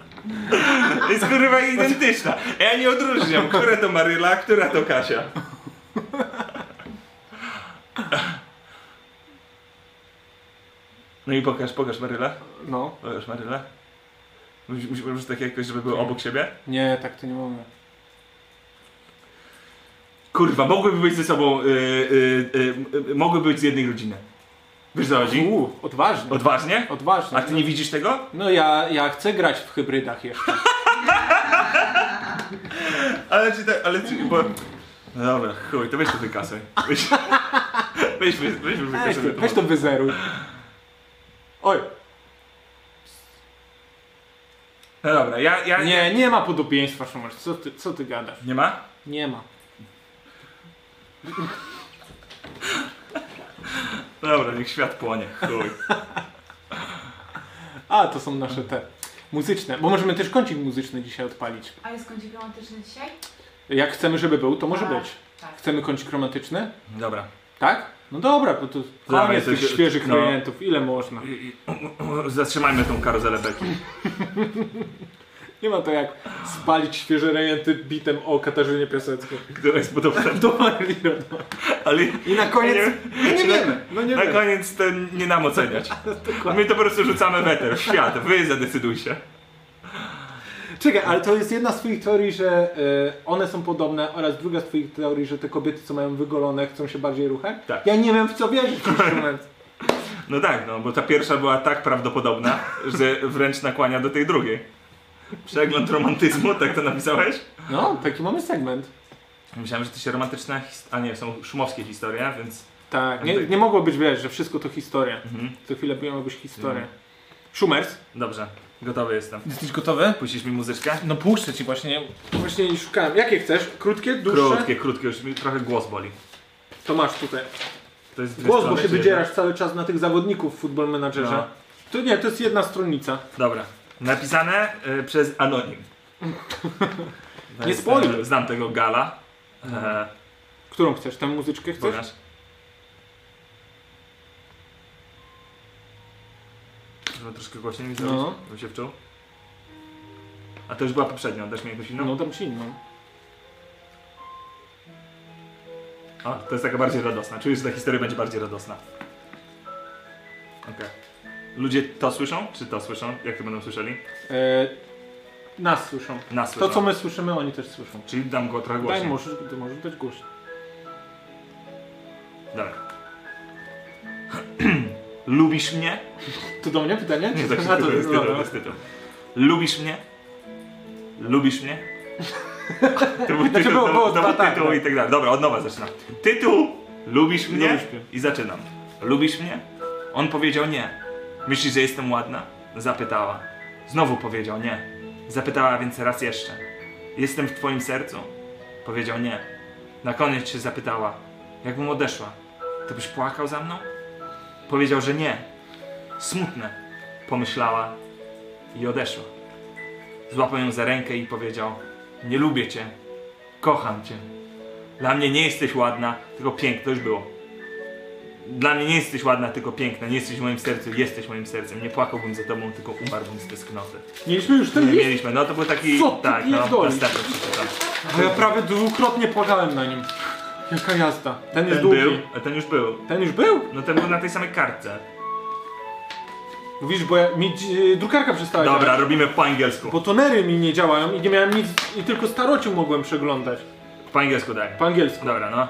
B: Jest kurwa identyczna. Ja nie odróżniam, która to Maryla, a która to Kasia. No i pokaż, pokaż Maryla.
D: No.
B: Pokaż Maryla. Musi- Musimy już tak jakoś, żeby były obok siebie.
D: Nie, tak to nie mogę.
B: Kurwa, mogłyby być ze sobą, y, y, y, y, mogłyby być z jednej rodziny. Wiesz co chodzi?
D: Uuu, odważny.
B: Odważnie?
D: Odważny.
B: A ty nie widzisz tego?
D: No ja, ja chcę grać w hybrydach jeszcze.
B: Ale czy tak, ale czy, bo... No dobra, chuj, to weź to wykasuj. Weź, weź, weź, weź
D: Weź,
B: wykasuj.
D: to- weź to wyzeruj. Oj,
B: No dobra, ja, ja...
D: nie, nie ma podobieństwa, Szumasz. Co ty, co ty gadasz?
B: Nie ma?
D: Nie ma.
B: Dobra, niech świat płonie, chuj.
D: A, to są nasze te muzyczne, bo możemy też kącik muzyczny dzisiaj odpalić.
E: Ale skąd ci romantyczny dzisiaj?
D: Jak chcemy, żeby był, to może
E: Tak,
D: być.
E: tak.
D: Chcemy kącik romantyczny?
B: Dobra.
D: Tak? No dobra, bo to
B: Dawaj,
D: koniec
B: to
D: tych
B: się-
D: świeżych
B: no.
D: klientów, ile można.
B: I- i- Zatrzymajmy tą karuzelę beki.
D: Nie ma to jak spalić świeże rejenty bitem o Katarzynie Piaseckiej.
B: Która jest podobna.
D: Do Marilyn Monroe.
B: Ale
D: I na koniec...
B: Nie-
D: Nie, nie wiemy, no nie
B: na
D: wiemy.
B: koniec to nie nam oceniać. My to po prostu rzucamy w eter, w świat. Wy zadecydujcie.
D: Czekaj, ale to jest jedna z twoich teorii, że y, one są podobne oraz druga z twoich teorii, że te kobiety, co mają wygolone, chcą się bardziej ruchać?
B: Tak.
D: Ja nie wiem, w co wierzyć w ten moment.
B: No tak, no bo ta pierwsza była tak prawdopodobna, że wręcz nakłania do tej drugiej. Przegląd romantyzmu, tak to napisałeś?
D: No, taki mamy segment.
B: Myślałem, że to się romantyczne, his- a nie, są szumowskie historie, więc...
D: Tak, nie, nie mogło być, wiesz, że wszystko to historia.
B: Mhm.
D: Co chwilę miało być historia.
B: Mm.
D: Szumers.
B: Dobrze, gotowy jestem.
D: Jesteś gotowy?
B: Puścisz mi muzyczkę?
D: No puszczę ci właśnie. Właśnie nie szukałem. Jakie chcesz? Krótkie, dłuższe?
B: Krótkie, krótkie, już mi trochę głos boli.
D: To masz tutaj.
B: To jest dwie
D: Głos, bo
B: strony,
D: się
B: czy
D: wydzierasz cały czas na tych zawodników w Football Managerze.
B: No.
D: To nie, to jest jedna stronnica.
B: jedna? Dobra. Napisane y, przez Anonim. Y,
D: Nie spoil.
B: Znam tego Gala. E,
D: Którą chcesz? Tę muzyczkę chcesz?
B: pokaż. Można troszkę głośniej mi zrobić,
D: No.
B: bym się wczuł. A to już była poprzednia, dasz mi jakąś inną?
D: No tam ci inną.
B: A, to jest taka bardziej radosna. Czujesz, że ta historia będzie bardziej radosna. Okej. Ludzie to słyszą? Czy to słyszą? Jak to będą słyszeli?
D: E, nas słyszą.
B: Nas słyszą.
D: To co my słyszymy, oni też słyszą.
B: Czyli dam go trochę
D: Daj,
B: głośniej.
D: możesz, to możesz dać głośno.
B: Dalej. Lubisz mnie?
D: To do mnie pytanie?
B: Nie,
D: Czy-
B: tak
D: A,
B: się
D: to
B: tytuł, jest tytuł,
D: dobra.
B: jest tytuł. Lubisz mnie? Lubisz mnie? To był
D: Znaczy było-
B: to-
D: było
B: to
D: dwa
B: był
D: tak,
B: tytuł
D: tak.
B: i tak dalej. Dobra, od nowa zaczynam. Tytuł Lubisz mnie?
D: Lubisz mnie.
B: I zaczynam. Lubisz mnie? On powiedział nie. Myślisz, że jestem ładna? Zapytała. Znowu powiedział nie. Zapytała więc raz jeszcze. Jestem w twoim sercu? Powiedział nie. Na koniec się zapytała. Jakbym odeszła, to byś płakał za mną? Powiedział, że nie. Smutne, pomyślała i odeszła. Złapał ją za rękę i powiedział: Nie lubię cię, kocham cię. Dla mnie nie jesteś ładna, tylko piękna. To już było. Dla mnie nie jesteś ładna, tylko piękna. Nie jesteś w moim sercu, jesteś moim sercem. Nie płakałbym za tobą, tylko umarłbym z tęsknoty.
D: Mieliśmy już ten
B: Nie
D: list,
B: mieliśmy, no to był taki.
D: Co ty
B: tak, no,
D: pierdolisz?
B: ostatnio przeczytałem.
D: a ja prawie dwukrotnie płakałem na nim. Jaka jazda. Ten jest
B: Ten
D: długi.
B: był, a ten już był.
D: Ten już był?
B: No ten był na tej samej kartce.
D: Mówisz, bo ja, mi dzi- drukarka przestała
B: Dobra,
D: działać.
B: robimy po angielsku.
D: Bo tonery mi nie działają i nie miałem nic, i tylko starociu mogłem przeglądać.
B: Po angielsku daj.
D: Po angielsku.
B: Dobra, no.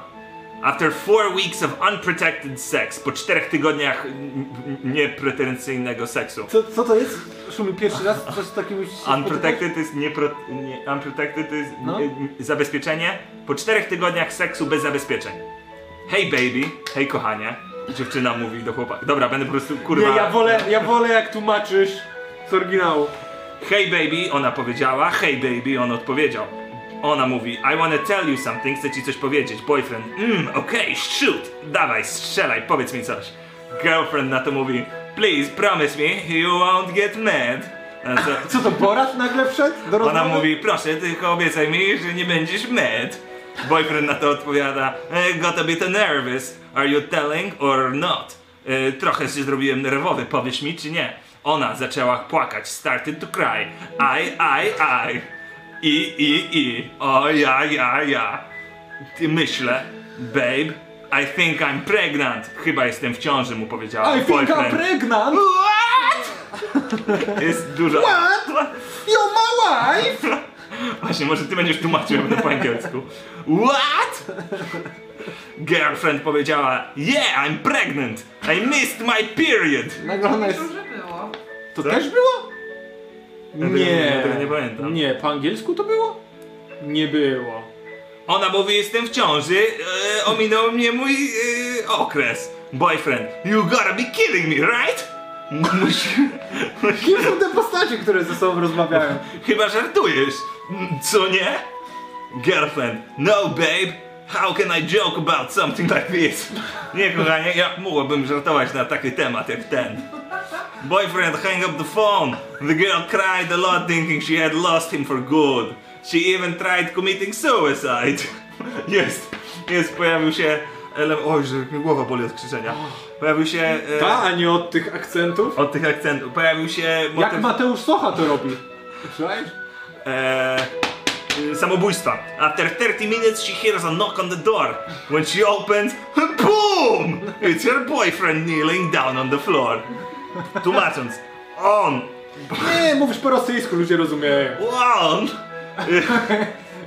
B: After four weeks of unprotected sex, po czterech tygodniach n- n- niepretensyjnego seksu.
D: Co, co to jest? Szumi pierwszy raz coś takiego się spotykasz?
B: Unprotected to jest niepro... nie, unprotected to jest
D: No.
B: y, y, zabezpieczenie po czterech tygodniach seksu bez zabezpieczeń. Hej baby, hej kochanie. Dziewczyna mówi do chłopaka. Dobra, będę po prostu kurwa.
D: Nie, ja wolę, ja wolę jak tłumaczysz z oryginału.
B: Hej baby, ona powiedziała, hej baby, on odpowiedział. Ona mówi, I wanna tell you something, chcę ci coś powiedzieć. Boyfriend, mmm, okej, shoot, dawaj, strzelaj, powiedz mi coś. Girlfriend na to mówi, please promise me you won't get mad. A co-
D: Co to, Borat nagle wszedł do
B: Ona
D: rozmowy?
B: mówi, proszę, tylko obiecaj mi, że nie będziesz mad. Boyfriend na to odpowiada, "Eh, got a bit nervous, are you telling or not? E, Trochę się zrobiłem nerwowy, powiesz mi czy nie? Ona zaczęła płakać, started to cry, I, I, I, i, i, i, o ja, ja, ja. Ty myślę, babe, I think I'm pregnant. Chyba jestem w ciąży, mu powiedziała
D: I think I'm pregnant!
B: Jest dużo...
D: What? You're my wife!
B: Właśnie, może ty będziesz tłumaczył jak to po angielsku. What? Girlfriend powiedziała, yeah, I'm pregnant. I missed my period.
D: Nagle ona jest...
E: Myślę, że było.
D: To
B: Co?
D: też było?
B: Tak? Ja tego- ja tego nie pamiętam.
D: Nie, po angielsku to było? Nie było.
B: Ona mówi, jestem w ciąży, e, ominął mnie mój e, okres. Boyfriend, you gotta be kidding me, right? Musi, musi,
D: Kim są te postacie, które ze sobą rozmawiają?
B: chyba żartujesz, Mm, co nie? Girlfriend, no babe, how can I joke about something like this? Nie kochanie, jak mogłabym żartować na taki temat jak ten? Boyfriend, hang up the phone. The girl cried a lot thinking she had lost him for good. She even tried committing suicide. Jest, jest, pojawił się ele- Oj, że mi głowa boli od krzyczenia. Pojawił się... E,
D: Ta, a nie od tych akcentów?
B: Od tych akcentów. Pojawił się...
D: Jak
B: motyw-
D: Mateusz Socha to robi? Słyszałeś?
B: Eee, y, samobójstwa. After 30 minutes she hears a knock on the door. When she opens, BOOM! It's her boyfriend kneeling down on the floor. Tłumacząc, on,
D: Nie, mówisz po rosyjsku, ludzie rozumieją.
B: on,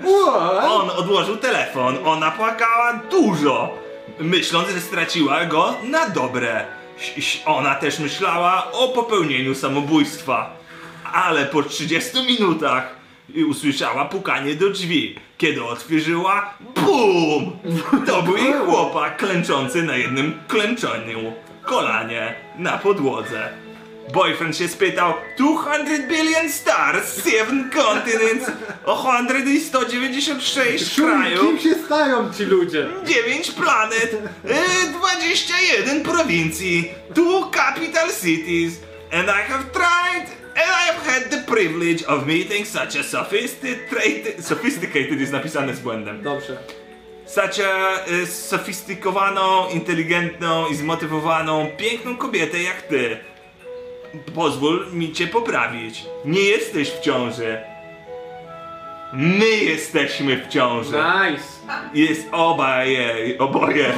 D: What?
B: on odłożył telefon. Ona płakała dużo, myśląc, że straciła go na dobre. Ś- ś- Ona też myślała o popełnieniu samobójstwa. Ale po 30 minutach i usłyszała pukanie do drzwi. Kiedy otworzyła, BUM! To był jej chłopak klęczący na jednym klęczeniu kolanie na podłodze. Boyfriend się spytał 200 billion stars, 7 continents, 196
D: Szumi, kim
B: krajów,
D: się stają ci ludzie?
B: 9 planet, y, 21 prowincji, 2 capital cities, and I have tried, and I have had the privilege of meeting such a sophisticated... Sophisticated jest napisane z błędem.
D: Dobrze.
B: Such a y, sofistykowaną, inteligentną i zmotywowaną, piękną kobietę jak ty. Pozwól mi cię poprawić. Nie jesteś w ciąży. My jesteśmy w ciąży.
D: Tak? Nice.
B: Jest obaje, oboje.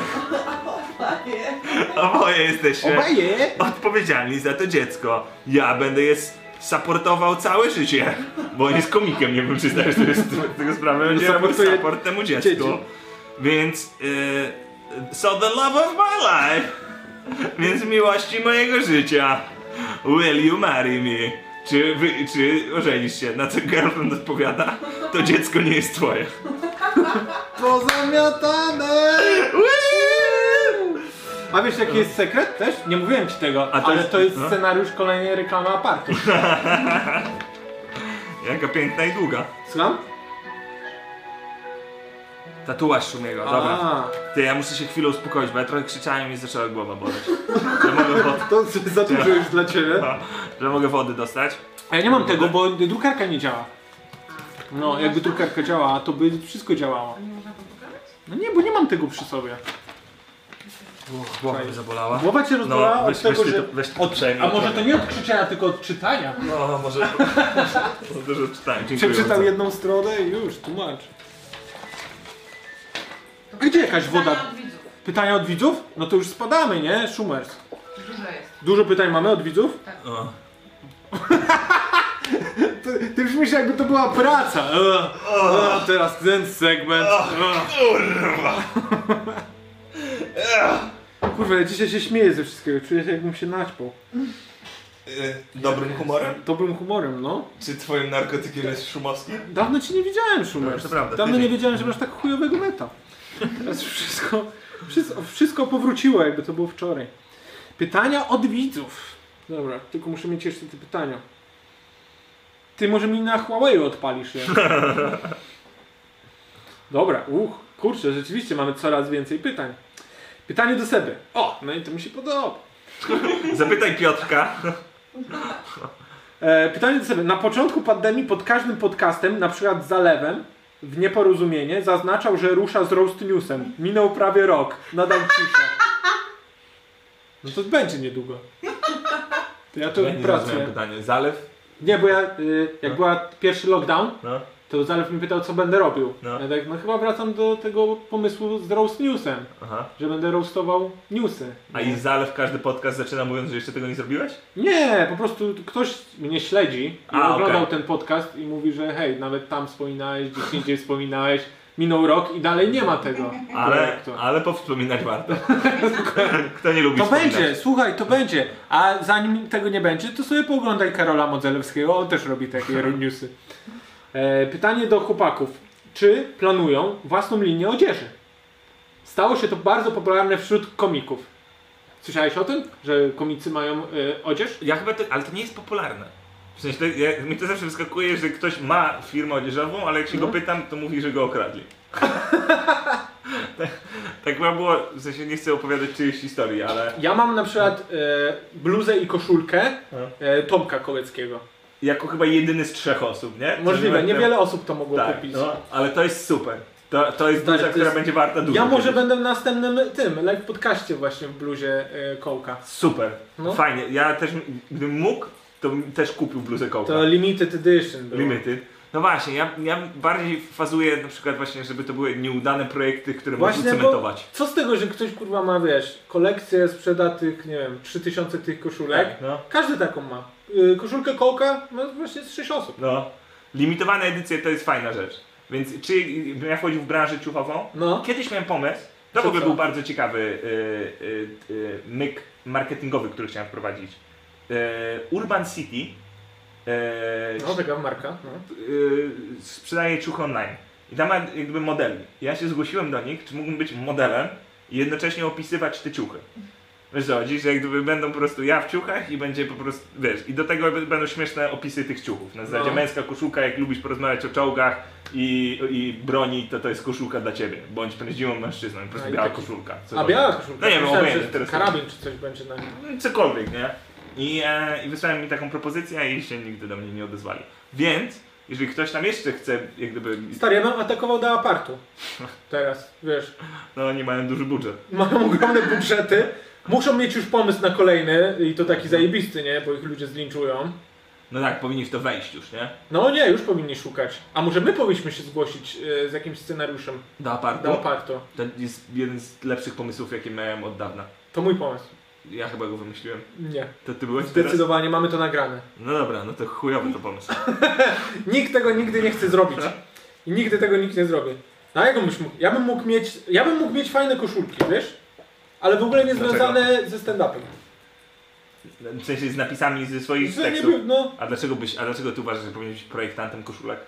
B: Oboje jesteśmy
D: Obaje.
B: odpowiedzialni za to dziecko. Ja będę je s- supportował całe życie. Bo on jest komikiem, nie wiem czy zdajesz sobie z tego- tego sprawę. Będzie robił
D: supportuje
B: support temu dziecku.
D: dzieci.
B: Więc... y, so the love of my life. Więc miłości mojego życia. Will you marry me? Czy, wy, czy ożenisz się? Na co girlfriend odpowiada? To dziecko nie jest twoje.
C: Pozamiatane!
D: A wiesz jaki jest sekret też? Nie mówiłem ci tego,
B: No. A to
D: ale
B: jest-
D: to jest
B: no.
D: scenariusz kolejnej reklamy apartu.
B: Jaka piękna i długa.
D: Słucham?
B: Tatuaż Szumiego, dobra.
D: A,
B: Ty, ja muszę się chwilę uspokoić, bo ja trochę krzyczałem i mi zaczęła głowa boleć. Że mogę, wody,
C: To za dużo już dla ciebie.
B: że mogę wody dostać.
D: Tak. A ja nie mam tego, bo drukarka nie działa. No, jakby drukarka działała, to by wszystko działało.
E: Nie można go pokazać?
D: No nie, bo nie mam tego przy sobie.
B: Uch, głowa mi zabolała.
D: Głowa cię rozbolała
B: No,
D: od
B: weź, weź,
D: tego,
B: ty,
D: że...
B: to- weź ty przejmij.
D: A może to nie od krzyczenia, tylko od czytania?
B: No, może... No, Dużo czytałem, dziękuję
D: Przeczytał
B: bardzo.
D: jedną stronę i już, tłumacz. Gdzie jakaś woda?
E: Pytania od widzów.
D: Pytania od widzów? No to już spadamy, nie? Szumers.
E: Dużo jest.
D: Dużo pytań mamy od widzów?
B: O.
D: Ty, ty brzmisz jakby to była praca. Ugh. Ugh, teraz ten segment. Ugh. Kurwa, ja dzisiaj się śmieję ze wszystkiego. Czuję się jakbym się naćpał.
B: Y, Dobrym humorem?
D: Dobrym humorem, no.
B: Czy twoim narkotykiem jest Szumowski?
D: Dawno ci nie widziałem,
B: No,
D: Szumers.
B: To prawda,
D: Dawno nie
B: tydzień.
D: wiedziałem, że masz tak chujowego meta. Teraz wszystko, wszystko, wszystko powróciło, jakby to było wczoraj. Pytania od widzów. Dobra, tylko muszę mieć jeszcze te pytania. Ty może mi na Huawei odpalisz je. Dobra, uch, kurczę, rzeczywiście mamy coraz więcej pytań. Pytanie do Seby. O, no i to mi się podoba.
B: Zapytaj Piotrka.
D: E, pytanie do sobie. Na początku pandemii pod każdym podcastem, na przykład z Zalewem, w nieporozumienie, zaznaczał, że rusza z Roast Newsem. Minął prawie rok. Nadal cisza. No to będzie niedługo. To ja tu
B: Ja nie zrozumiałem
D: pracuję.
B: pytanie. Zalew?
D: Nie, bo ja, y, jak
B: No.
D: była pierwszy lockdown,
B: No.
D: to Zalew mi pytał, co będę robił.
B: No.
D: Ja tak, no chyba wracam do tego pomysłu z Roast Newsem,
B: Aha.
D: że będę roastował newsy.
B: A i Zalew każdy podcast zaczyna mówiąc, że jeszcze tego nie zrobiłeś?
D: Nie, po prostu ktoś mnie śledzi i
B: A,
D: oglądał
B: okej.
D: ten podcast i mówi, że hej, nawet tam wspominałeś, gdzieś indziej wspominałeś, minął rok i dalej nie ma tego.
B: Ale,
D: projektu.
B: ale powspominać warto. Kto nie lubi
D: To
B: wspominać?
D: będzie, słuchaj, to będzie. A zanim tego nie będzie, to sobie pooglądaj Karola Modzelewskiego, on też robi takie newsy. E, pytanie do chłopaków. Czy planują własną linię odzieży? Stało się to bardzo popularne wśród komików. Słyszałeś o tym, że komicy mają e, odzież?
B: Ja chyba to, ale to nie jest popularne. W sensie, to, ja, mi to zawsze wyskakuje, że ktoś ma firmę odzieżową, ale jak się
D: Mhm.
B: go pytam, to mówi, że go okradli. tak, tak chyba było, w sensie nie chcę opowiadać czyjejś historii, ale
D: Ja mam na przykład e, bluzę i koszulkę e, Tomka Koleckiego.
B: jako chyba jedyny z trzech osób, nie?
D: Możliwe,
B: Którzy będą-
D: niewiele osób to mogło
B: tak,
D: kupić.
B: no, ale to jest super. To, to jest
D: Tak,
B: duża,
D: to
B: która
D: jest-
B: będzie warta dużo.
D: Ja może
B: kiedyś.
D: będę w następnym tym, live podcaście właśnie w bluzie e, Kołka.
B: Super,
D: No.
B: fajnie. Ja też, gdybym mógł, to bym też kupił bluzę kołka.
D: To limited edition było.
B: Limited. No właśnie, ja, ja bardziej fazuję na przykład właśnie, żeby to były nieudane projekty, które
D: Właśnie,
B: można
D: bo-
B: cementować.
D: Co z tego, że ktoś kurwa ma, wiesz, kolekcję sprzeda tych, nie wiem, 3000 tych koszulek?
B: No.
D: Każdy taką ma. Y, koszulkę Kołka ma właśnie z 6 osób.
B: no. Limitowane edycje to jest fajna rzecz. Więc czy bym ja wchodził w branżę ciuchową?
D: No.
B: Kiedyś miałem pomysł. To
D: Co,
B: w ogóle
D: co?
B: był bardzo ciekawy y, y, y, myk marketingowy, który chciałem wprowadzić. Y, Urban City y,
D: No, taka marka. No.
B: y, sprzedaje ciuchy online. I tam ma jakby modeli. Ja się zgłosiłem do nich, czy mógłbym być modelem i jednocześnie opisywać te ciuchy. Wiesz co, chodzi, że jak gdyby będą po prostu ja w ciuchach i będzie po prostu, wiesz, i do tego b- będą śmieszne opisy tych ciuchów. Na zasadzie
D: No.
B: męska koszulka, jak lubisz porozmawiać o czołgach i, i broni, to to jest koszulka dla ciebie. Bądź prędziwą mężczyzną, po prostu
D: No i
B: biała
D: taki-
B: koszulka.
D: A
B: cokolwiek.
D: biała koszulka.
B: znaczy? No nie wiem,
D: Myślałem,
B: obojętnie
D: że
B: teraz.
D: karabin czy coś będzie na nim.
B: Cokolwiek, nie? I, e, I wysłałem mi taką propozycję i się nigdy do mnie nie odezwali. Więc, jeżeli ktoś tam jeszcze chce, jak gdyby...
D: Stary, ja bym atakował do apartu. Teraz, wiesz.
B: No oni mają duży budżet.
D: Mają ogromne budżety. Muszą mieć już pomysł na kolejny i to taki zajebisty, nie? Bo ich ludzie zlinczują.
B: No tak, powinni w to wejść już, nie?
D: No nie, już powinni szukać. A może my powinniśmy się zgłosić e, z jakimś scenariuszem
B: Do apartu.
D: do apartu.
B: To jest jeden z lepszych pomysłów, jakie miałem od dawna.
D: To mój pomysł.
B: Ja chyba go wymyśliłem.
D: Nie.
B: To ty byłeś teraz?
D: Zdecydowanie mamy to nagrane.
B: No dobra, no to chujowy to pomysł.
D: Nikt tego nigdy nie chce zrobić.
B: Tak.
D: I nigdy tego nikt nie zrobi. No, A jaką byś mógł? Ja bym mógł mieć. Ja bym mógł mieć fajne koszulki, wiesz? Ale w ogóle nie
B: Dlaczego?
D: związane ze stand-upem.
B: W sensie z napisami ze swoich
D: Że nie
B: tekstów.
D: był, no,
B: A dlaczego byś, a dlaczego ty uważasz, że powinien być projektantem koszulek?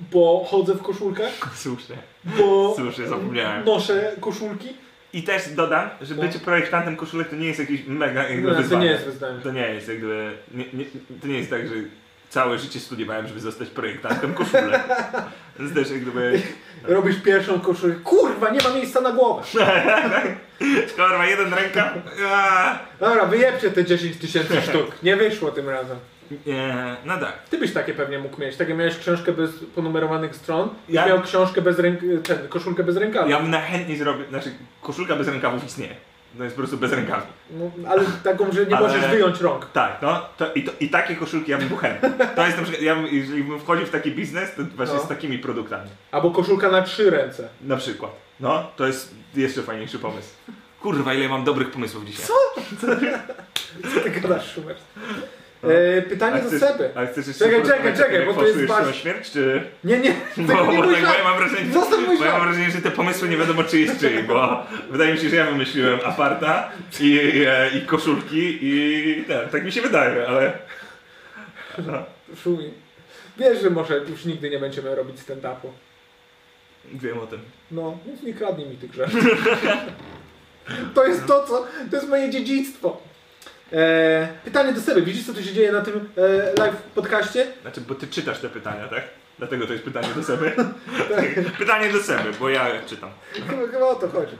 D: bo chodzę w koszulkach,
B: Słusznie.
D: bo
B: Słusznie, zapomniałem.
D: noszę koszulki.
B: I też dodam, że
D: No.
B: bycie projektantem koszulek to nie jest jakieś mega jakby
D: No, to
B: wyzwanie.
D: nie jest wyzwanie.
B: To nie jest jakby, nie, nie, to nie jest tak, że całe życie studiowałem, żeby zostać projektantem koszulek. To jest też jak gdyby,
D: Robisz pierwszą koszulkę. Kurwa, nie ma miejsca na głowę.
B: kurwa, jeden ręka. Eee, Aaa.
D: Dobra, wyjebcie te 10 tysięcy sztuk. Nie wyszło tym razem.
B: Nie, no tak.
D: Ty byś takie pewnie mógł mieć. Takie miałeś książkę bez ponumerowanych stron. Ja
B: Ja-
D: miał książkę bez ręk... ten, koszulkę bez rękawa.
B: Ja bym najchętniej zrobił, znaczy koszulka bez rękawów istnieje. To jest po prostu bez rękawów.
D: No, ale taką, że nie
B: Ale-
D: możesz wyjąć rąk.
B: Tak, no to, i, to, i takie koszulki ja bym był chętny. To jest na przykład, ja bym, jeżeli bym wchodził w taki biznes, to właśnie
D: No.
B: z takimi produktami.
D: Albo koszulka na trzy ręce.
B: Na przykład. No, to jest jeszcze fajniejszy pomysł. Kurwa, ile mam dobrych pomysłów dzisiaj. Co?
D: Co ty gadasz, Schubert?
B: No.
D: E, pytanie do Seby.
B: Ale chcesz jeszcze
D: Czekaj,
B: porozmawiać
D: czekaj,
B: o tym,
D: czekaj,
B: jak
D: bo to jest
B: fałszujesz
D: bardzo-
B: swoją śmierć, czy...
D: Nie, nie,
B: Bo,
D: tego
B: bo,
D: nie
B: tak, bo ja
D: myślałem.
B: mam wrażenie,
D: Zostaw mój
B: bo ja
D: żart.
B: mam wrażenie, że te pomysły nie wiadomo czy jest czyj, bo wydaje mi się, że ja wymyśliłem aparta i, e, i koszulki i tak, tak mi się wydaje, ale... No,
D: Szumi. Wiesz, że może już nigdy nie będziemy robić stand-upu.
B: wiem o tym.
D: No, więc nie kradnij mi tych rzeczy. To jest to, co... To jest moje dziedzictwo. E, pytanie do Seby. Widzisz, co tu się dzieje na tym e, live podcaście?
B: Znaczy, bo ty czytasz te pytania, tak? Dlatego to jest pytanie do Seby.
D: Tak.
B: pytanie do Seby, bo ja czytam.
D: Chyba, chyba o to chodzi.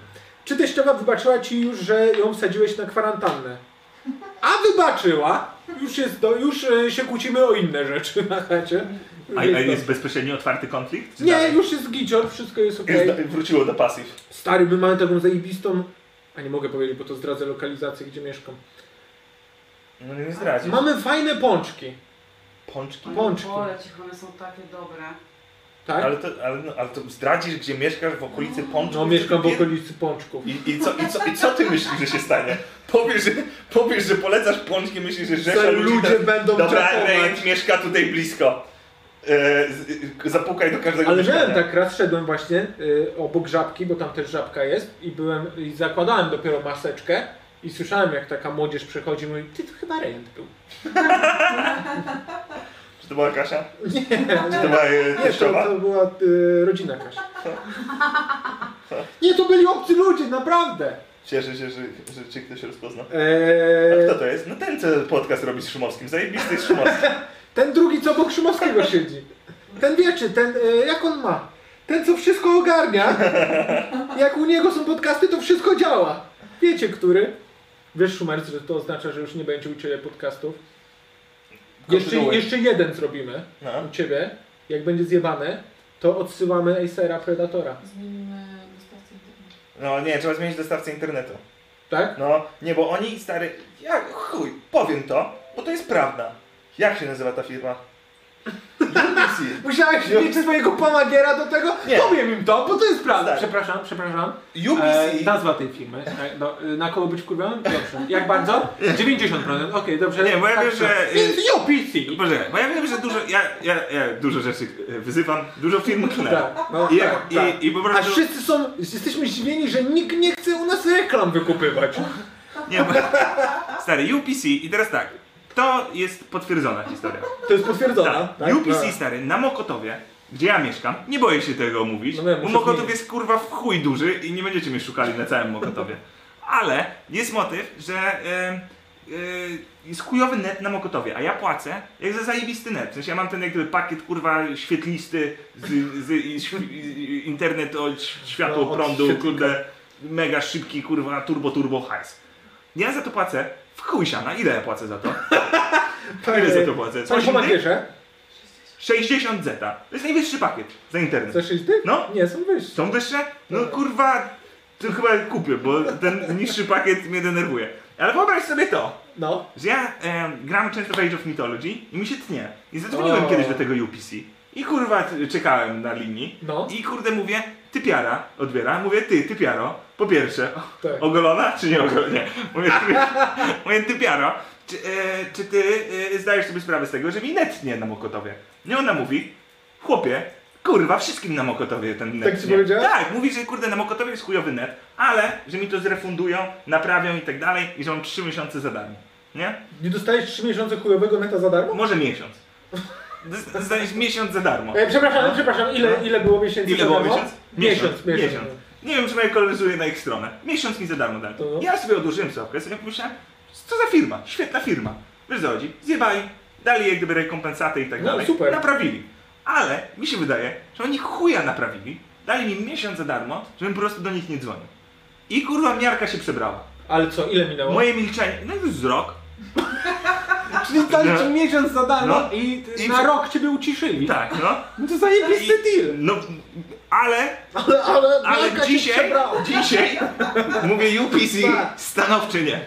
D: Czy teściowa wybaczyła ci już, że ją wsadziłeś na kwarantannę? A wybaczyła! Już, jest do, już e, się kłócimy o inne rzeczy na chacie. Już
B: A, a
D: jest
B: jest
D: dobrze.
B: bezpośrednio otwarty konflikt? czy
D: nie,
B: dalej?
D: już jest gicior, wszystko jest
B: Jest
D: okej.
B: da- wróciło do pasyw.
D: Stary, my mamy taką zajebistą... A nie mogę powiedzieć, bo to zdradzę lokalizację, gdzie mieszkam.
B: No nie zdradzi.
D: Mamy fajne pączki,
B: Pączki?
D: Pączki.
E: Cich, one są takie dobre.
D: tak?
B: Ale to, ale, no, ale to zdradzisz, gdzie mieszkasz, w okolicy pączków?
D: No mieszkam w okolicy pączków.
B: I, i, co, i, co, I co ty myślisz, że się stanie? Powiesz, że, powiesz, że polecasz pączki, myślisz, że rzesza
D: Że
B: ludzi... tak
D: ludzie będą
B: Dobra,
D: czapować.
B: rejent mieszka tutaj blisko. E, z, y, zapukaj do każdego
D: Ale
B: mieszkania.
D: miałem tak, raz szedłem właśnie y, obok żabki, bo tam też żabka jest i byłem, i zakładałem dopiero maseczkę i słyszałem jak taka młodzież przechodzi i mówi, ty to chyba rejent był.
B: Czy to była Kasia?
D: Nie,
B: Czy to była e,
D: nie to,
B: teściowa?
D: to była y, rodzina Kasia. Nie, to byli obcy ludzie, naprawdę.
B: Cieszę się, że, że cię ktoś rozpozna. A
D: Eee,
B: kto to jest? No ten, co podcast robi z Szumowskim. Zajebisty jest Szumowski.
D: ten drugi, co obok Szymowskiego siedzi. Ten wiecie, ten, y, jak on ma? Ten, co wszystko ogarnia. Jak u niego są podcasty, to wszystko działa. Wiecie, który? Wiesz, Szumerc, że to oznacza, że już nie będzie u Ciebie podcastów. Jeszcze,
B: Kontynuuj.
D: jeszcze jeden zrobimy
B: No.
D: u Ciebie. Jak będzie zjebane, to odsyłamy Acera Predatora.
E: Zmienimy dostawcę internetu.
B: no nie, trzeba zmienić dostawcę internetu.
D: Tak?
B: No, nie, bo oni, stary... Ja, chuj, powiem to, bo to jest prawda. Jak się nazywa ta firma? UBC.
D: Musiałeś mieć swojego pomagiera do tego?
B: No. Nie. Tak.
D: Powiem im to, bo to jest prawda.
B: Stary.
D: Przepraszam, przepraszam. E,
B: UBC.
D: nazwa tej firmy. E, do, e, na koło być kurwem? Dobrze. Jak bardzo? 90%. Okej, dobrze.
B: Nie, bo ja
D: Tak
B: wiem,
D: trzeba.
B: że- y,
D: Więc jo, PC!
B: Boże, bo ja wiem, że dużo... Ja, ja, ja dużo rzeczy e, wyzywam, dużo firm klnę.
D: Tak, no,
B: I,
D: tak,
B: jak,
D: tak.
B: i, I po
D: A
B: prostu...
D: wszyscy są, jesteśmy zdziwieni, że nikt nie chce u nas reklam wykupywać.
B: Nie, bo, stary, UPC i teraz tak. To jest potwierdzona historia.
D: To jest potwierdzone.
B: Tak,
D: tak?
B: UPC
D: No.
B: stary, na Mokotowie, gdzie ja mieszkam, nie boję się tego mówić,
D: No wiem,
B: bo
D: muszę
B: Mokotów
D: zmienić.
B: jest kurwa w chuj duży i nie będziecie mnie szukali na całym Mokotowie. Ale jest motyw, że y, y, jest chujowy net na Mokotowie, a ja płacę jak za zajebisty net. W sensie ja mam ten jakby pakiet kurwa świetlisty, z, z, i świ- i- internet od ś- światło,
D: No, od
B: prądu,
D: świetlika.
B: kurde, mega szybki kurwa turbo turbo hajs. Ja za to płacę W chuj siana, ile ja płacę za to? Ile za to płacę?
F: Pani po
B: 8 dych?
F: makierze?
B: 60 zeta. To jest najwyższy pakiet za internet.
F: Za 6 dych?
B: No.
F: Nie, są wyższe.
B: Są wyższe? No kurwa, to chyba kupię, bo ten niższy pakiet mnie denerwuje. Ale wyobraź sobie to,
D: No.
B: że ja e, gram często w Age of Mythology i mi się tnie. I zadzwoniłem
F: O.
B: kiedyś do tego UPC. I kurwa t- czekałem na linii.
D: No.
B: I kurde mówię, ty piara, odbiera. Mówię, ty, ty piaro. Po pierwsze,
D: Tak.
B: ogolona czy nie ogolona? Nie. Mówię, ty, mówię, ty piaro. Czy, e, czy ty e, zdajesz sobie sprawę z tego, że mi net tnie na Mokotowie? Nie ona mówi, chłopie, kurwa, wszystkim na Mokotowie ten net
D: Tak ci
B: tnie.
D: powiedziała?
B: Tak, mówi, że kurde, na Mokotowie jest chujowy net, ale że mi to zrefundują, naprawią i tak dalej i że mam 3 miesiące za darmo. Nie?
D: Nie dostajesz 3 miesiące chujowego neta za darmo?
B: Może miesiąc. Z- Zdajesz miesiąc za darmo.
D: E, przepraszam, przepraszam, ile, ile było miesięcy
B: No. Ile
D: za
B: było
D: darmo?
B: miesiąc?
D: Miesiąc, miesiąc.
B: Nie wiem, czy moje koleżuje na ich stronę. Miesiąc mi za darmo dali.
D: To? no.
B: Ja sobie odłożyłem stawkę, sobie pomyślałem, co za firma, świetna firma. Wiesz co chodzi, zjebali, dali jak gdyby rekompensatę i tak
D: No,
B: dalej.
D: super.
B: Naprawili. Ale mi się wydaje, że oni chuja naprawili, dali mi miesiąc za darmo, żebym po prostu do nich nie dzwonił. I kurwa miarka się przebrała.
D: Ale co, ile minęło?
B: Moje milczenie, no już z rok.
F: Czyli dali ci
B: No.
F: miesiąc za darmo
B: No.
F: i,
B: I
F: na
B: przy-
F: rok ciebie uciszyli.
B: Tak, no.
F: No to zajebisty
B: I-
F: deal.
B: No, ale
D: Ale, ale, Marka
B: Ale
D: się
B: dzisiaj,
D: przebrała.
B: dzisiaj mówię UPC
D: Tak.
B: stanowczy nie.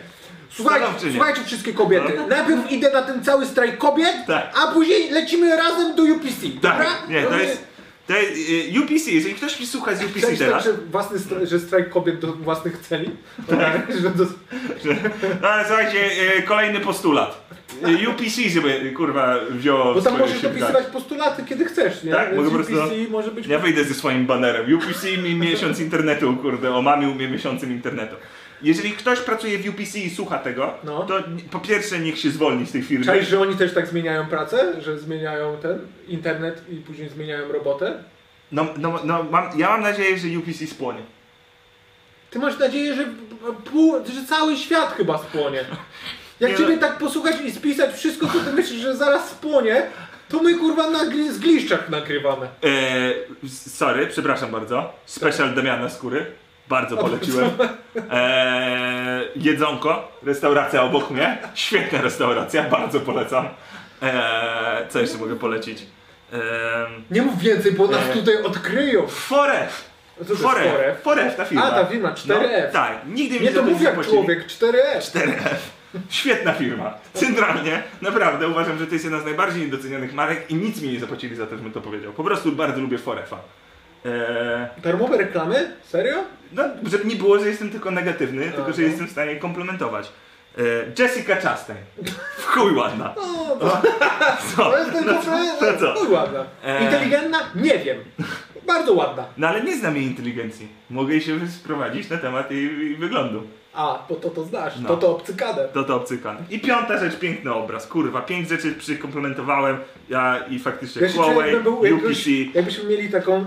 D: Słuchajcie,
B: Stanowczy nie. No.
D: słuchajcie wszystkie kobiety. Najpierw idę na ten cały strajk kobiet,
B: Tak.
D: a później lecimy razem do UPC. dobra?
B: Tak, nie, to
D: Robimy-
B: jest, to jest y, UPC, jeżeli ktoś mi słucha z UPC
D: Chciałeś tak,
B: teraz,
D: że, własny stra- że strajk kobiet do własnych celi? Tak. że do...
B: no ale słuchajcie, y, kolejny postulat. Y, UPC sobie, kurwa, wzięło
D: Bo tam
B: swoje
D: możesz
B: się
D: dopisywać postulaty, kiedy chcesz, nie?
B: Tak, mogę
D: Z
B: po prostu-
D: UPC może być...
B: Ja wyjdę ze swoim banerem. UPC mi miesiąc internetu, kurde, omamił mnie miesiącem internetu. Jeżeli ktoś pracuje w UPC i słucha tego,
D: No.
B: to ni- po pierwsze niech się zwolni z tej firmy.
D: Czaisz, że oni też tak zmieniają pracę? Że zmieniają ten internet i później zmieniają robotę?
B: No, no, no mam, ja mam nadzieję, że UPC spłonie.
D: Ty masz nadzieję, że, pół, że cały świat chyba spłonie. Jak
B: Nie
D: ciebie
B: no.
D: tak posłuchać i spisać wszystko, co ty myślisz, że zaraz spłonie, to my kurwa na gli- zgliszczach nakrywamy.
B: Eee, sorry, przepraszam bardzo. Special Damiana Skóry. Bardzo poleciłem. Eee, jedzonko, restauracja obok mnie. Świetna restauracja, bardzo polecam. Eee, co jeszcze mogę polecić? Eee,
D: Nie mów więcej, bo nas
B: Nie.
D: tutaj odkryją.
B: Foref!
D: Co to jest chore?
B: Foref, Foref ta firma.
D: A, ta firma, 4F.
B: No, tak, nigdy mi
D: Nie
B: za
D: to mów jak
B: zapłacili.
D: człowiek, 4S.
B: 4F. Świetna firma. Centralnie, naprawdę uważam, że to jest jedna z najbardziej niedocenianych marek i nic mi nie zapłacili za to, żebym to powiedział. Po prostu bardzo lubię Forefa. Eee,
D: Darmowe reklamy? Serio?
B: No, żeby nie było, że jestem tylko negatywny, tylko że
D: Aha.
B: jestem w stanie komplementować. E, Jessica Chastain. W chuj ładna.
D: No, to,
B: Co?
D: to jest tylko
B: No, to co?
D: no, ładna.
B: Eee.
D: Inteligentna? Nie wiem. Bardzo ładna.
B: No ale nie znam jej inteligencji. Mogę jej się sprowadzić na temat jej, jej wyglądu.
D: A, bo to to znasz,
B: No.
D: to to obcykadę.
B: To to obcykan. I piąta rzecz, piękny obraz. Kurwa, pięć rzeczy przykomplementowałem. Ja i faktycznie
D: Wiesz, czy
B: Huawei,
D: jakby był,
B: UPC.
D: jakbyś, jakbyśmy mieli taką, e,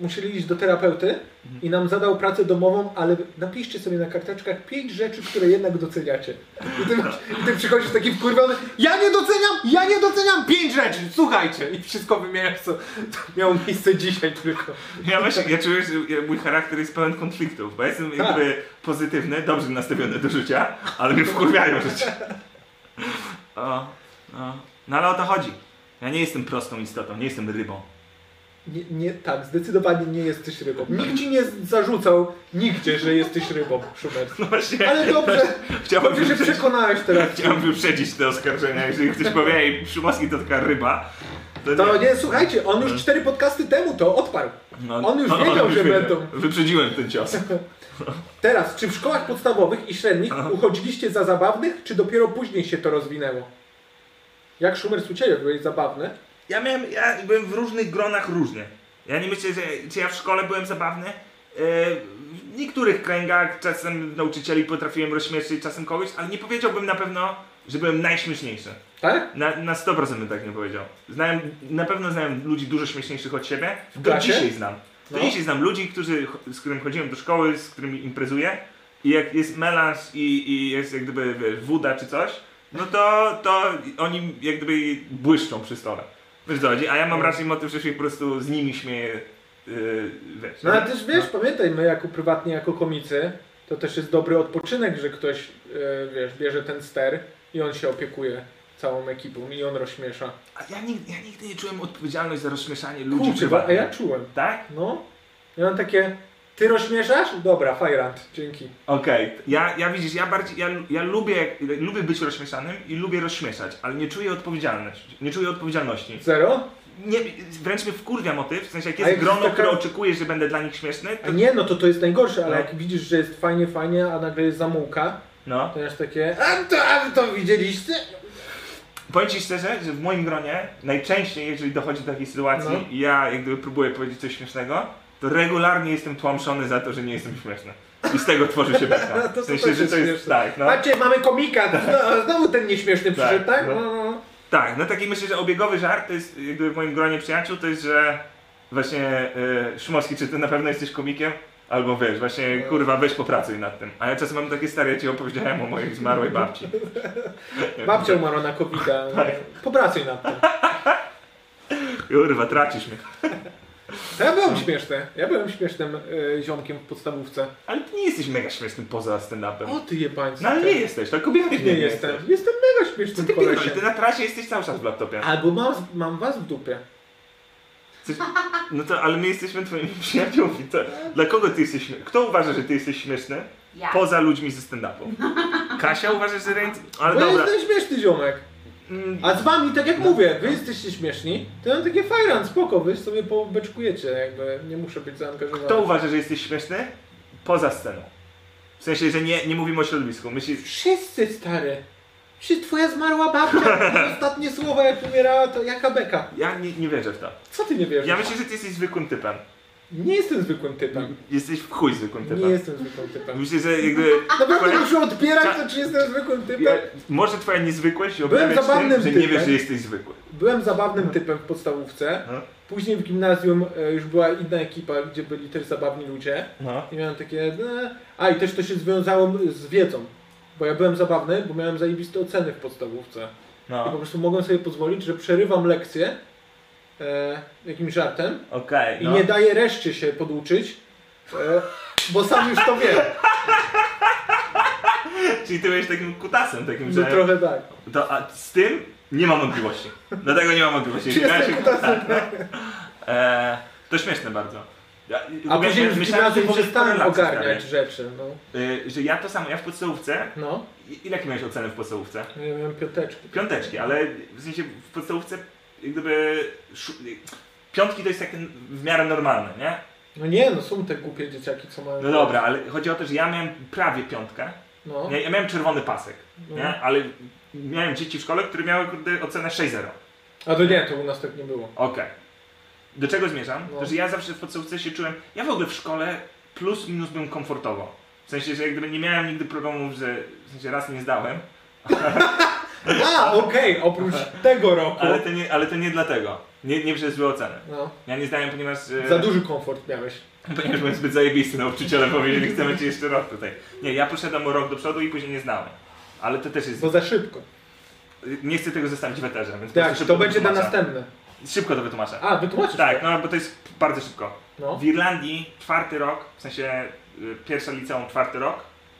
D: musieli iść do terapeuty i nam zadał pracę domową, ale napiszcie sobie na karteczkach pięć rzeczy, które jednak doceniacie. I ty, i ty przychodzisz taki wkurwiony,
F: Ja nie doceniam, ja nie doceniam pięć rzeczy, słuchajcie. I wszystko wymieniasz, co, co miało miejsce dzisiaj tylko.
B: Ja właśnie, ja czuję, że ja- mój charakter jest pełen konfliktów, bo ja
D: Tak.
B: jestem jakby pozytywny, dobrze nastawiony do życia, ale mnie wkurwiają życie. O, no. no ale o to chodzi. Ja nie jestem prostą istotą, nie jestem rybą.
D: Nie, nie, tak, zdecydowanie nie jesteś rybą. Nikt ci nie z- zarzucał nigdzie, że jesteś rybą, Szumerski.
B: No właśnie,
D: Ale dobrze,
B: chciałbym,
D: dobrze, że
B: wyprzedzić,
D: przekonałeś teraz.
B: chciałbym wyprzedzić te oskarżenia. Jeżeli ktoś powie, ej, Szumowski to taka ryba, to,
D: To nie, słuchajcie, on już cztery podcasty temu to odparł.
B: No,
D: on już wiedział, że
B: wiedział.
D: będą.
B: Wyprzedziłem ten cios.
D: Teraz, czy w szkołach podstawowych i średnich uchodziliście za zabawnych, czy dopiero później się to rozwinęło? Jak Szumer Suciejo byłeś zabawny?
B: Ja miałem, ja byłem w różnych gronach różnie. Ja nie myślę, że czy ja w szkole byłem zabawny. E, W niektórych kręgach czasem nauczycieli potrafiłem rozśmieszyć, czasem kogoś, ale nie powiedziałbym na pewno, że byłem najśmieszniejszy.
D: Tak?
B: Na, na 100% bym tak nie powiedział. Znałem, na pewno znałem ludzi dużo śmieszniejszych od siebie. Do
D: klasie?
B: dzisiaj znam. Do
D: No.
B: dzisiaj znam ludzi, którzy, z którymi chodziłem do szkoły, z którymi imprezuję. I jak jest melanż i, i jest jak gdyby wiesz, woda czy coś, no to, to oni jak gdyby błyszczą przy stole. Wiesz co chodzi? A ja mam raczej motyw, że się po prostu z nimi śmieję. Yy, wiesz. No.
D: No ale też wiesz, pamiętaj, my jako prywatnie, jako komicy, to też jest dobry odpoczynek, że ktoś, e, wiesz, bierze ten ster i on się opiekuje całą ekipą i on rozśmiesza.
B: A ja nigdy, ja nigdy nie czułem odpowiedzialność za rozśmieszanie ludzi
D: Kurczę, bo- a
B: prywatnych.
D: ja czułem.
B: Tak?
D: No. Ja mam takie, ty rozśmieszasz? Dobra, fajrant, dzięki.
B: Okej. Ja, ja widzisz, ja bardziej, ja, ja lubię, lubię być rozśmieszanym i lubię rozśmieszać, ale nie czuję odpowiedzialności. Nie czuję odpowiedzialności.
D: Zero?
B: Nie, wręcz mnie wkurwia motyw, w sensie jak
D: A
B: jest
D: jak
B: grono,
D: jest taka-
B: które oczekuje, że będę dla nich śmieszny,
D: A
B: to...
D: nie, no to to jest najgorsze, ale
B: No.
D: jak widzisz, że jest fajnie, fajnie, a nagle jest zamułka,
B: No.
D: to masz takie, a to, a to widzieliście?
B: Powiem ci szczerze, że w moim gronie najczęściej, jeżeli dochodzi do takiej sytuacji
D: No.
B: i ja jak gdyby próbuję powiedzieć coś śmiesznego, to regularnie jestem tłamszony za to, że nie jestem śmieszny. I z tego tworzy się beka.
D: To
B: W sensie,
D: też
B: że
D: jest
B: to jest
D: śmieszne.
B: tak, no.
D: Patrzcie, mamy komika, zno- znowu ten nieśmieszny
B: Tak,
D: przyszedł, tak?
B: no.
D: No, no, no.
B: Tak, no taki myślę, że obiegowy żart to jest jak gdyby w moim gronie przyjaciół, to jest, że właśnie y, Szumowski, czy ty na pewno jesteś komikiem? Albo wiesz, właśnie kurwa, weź popracuj nad tym. A ja czasem mam takie stare, ja ci opowiedziałem o mojej zmarłej babci.
D: no.
B: Tak.
D: Babcia umarła na kobita. Popracuj nad tym.
B: Kurwa, tracisz mnie.
D: To ja
B: No.
D: byłem śmieszny. Ja byłem śmiesznym e, ziomkiem w podstawówce.
B: Ale ty nie jesteś mega śmieszny poza stand-upem.
D: O ty jebańcu.
B: No ale nie jesteś, to kobiety
D: Nie, jestem.
B: jesteś.
D: Jestem mega
B: Co
D: śmiesznym
B: ty pierdolisz? Ty
D: kolesiem.
B: na trasie jesteś cały czas w laptopie.
D: Albo mam, mam was w dupie.
B: Coś, no to, ale my jesteśmy twoimi przyjaciółmi. To, dla kogo ty jesteś śmieszny? Kto uważa, że ty jesteś śmieszny?
E: Ja.
B: Poza ludźmi ze stand-upu. Kasia uważa, że rent... Ale
D: Bo ja
B: dobra.
D: jestem śmieszny ziomek.
B: Mm,
D: A z wami, tak jak mówię, wy jesteście śmieszni, to ja mam takie fajran, spoko, wy sobie pobeczkujecie, jakby nie muszę być zaangażowany.
B: Kto uważa, że jesteś śmieszny? Poza sceną. W sensie, że nie, nie mówimy o środowisku. Myślisz,
D: Wszyscy, stary. Czy twoja zmarła babcia, ostatnie słowa jak umierała, to jaka beka.
B: ja nie, nie wierzę w to.
D: Co ty nie wierzysz?
B: Ja myślę, że ty jesteś zwykłym typem.
D: Nie jestem zwykłym typem.
B: Jesteś w chuj zwykłym
D: Nie
B: typem.
D: jestem zwykłym typem.
B: Myślę, że jakby...
D: Naprawdę
B: Twoja-
D: muszę odbierać
B: Cza-
D: to, czy jestem zwykłym typem.
B: Ja, może twoja niezwykłość się
D: Byłem
B: objawia w tym,
D: zabawnym
B: że nie wiesz,
D: typem.
B: że jesteś zwykły.
D: Byłem zabawnym typem w podstawówce.
B: No.
D: Później w gimnazjum e, już była inna ekipa, gdzie byli też zabawni ludzie.
B: No.
D: I miałem takie... e, A i też to się związało z wiedzą. Bo ja byłem zabawny, bo miałem zajebiste oceny w podstawówce. I po
B: No.
D: prostu mogłem sobie pozwolić, że przerywam lekcję e, jakimś żartem
B: Okej,
D: I
B: no.
D: nie daje reszcie się poduczyć, e, bo sam już to wiem.
B: Czyli ty byłeś takim kutasem, takim,
D: No
B: że...
D: trochę tak.
B: To, a z tym nie mam wątpliwości. Dlatego nie mam wątpliwości.
D: Czy
B: Ja
D: jestem
B: się-
D: kutasem?
B: E, to śmieszne bardzo. Ja,
D: A
B: ja
D: później już
B: myślałem, że
D: gimnazjum
B: może
D: przestałem
B: korelacja
D: ogarniać rzeczy. No,
B: stawia. Y, Że ja to samo, ja w podstawówce...
D: no.
B: i- Ile miałeś oceny w podstawówce?
D: ja miałem piąteczki.
B: Piąteczki, ale w sensie w podstawówce jak gdyby... szu- Piątki to jest takie w miarę normalne, nie?
D: No nie, no są te głupie dzieciaki, co mają...
B: No dobra, ale chodzi o to, że ja miałem prawie piątkę.
D: No.
B: Ja, ja miałem czerwony pasek, nie? Ale miałem dzieci w szkole, które miały kurde, ocenę 6-0.
D: A to nie, to u nas tak nie było.
B: Okej. Do czego zmierzam?
D: No.
B: To, że ja zawsze w podstawówce się czułem, ja w ogóle w szkole plus minus byłem komfortowo. W sensie, że jak gdyby nie miałem nigdy problemów, że w sensie raz nie zdałem,
D: A, okej, oprócz tego roku.
B: ale to nie, ale to nie dlatego. Nie, nie przez złe oceny.
D: No.
B: Ja nie zdałem, ponieważ... e,
D: Za duży komfort miałeś.
B: Ponieważ byłem zbyt zajebisty, nauczyciele powiedzieli, chcemy ci jeszcze rok tutaj. Nie, ja poszedłem o rok do przodu i później nie znałem. Ale to też jest...
D: Bo za szybko.
B: Nie chcę tego zostawić w eterze, więc po prostu
D: Tak,
B: szybko
D: to będzie na
B: wytłumaczę.
D: następne.
B: Szybko to wytłumaczę.
D: A, wytłumaczysz
B: Tak,
D: to.
B: no bo to jest bardzo szybko.
D: No.
B: W Irlandii czwarty rok, w sensie y, pierwsza liceum, czwarty rok,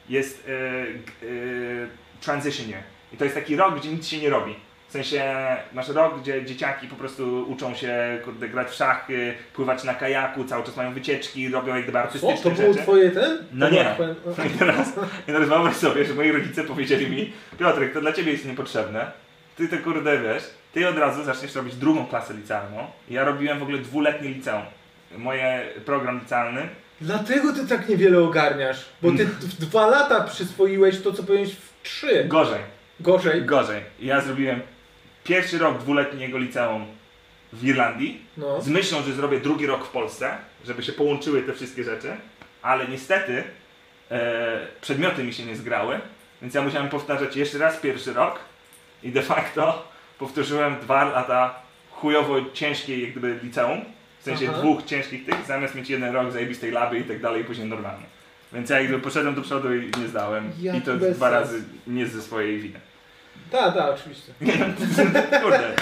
B: jest y, g- y, transition year. I to jest taki rok, gdzie nic się nie robi. W sensie masz rok, gdzie dzieciaki po prostu uczą się kurde, grać w szachy, pływać na kajaku, cały czas mają wycieczki, robią jak gdyby
D: O, to
B: artystyczne
D: było
B: rzeczy.
D: twoje ten?
B: No
D: To
B: nie.
D: było twoje- no.
B: I teraz, I teraz wyobraź sobie, że moi rodzice powiedzieli mi Piotrek, to dla ciebie jest niepotrzebne, ty to kurde wiesz, ty od razu zaczniesz robić drugą klasę licealną. Ja robiłem w ogóle dwuletnie liceum. Moje program licealny
D: Dlatego ty tak niewiele ogarniasz, bo
B: Mm.
D: ty w dwa lata przyswoiłeś to, co powinieneś w trzy.
B: Gorzej,
D: Gorzej.
B: gorzej. Ja zrobiłem pierwszy rok dwuletniego liceum w Irlandii
D: No.
B: z myślą, że zrobię drugi rok w Polsce, żeby się połączyły te wszystkie rzeczy, ale niestety e, przedmioty mi się nie zgrały, więc ja musiałem powtarzać jeszcze raz pierwszy rok i de facto powtórzyłem dwa lata chujowo ciężkiej jak gdyby liceum, w sensie
D: Aha.
B: dwóch ciężkich tych, zamiast mieć jeden rok zajebistej laby i tak dalej i później normalnie. Więc ja jakby poszedłem do przodu i nie zdałem.
D: Jak
B: I to
D: bez
B: dwa
D: sensu.
B: razy nie ze swojej winy.
D: Tak, tak, oczywiście.
B: Kurde.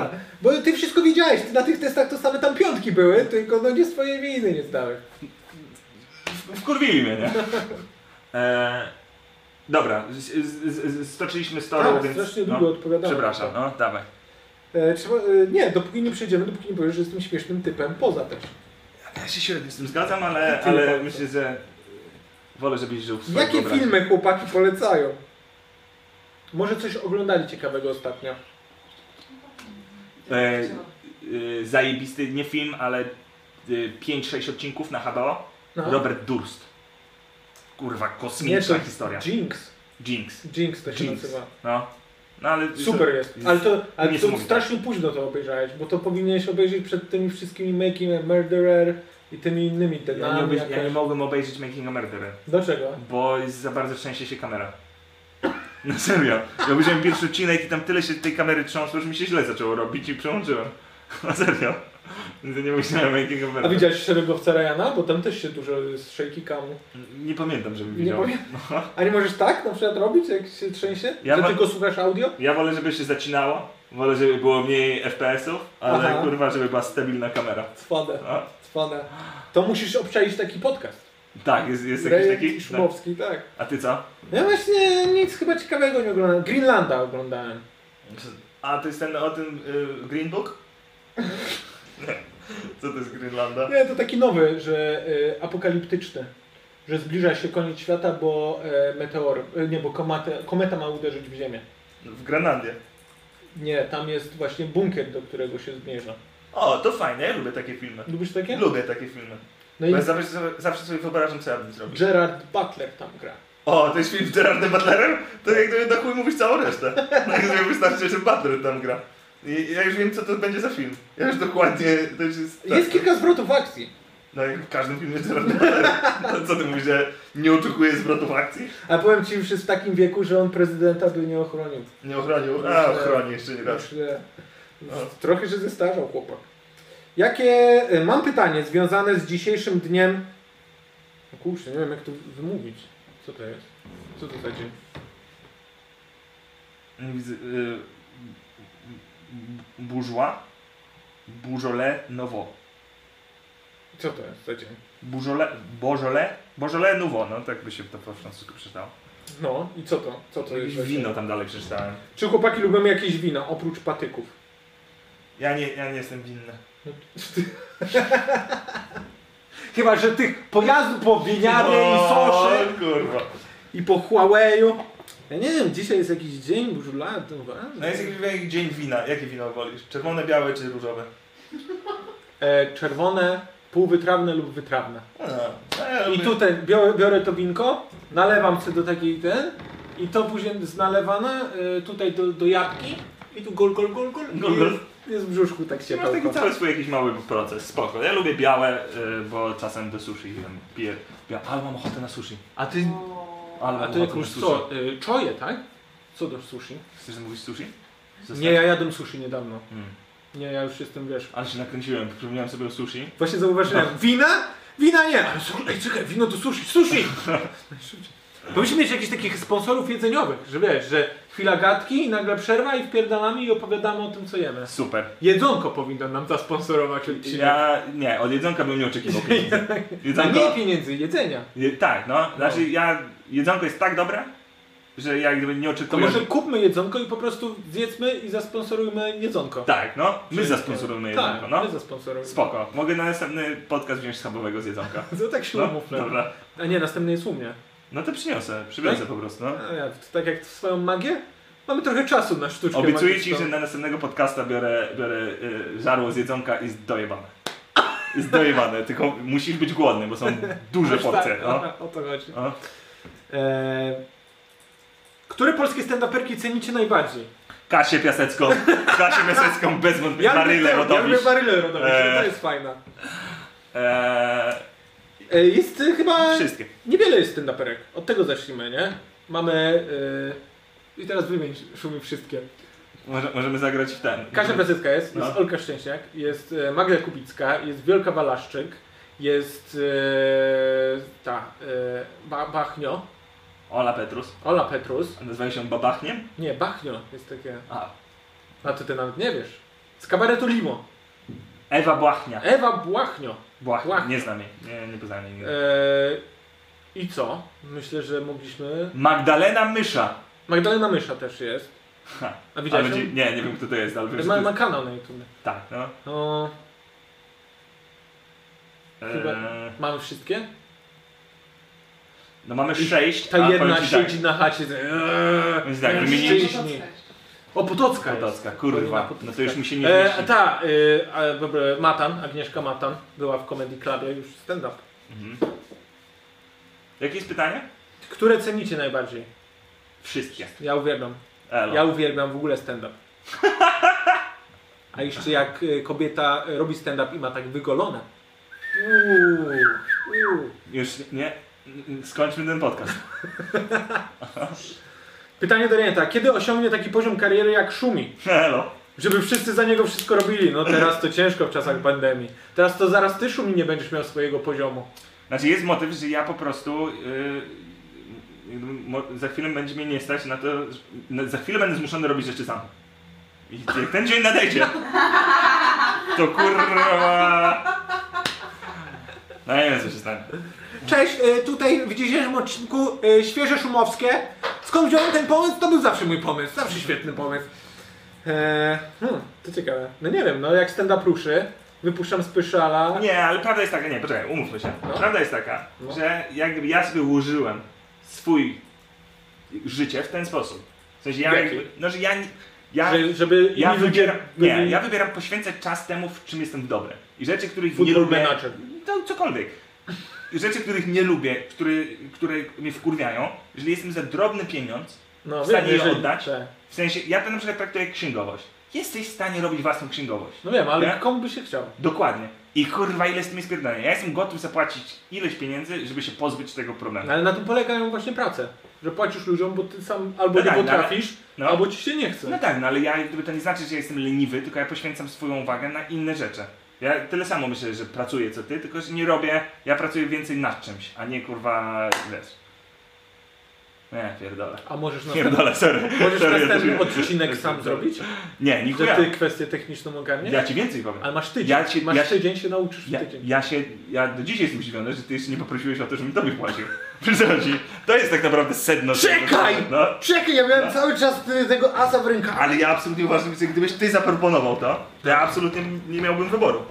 D: A, bo ty wszystko widziałeś, ty na tych testach to same tam piątki były, tylko no nie swoje winy nie zdałeś.
B: Wkurwili mnie, nie? E, dobra, z, z, z, z, stoczyliśmy story,
D: Tak,
B: więc...
D: strasznie
B: no,
D: długo odpowiadałem.
B: Przepraszam, no dawaj.
D: E, trzeba, e, nie, dopóki nie przejdziemy, dopóki nie powiesz, że jestem śmiesznym typem. Poza też.
B: Ja się średnio z tym zgadzam, ale,
D: Tylko
B: ale
D: tak.
B: myślę, że wolę, żebyś żył w swoim
D: Jakie
B: wyobraźni.
D: filmy chłopaki polecają? Może coś oglądali ciekawego ostatnio.
B: E, y, zajebisty, nie film, ale y, 5-6 odcinków na HBO.
D: No.
B: Robert Durst. Kurwa,
D: Nie,
B: kosmiczna
D: to
B: historia.
D: Jinx.
B: Jinx.
D: Jinx to się
B: Jinx.
D: nazywa.
B: No. No ale...
D: Super jest. Ale to, ale to
B: niesamowite.
D: strasznie późno to obejrzałeś, bo to powinieneś obejrzeć przed tymi wszystkimi Making a Murderer i tymi innymi te
B: Ja nie, obejrz- ja nie mogłem obejrzeć Making a Murderer,
D: Dlaczego?
B: bo jest za bardzo trzęsie się kamera. No serio. Ja obejrzałem pierwszy odcinek i tam tyle się tej kamery trząsło, że mi się źle zaczęło robić i przełączyłem. No serio. Więc ja nie myślałem Making a
D: A
B: Murderer.
D: widziałeś Szeregowca Ryana? Bo tam też się dużo z shaky camu.
B: Nie pamiętam, żebym
D: Nie
B: widział.
D: powiem. A nie możesz tak na przykład robić, jak się trzęsie?
B: No. Ja
D: Że
B: mam-
D: tylko słuchasz audio?
B: Ja wolę, żeby się zacinało, wolę, żeby było mniej FPS-ów, ale
D: Aha.
B: kurwa, żeby była stabilna kamera.
D: Cwane,
B: A?
D: cwane. To musisz obczaić taki podcast.
B: Tak, jest, jest jakiś
D: Rejent
B: taki. Tak.
D: Szumowski, tak.
B: A ty co?
D: Ja właśnie nic chyba ciekawego nie oglądałem. Greenlanda oglądałem.
B: A to jest ten o tym y, Green Book? co to jest Greenlanda?
D: Nie, to taki nowy, że y, apokaliptyczny. Że zbliża się koniec świata, bo e, meteor, e, nie, bo komata, kometa ma uderzyć w Ziemię.
B: W Grenlandzie.
D: Nie, tam jest właśnie bunkier, do którego się zmierza.
B: O, to fajne, ja lubię takie filmy.
D: Lubisz takie?
B: Lubię takie filmy. Bo
D: No i
B: ja zawsze, sobie- zawsze sobie wyobrażam, co ja bym zrobił.
D: Gerard Butler tam gra.
B: O, to jest film z Gerardem Butlerem? To jak gdyby na chuj mówisz całą resztę. No jak gdyby wystarczy, że Butler tam gra. I, ja już wiem, co to będzie za film. Ja już dokładnie, to już jest... tak.
D: Jest kilka zwrotów akcji.
B: No jak w każdym filmie Gerard Butler. No, co ty mówisz, że nie oczekuje zwrotów akcji?
D: A powiem ci, już jest w takim wieku, że on prezydenta by nie ochronił.
B: Nie ochronił. A, ochroni jeszcze nie raz.
D: Już, e,
B: No.
D: Trochę się zestarzał chłopak. Jakie... e, Mam pytanie związane z dzisiejszym dniem... No kurczę, nie wiem jak to wymówić. Co to jest? Co to za dzień?
B: Widzę, y, Bourgeois? Bourgeois Nouveau.
D: Co to jest za dzień?
B: Bourgeois... Bourgeois? Bourgeois Nouveau, no tak by się to po francusku przeczytało.
D: No i co to? Co to jest?
B: Jakieś
D: za dzień?
B: wino tam dalej przeczytałem.
D: Czy chłopaki lubią jakieś wino, oprócz patyków?
B: Ja nie, ja nie jestem winny.
G: Chyba, że tych pojazdów po winiarnie i soszy.
B: O, kurwa.
D: I po Huawei'u? Ja nie wiem, dzisiaj jest jakiś dzień, burzula, to
B: No jest jakiś jakiś dzień wina. Jakie wino wolisz? Czerwone, białe czy różowe?
D: e, Czerwone, półwytrawne lub wytrawne.
B: No, no, ja
D: I
B: lubię-
D: tutaj biorę, biorę to winko, nalewam sobie do takiej ten i to później z nalewane y, tutaj do, do jabłki i tu gol, gol, gol, gol,
B: Gol,
D: i
B: gol.
D: Jest, jest w brzuszku tak
B: Ty masz taki
D: ciepełko.
B: cały swój jakiś mały proces, spoko. Ja lubię białe, y, bo czasem do sushi tam piję. Ja, ale mam ochotę na sushi.
D: A ty,
B: Ale mam
D: a ty
B: ochotę na
D: jakąś
B: sushi.
D: co, y, czoję, tak? Co do sushi?
B: Chcesz zamówić sushi? Zostań.
D: Nie, ja jadłem sushi niedawno.
B: Mm.
D: Nie, ja już jestem, wiesz...
B: Ale się nakręciłem, przypomniałem sobie o sushi.
D: Właśnie zauważyłem, wina? Wina nie! Ale su- ej, czekaj, wino to sushi, sushi! Najszybciej. Powinniśmy mieć jakichś takich sponsorów jedzeniowych, że wiesz, że chwila gadki i nagle przerwa i wpierdalamy i opowiadamy o tym, co jemy.
B: Super.
D: Jedzonko powinno nam zasponsorować odcinek.
B: Ja nie, od jedzonka bym nie oczekiwał pieniędzy.
D: A nie
B: Jedzonko,
D: pieniędzy, jedzenia.
B: je, tak, no. Znaczy ja, jedzonko jest tak dobre, że ja gdyby nie
D: To
B: oczekuję...
D: może kupmy jedzonko i po prostu zjedzmy i zasponsorujmy jedzonko.
B: Tak, no. My zasponsorujemy jedzonko,
D: tak,
B: no.
D: my zasponsorujemy.
B: Spoko. Mogę na następny podcast wziąć schabowego z jedzonka.
D: To tak się
B: No,
D: umówmy.
B: dobra.
D: A nie, następny jest u mnie.
B: No to przyniosę, przywiozę po prostu. No.
D: A ja, tak jak swoją magię? Mamy trochę czasu na sztuczkę
B: Obiecuję ci,
D: magiczną.
B: że na następnego podcasta biorę, biorę y, żarło z jedzonka i zdojebane. Zdojebane, tylko musisz być głodny, bo są duże
D: Aż
B: porcje.
D: tak,
B: No.
D: o to chodzi.
B: No.
D: Eee, które polskie stand-uperki cenicie najbardziej?
B: Kasię Piasecką, Kasię Piasecką bez wątpienia, Marylę
D: lubię, ja lubię
B: Rodowisz.
D: Barylę Rodowicz,
B: Eee.
D: no to jest fajna.
B: Eee,
D: Eee, jest e, chyba...
B: wszystkie.
D: Niewiele jest stand-uperek. Od tego zacznijmy, nie? Mamy... eee, I teraz wymień szumi wszystkie.
B: Może, możemy zagrać w ten.
D: Kasia Piasecka jest,
B: No.
D: jest Olka Szczęśniak, jest e, Magda Kubicka, jest Wielka Walaszczyk, jest eee, ta eee, ba Bachnio,
B: Ola Petrus.
D: Ola Petrus.
B: A Nazywają się Babachniem?
D: Nie, Bachnio jest takie...
B: A.
D: A to ty nawet nie wiesz. Z kabaretu Limo.
B: Ewa Błachnia.
D: Ewa Błachnio.
B: Błachnia.
D: Błachnia.
B: Nie znam jej. Nie, nie poznałem jej. nigdy.
D: Eee, I co? Myślę, że mogliśmy...
B: Magdalena Mysza.
D: Magdalena Mysza też jest.
B: Ha.
D: A widziałeś
B: Ale
D: ją?
B: ci- Nie, nie wiem kto to jest, ale wiem, że
D: Ma,
B: to
D: ma
B: jest...
D: kanał na YouTube.
B: Tak, no.
D: No, Chyba-
B: Eee,
D: mamy wszystkie?
B: no mamy sześć,
D: Ta
B: a
D: jedna
B: powiem ci tak.
D: siedzi na chacie. z- Eee,
B: Więc tak,
D: jak
B: wymieniliśmy-
E: Chciałam
D: szczęśni.
E: popatrzeć.
D: O, Potocka jest.
B: Potocka, kurwa. No to już mi się nie
D: E,
B: mieści.
D: a ta, y, a, dobra, Matan, Agnieszka Matan, była w Comedy Clubie, już stand-up.
B: Mhm. Jakie jest pytanie?
D: Które cenicie najbardziej?
B: Wszystkie.
D: Ja uwielbiam.
B: Elo.
D: Ja uwielbiam w ogóle stand-up. A jeszcze jak y, kobieta y, robi stand-up i ma tak wygolone. Uuu, uuu.
B: Już nie. Skończmy ten podcast.
D: Pytanie do Renata. Kiedy osiągnie taki poziom kariery jak Szumi?
B: Elo.
D: Żeby wszyscy za niego wszystko robili. No teraz to ciężko w czasach pandemii. Teraz to zaraz ty Szumi nie będziesz miał swojego poziomu.
B: Znaczy jest motyw, że ja po prostu yy, jakby mo- za chwilę będzie mnie nie stać na to, że- na, za chwilę będę zmuszony robić rzeczy sam. I jak ten dzień nadejdzie, to kurwa... No ja nie wiem co się stanie.
D: Cześć, y, tutaj w dzisiejszym odcinku y, świeże szumowskie. Skąd wziąłem ten pomysł? To był zawsze mój pomysł, zawsze świetny pomysł. Eee, hmm, to ciekawe. No nie wiem, no jak stand-up ruszy, wypuszczam spyszala.
B: Nie, ale prawda jest taka, nie, poczekaj, umówmy się.
D: No.
B: Prawda jest taka,
D: No.
B: że jak gdyby ja sobie ułożyłem swój życie w ten sposób. W sensie ja
D: W jaki?
B: jakby, no że ja... nie- ja
D: Że, żeby
B: Ja
D: inni
B: wybieram,
D: ludzie-
B: nie, ja wybieram poświęcać czas temu, w czym jestem dobry. I rzeczy, których nie
D: Football
B: lubię.
D: manager.
B: To cokolwiek. I Rzeczy, których nie lubię, które, które mnie wkurwiają, jeżeli jestem za drobny pieniądz,
D: No,
B: w stanie
D: wiem,
B: je
D: jeżeli-
B: oddać?
D: tak.
B: w sensie ja to na przykład traktuję jak księgowość. Jesteś w stanie robić własną księgowość.
D: No wiem, ale
B: Nie?
D: komu by się chciał?
B: Dokładnie. I kurwa, ile z tym jest pierdolenia. Ja jestem gotów zapłacić ileś pieniędzy, żeby się pozbyć tego problemu.
D: No, ale na tym polegają właśnie prace. Że płacisz ludziom, bo ty sam albo
B: No
D: nie
B: tak, no ale-
D: potrafisz,
B: no.
D: albo ci się nie chce.
B: No tak, no ale ja jak gdyby to nie znaczy, że ja jestem leniwy, tylko ja poświęcam swoją uwagę na inne rzeczy. Ja tyle samo myślę, że pracuję co ty, tylko że nie robię, ja pracuję więcej nad czymś, a nie kurwa, wiesz. Nie, pierdolę.
D: A możesz następny,
B: Pierdolę, sorry.
D: No. możesz
B: sorry,
D: następny
B: ja też-
D: odcinek
B: też-
D: sam zrobić?
B: Nie,
D: Że
B: nikuja.
D: ty kwestię techniczną ogarniesz?
B: Ja ci więcej powiem.
D: Ale masz tydzień,
B: Ja ci-
D: masz
B: ja ci-
D: tydzień się nauczysz w
B: Ja,
D: tydzień.
B: ja się, ja do dzisiaj jestem zdziwiony, że ty jeszcze nie poprosiłeś o to, żebym tobie płacił. Przychodzi. To jest tak naprawdę sedno. tego-
D: Czekaj!
B: No,
D: Czekaj, ja miałem cały czas y, tego asa w rękach.
B: ale ja absolutnie uważam, że gdybyś ty zaproponował to, to ja absolutnie nie miałbym wyboru.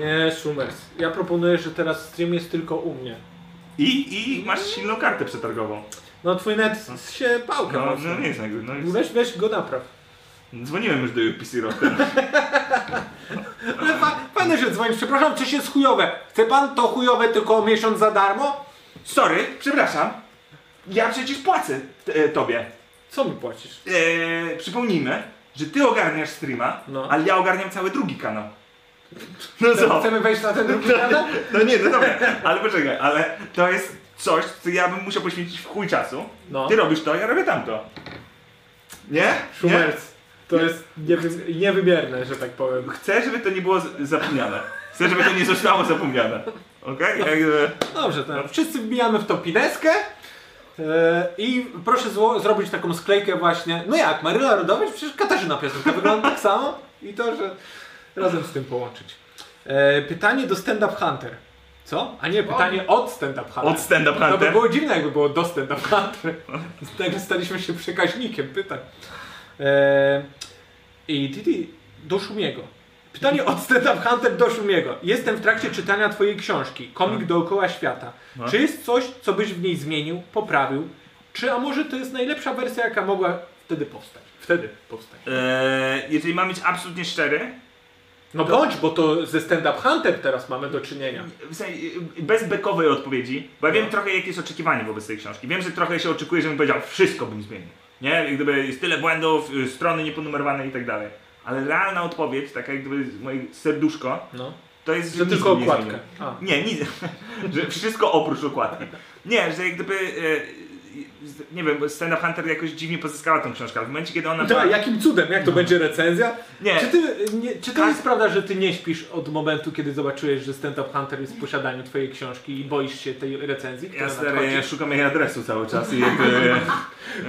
D: Nie, Szumers. Ja proponuję, że teraz stream jest tylko u mnie.
B: I, I masz silną kartę przetargową.
D: No twój net się pałka
B: No,
D: mocno.
B: no nie jest jakby, no jest.
D: Weź, weź go napraw.
B: Dzwoniłem już do UPC Rotten.
D: Ale fa- fajne, że dzwonisz. Przepraszam, coś jest chujowe. Chce pan to chujowe tylko o miesiąc za darmo?
B: Sorry, przepraszam. Ja przecież płacę e, tobie.
D: Co mi płacisz?
B: E, przypomnijmy, że ty ogarniasz streama,
D: No.
B: ale ja ogarniam cały drugi kanał. No co?
D: Chcemy wejść na ten drugi kanał?
B: No nie, no dobra, ale poczekaj, ale to jest coś, co ja bym musiał poświęcić w chuj czasu.
D: No.
B: Ty robisz to, ja robię tamto. Nie? Nie?
D: Szumers. To jest niewy- niewymierne, że tak powiem.
B: Chcę, żeby to nie było z- zapomniane. Chcę, żeby to nie zostało zapomniane. Okej?
D: No.
B: Jakby...
D: Dobrze, to wszyscy wbijamy w tą pineskę. e, I proszę zło- zrobić taką sklejkę właśnie. No jak, Maryla Rodowicz? Przecież Katarzyna Piasnówka wygląda tak samo. I to, że razem z tym połączyć. E, Pytanie do Stand Up Hunter. Co? A nie, pytanie od Stand Up Hunter.
B: Od stand-up
D: To No by
B: hunter.
D: było dziwne, jakby było do Stand Up Hunter. Nagle Tak, staliśmy się przekaźnikiem pytań. E, I Didi, do Szumiego. Pytanie od Stand Up Hunter do Szumiego. Jestem w trakcie czytania twojej książki, komik dookoła świata.
B: No.
D: Czy jest coś, co byś w niej zmienił, poprawił? Czy, a może to jest najlepsza wersja, jaka mogła wtedy powstać? Wtedy powstać.
B: Eee, jeżeli mam być absolutnie szczery,
D: No bądź, bo to ze Stand Up Hunter teraz mamy do czynienia.
B: w sensie, y, bez bekowej odpowiedzi, bo ja
D: No.
B: wiem trochę jakie jest oczekiwanie wobec tej książki. Wiem, że trochę się oczekuje, żebym powiedział, wszystko bym zmienił. Nie? Jak gdyby jest tyle błędów, y, strony nieponumerowane i tak dalej. Ale realna odpowiedź, taka jak gdyby moje serduszko,
D: No.
B: to jest, że,
D: Że
B: nic
D: tylko
B: bym nie
D: okładkę.
B: zmienił.
D: A.
B: Nie, nic. że wszystko oprócz okładki. Nie, że jak gdyby... e, z- nie wiem, bo Stand Up Hunter jakoś dziwnie pozyskała tą książkę, ale w momencie, kiedy ona...
D: No To, no.
B: była-
D: jakim cudem? Jak to będzie recenzja?
B: Nie.
D: Czy, ty, nie, czy to jest prawda, że ty nie śpisz od momentu, kiedy zobaczyłeś, że Stand Up Hunter jest w posiadaniu twojej książki i boisz się tej recenzji, która
B: Ja, stary,
D: nadchodzi?
B: ja szukam jej adresu cały czas i jakby...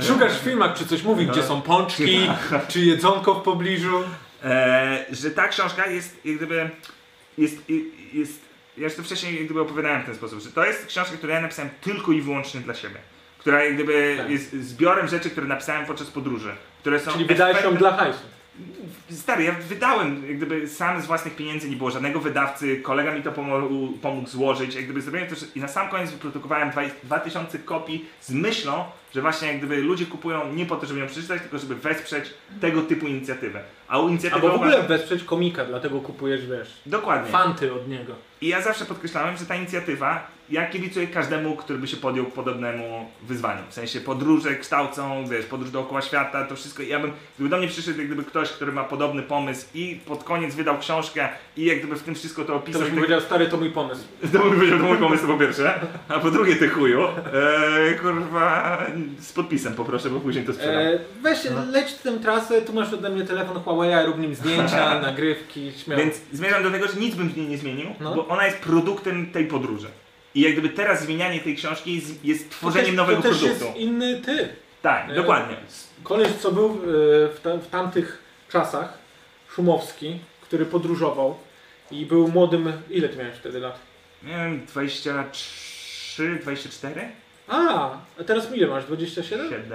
D: Szukasz w filmach, czy coś mówi, gdzie są pączki, czy jedzonko w pobliżu.
B: E, że ta książka jest jak gdyby jest, i- jest ja już to wcześniej jak gdyby opowiadałem w ten sposób, że to jest książka, którą ja napisałem tylko i wyłącznie dla siebie. Która jak gdyby
D: Tak.
B: jest zbiorem rzeczy, które napisałem podczas podróży. Które są
D: Czyli wydaje się
B: efektem-
D: dla hajsu.
B: Stary, ja wydałem, jak gdyby sam z własnych pieniędzy, nie było żadnego wydawcy, kolega mi to pomógł, pomógł złożyć, jak gdyby zrobiłem to i na sam koniec wyprodukowałem dwa- 2000 kopii z myślą, że właśnie jak gdyby ludzie kupują nie po to, żeby ją przeczytać, tylko żeby wesprzeć tego typu inicjatywę. A u inicjatywy
D: Albo w ogóle
B: uważam-
D: wesprzeć komika, dlatego kupujesz, wiesz,
B: Dokładnie.
D: fanty od niego.
B: I ja zawsze podkreślałem, że ta inicjatywa, ja kibicuję każdemu, który by się podjął podobnemu wyzwaniu. W sensie podróże kształcą, wiesz, podróż dookoła świata, to wszystko. Ja bym, gdyby do mnie przyszedł jak gdyby ktoś, który ma podobny pomysł i pod koniec wydał książkę i jak gdyby w tym wszystko to
D: To
B: opisał,
D: byś mi
B: i tak-
D: powiedział, stary, to mój pomysł.
B: to bym powiedział, to mój pomysł po pierwsze, a po drugie ty chuju, eee, kurwa, z podpisem poproszę, bo później to sprzedam.
D: E, weź, leć w tę trasę, tu masz ode mnie telefon Huawei, rób nim zdjęcia, nagrywki, śmiało.
B: Więc zmierzam do tego, że nic bym w niej nie zmienił,
D: No.
B: bo ona jest produktem tej podróży. I jak gdyby teraz zmienianie tej książki jest, jest
D: To
B: tworzeniem
D: też-
B: nowego
D: to też
B: produktu.
D: jest inny ty.
B: Tak,
D: E,
B: dokładnie.
D: Koleś, co był e, w, tam, w tamtych czasach, Szumowski, który podróżował i był młodym, ile ty miałeś wtedy lat?
B: Miałem 23, 24?
D: A, a teraz ile masz, 27?
B: 7.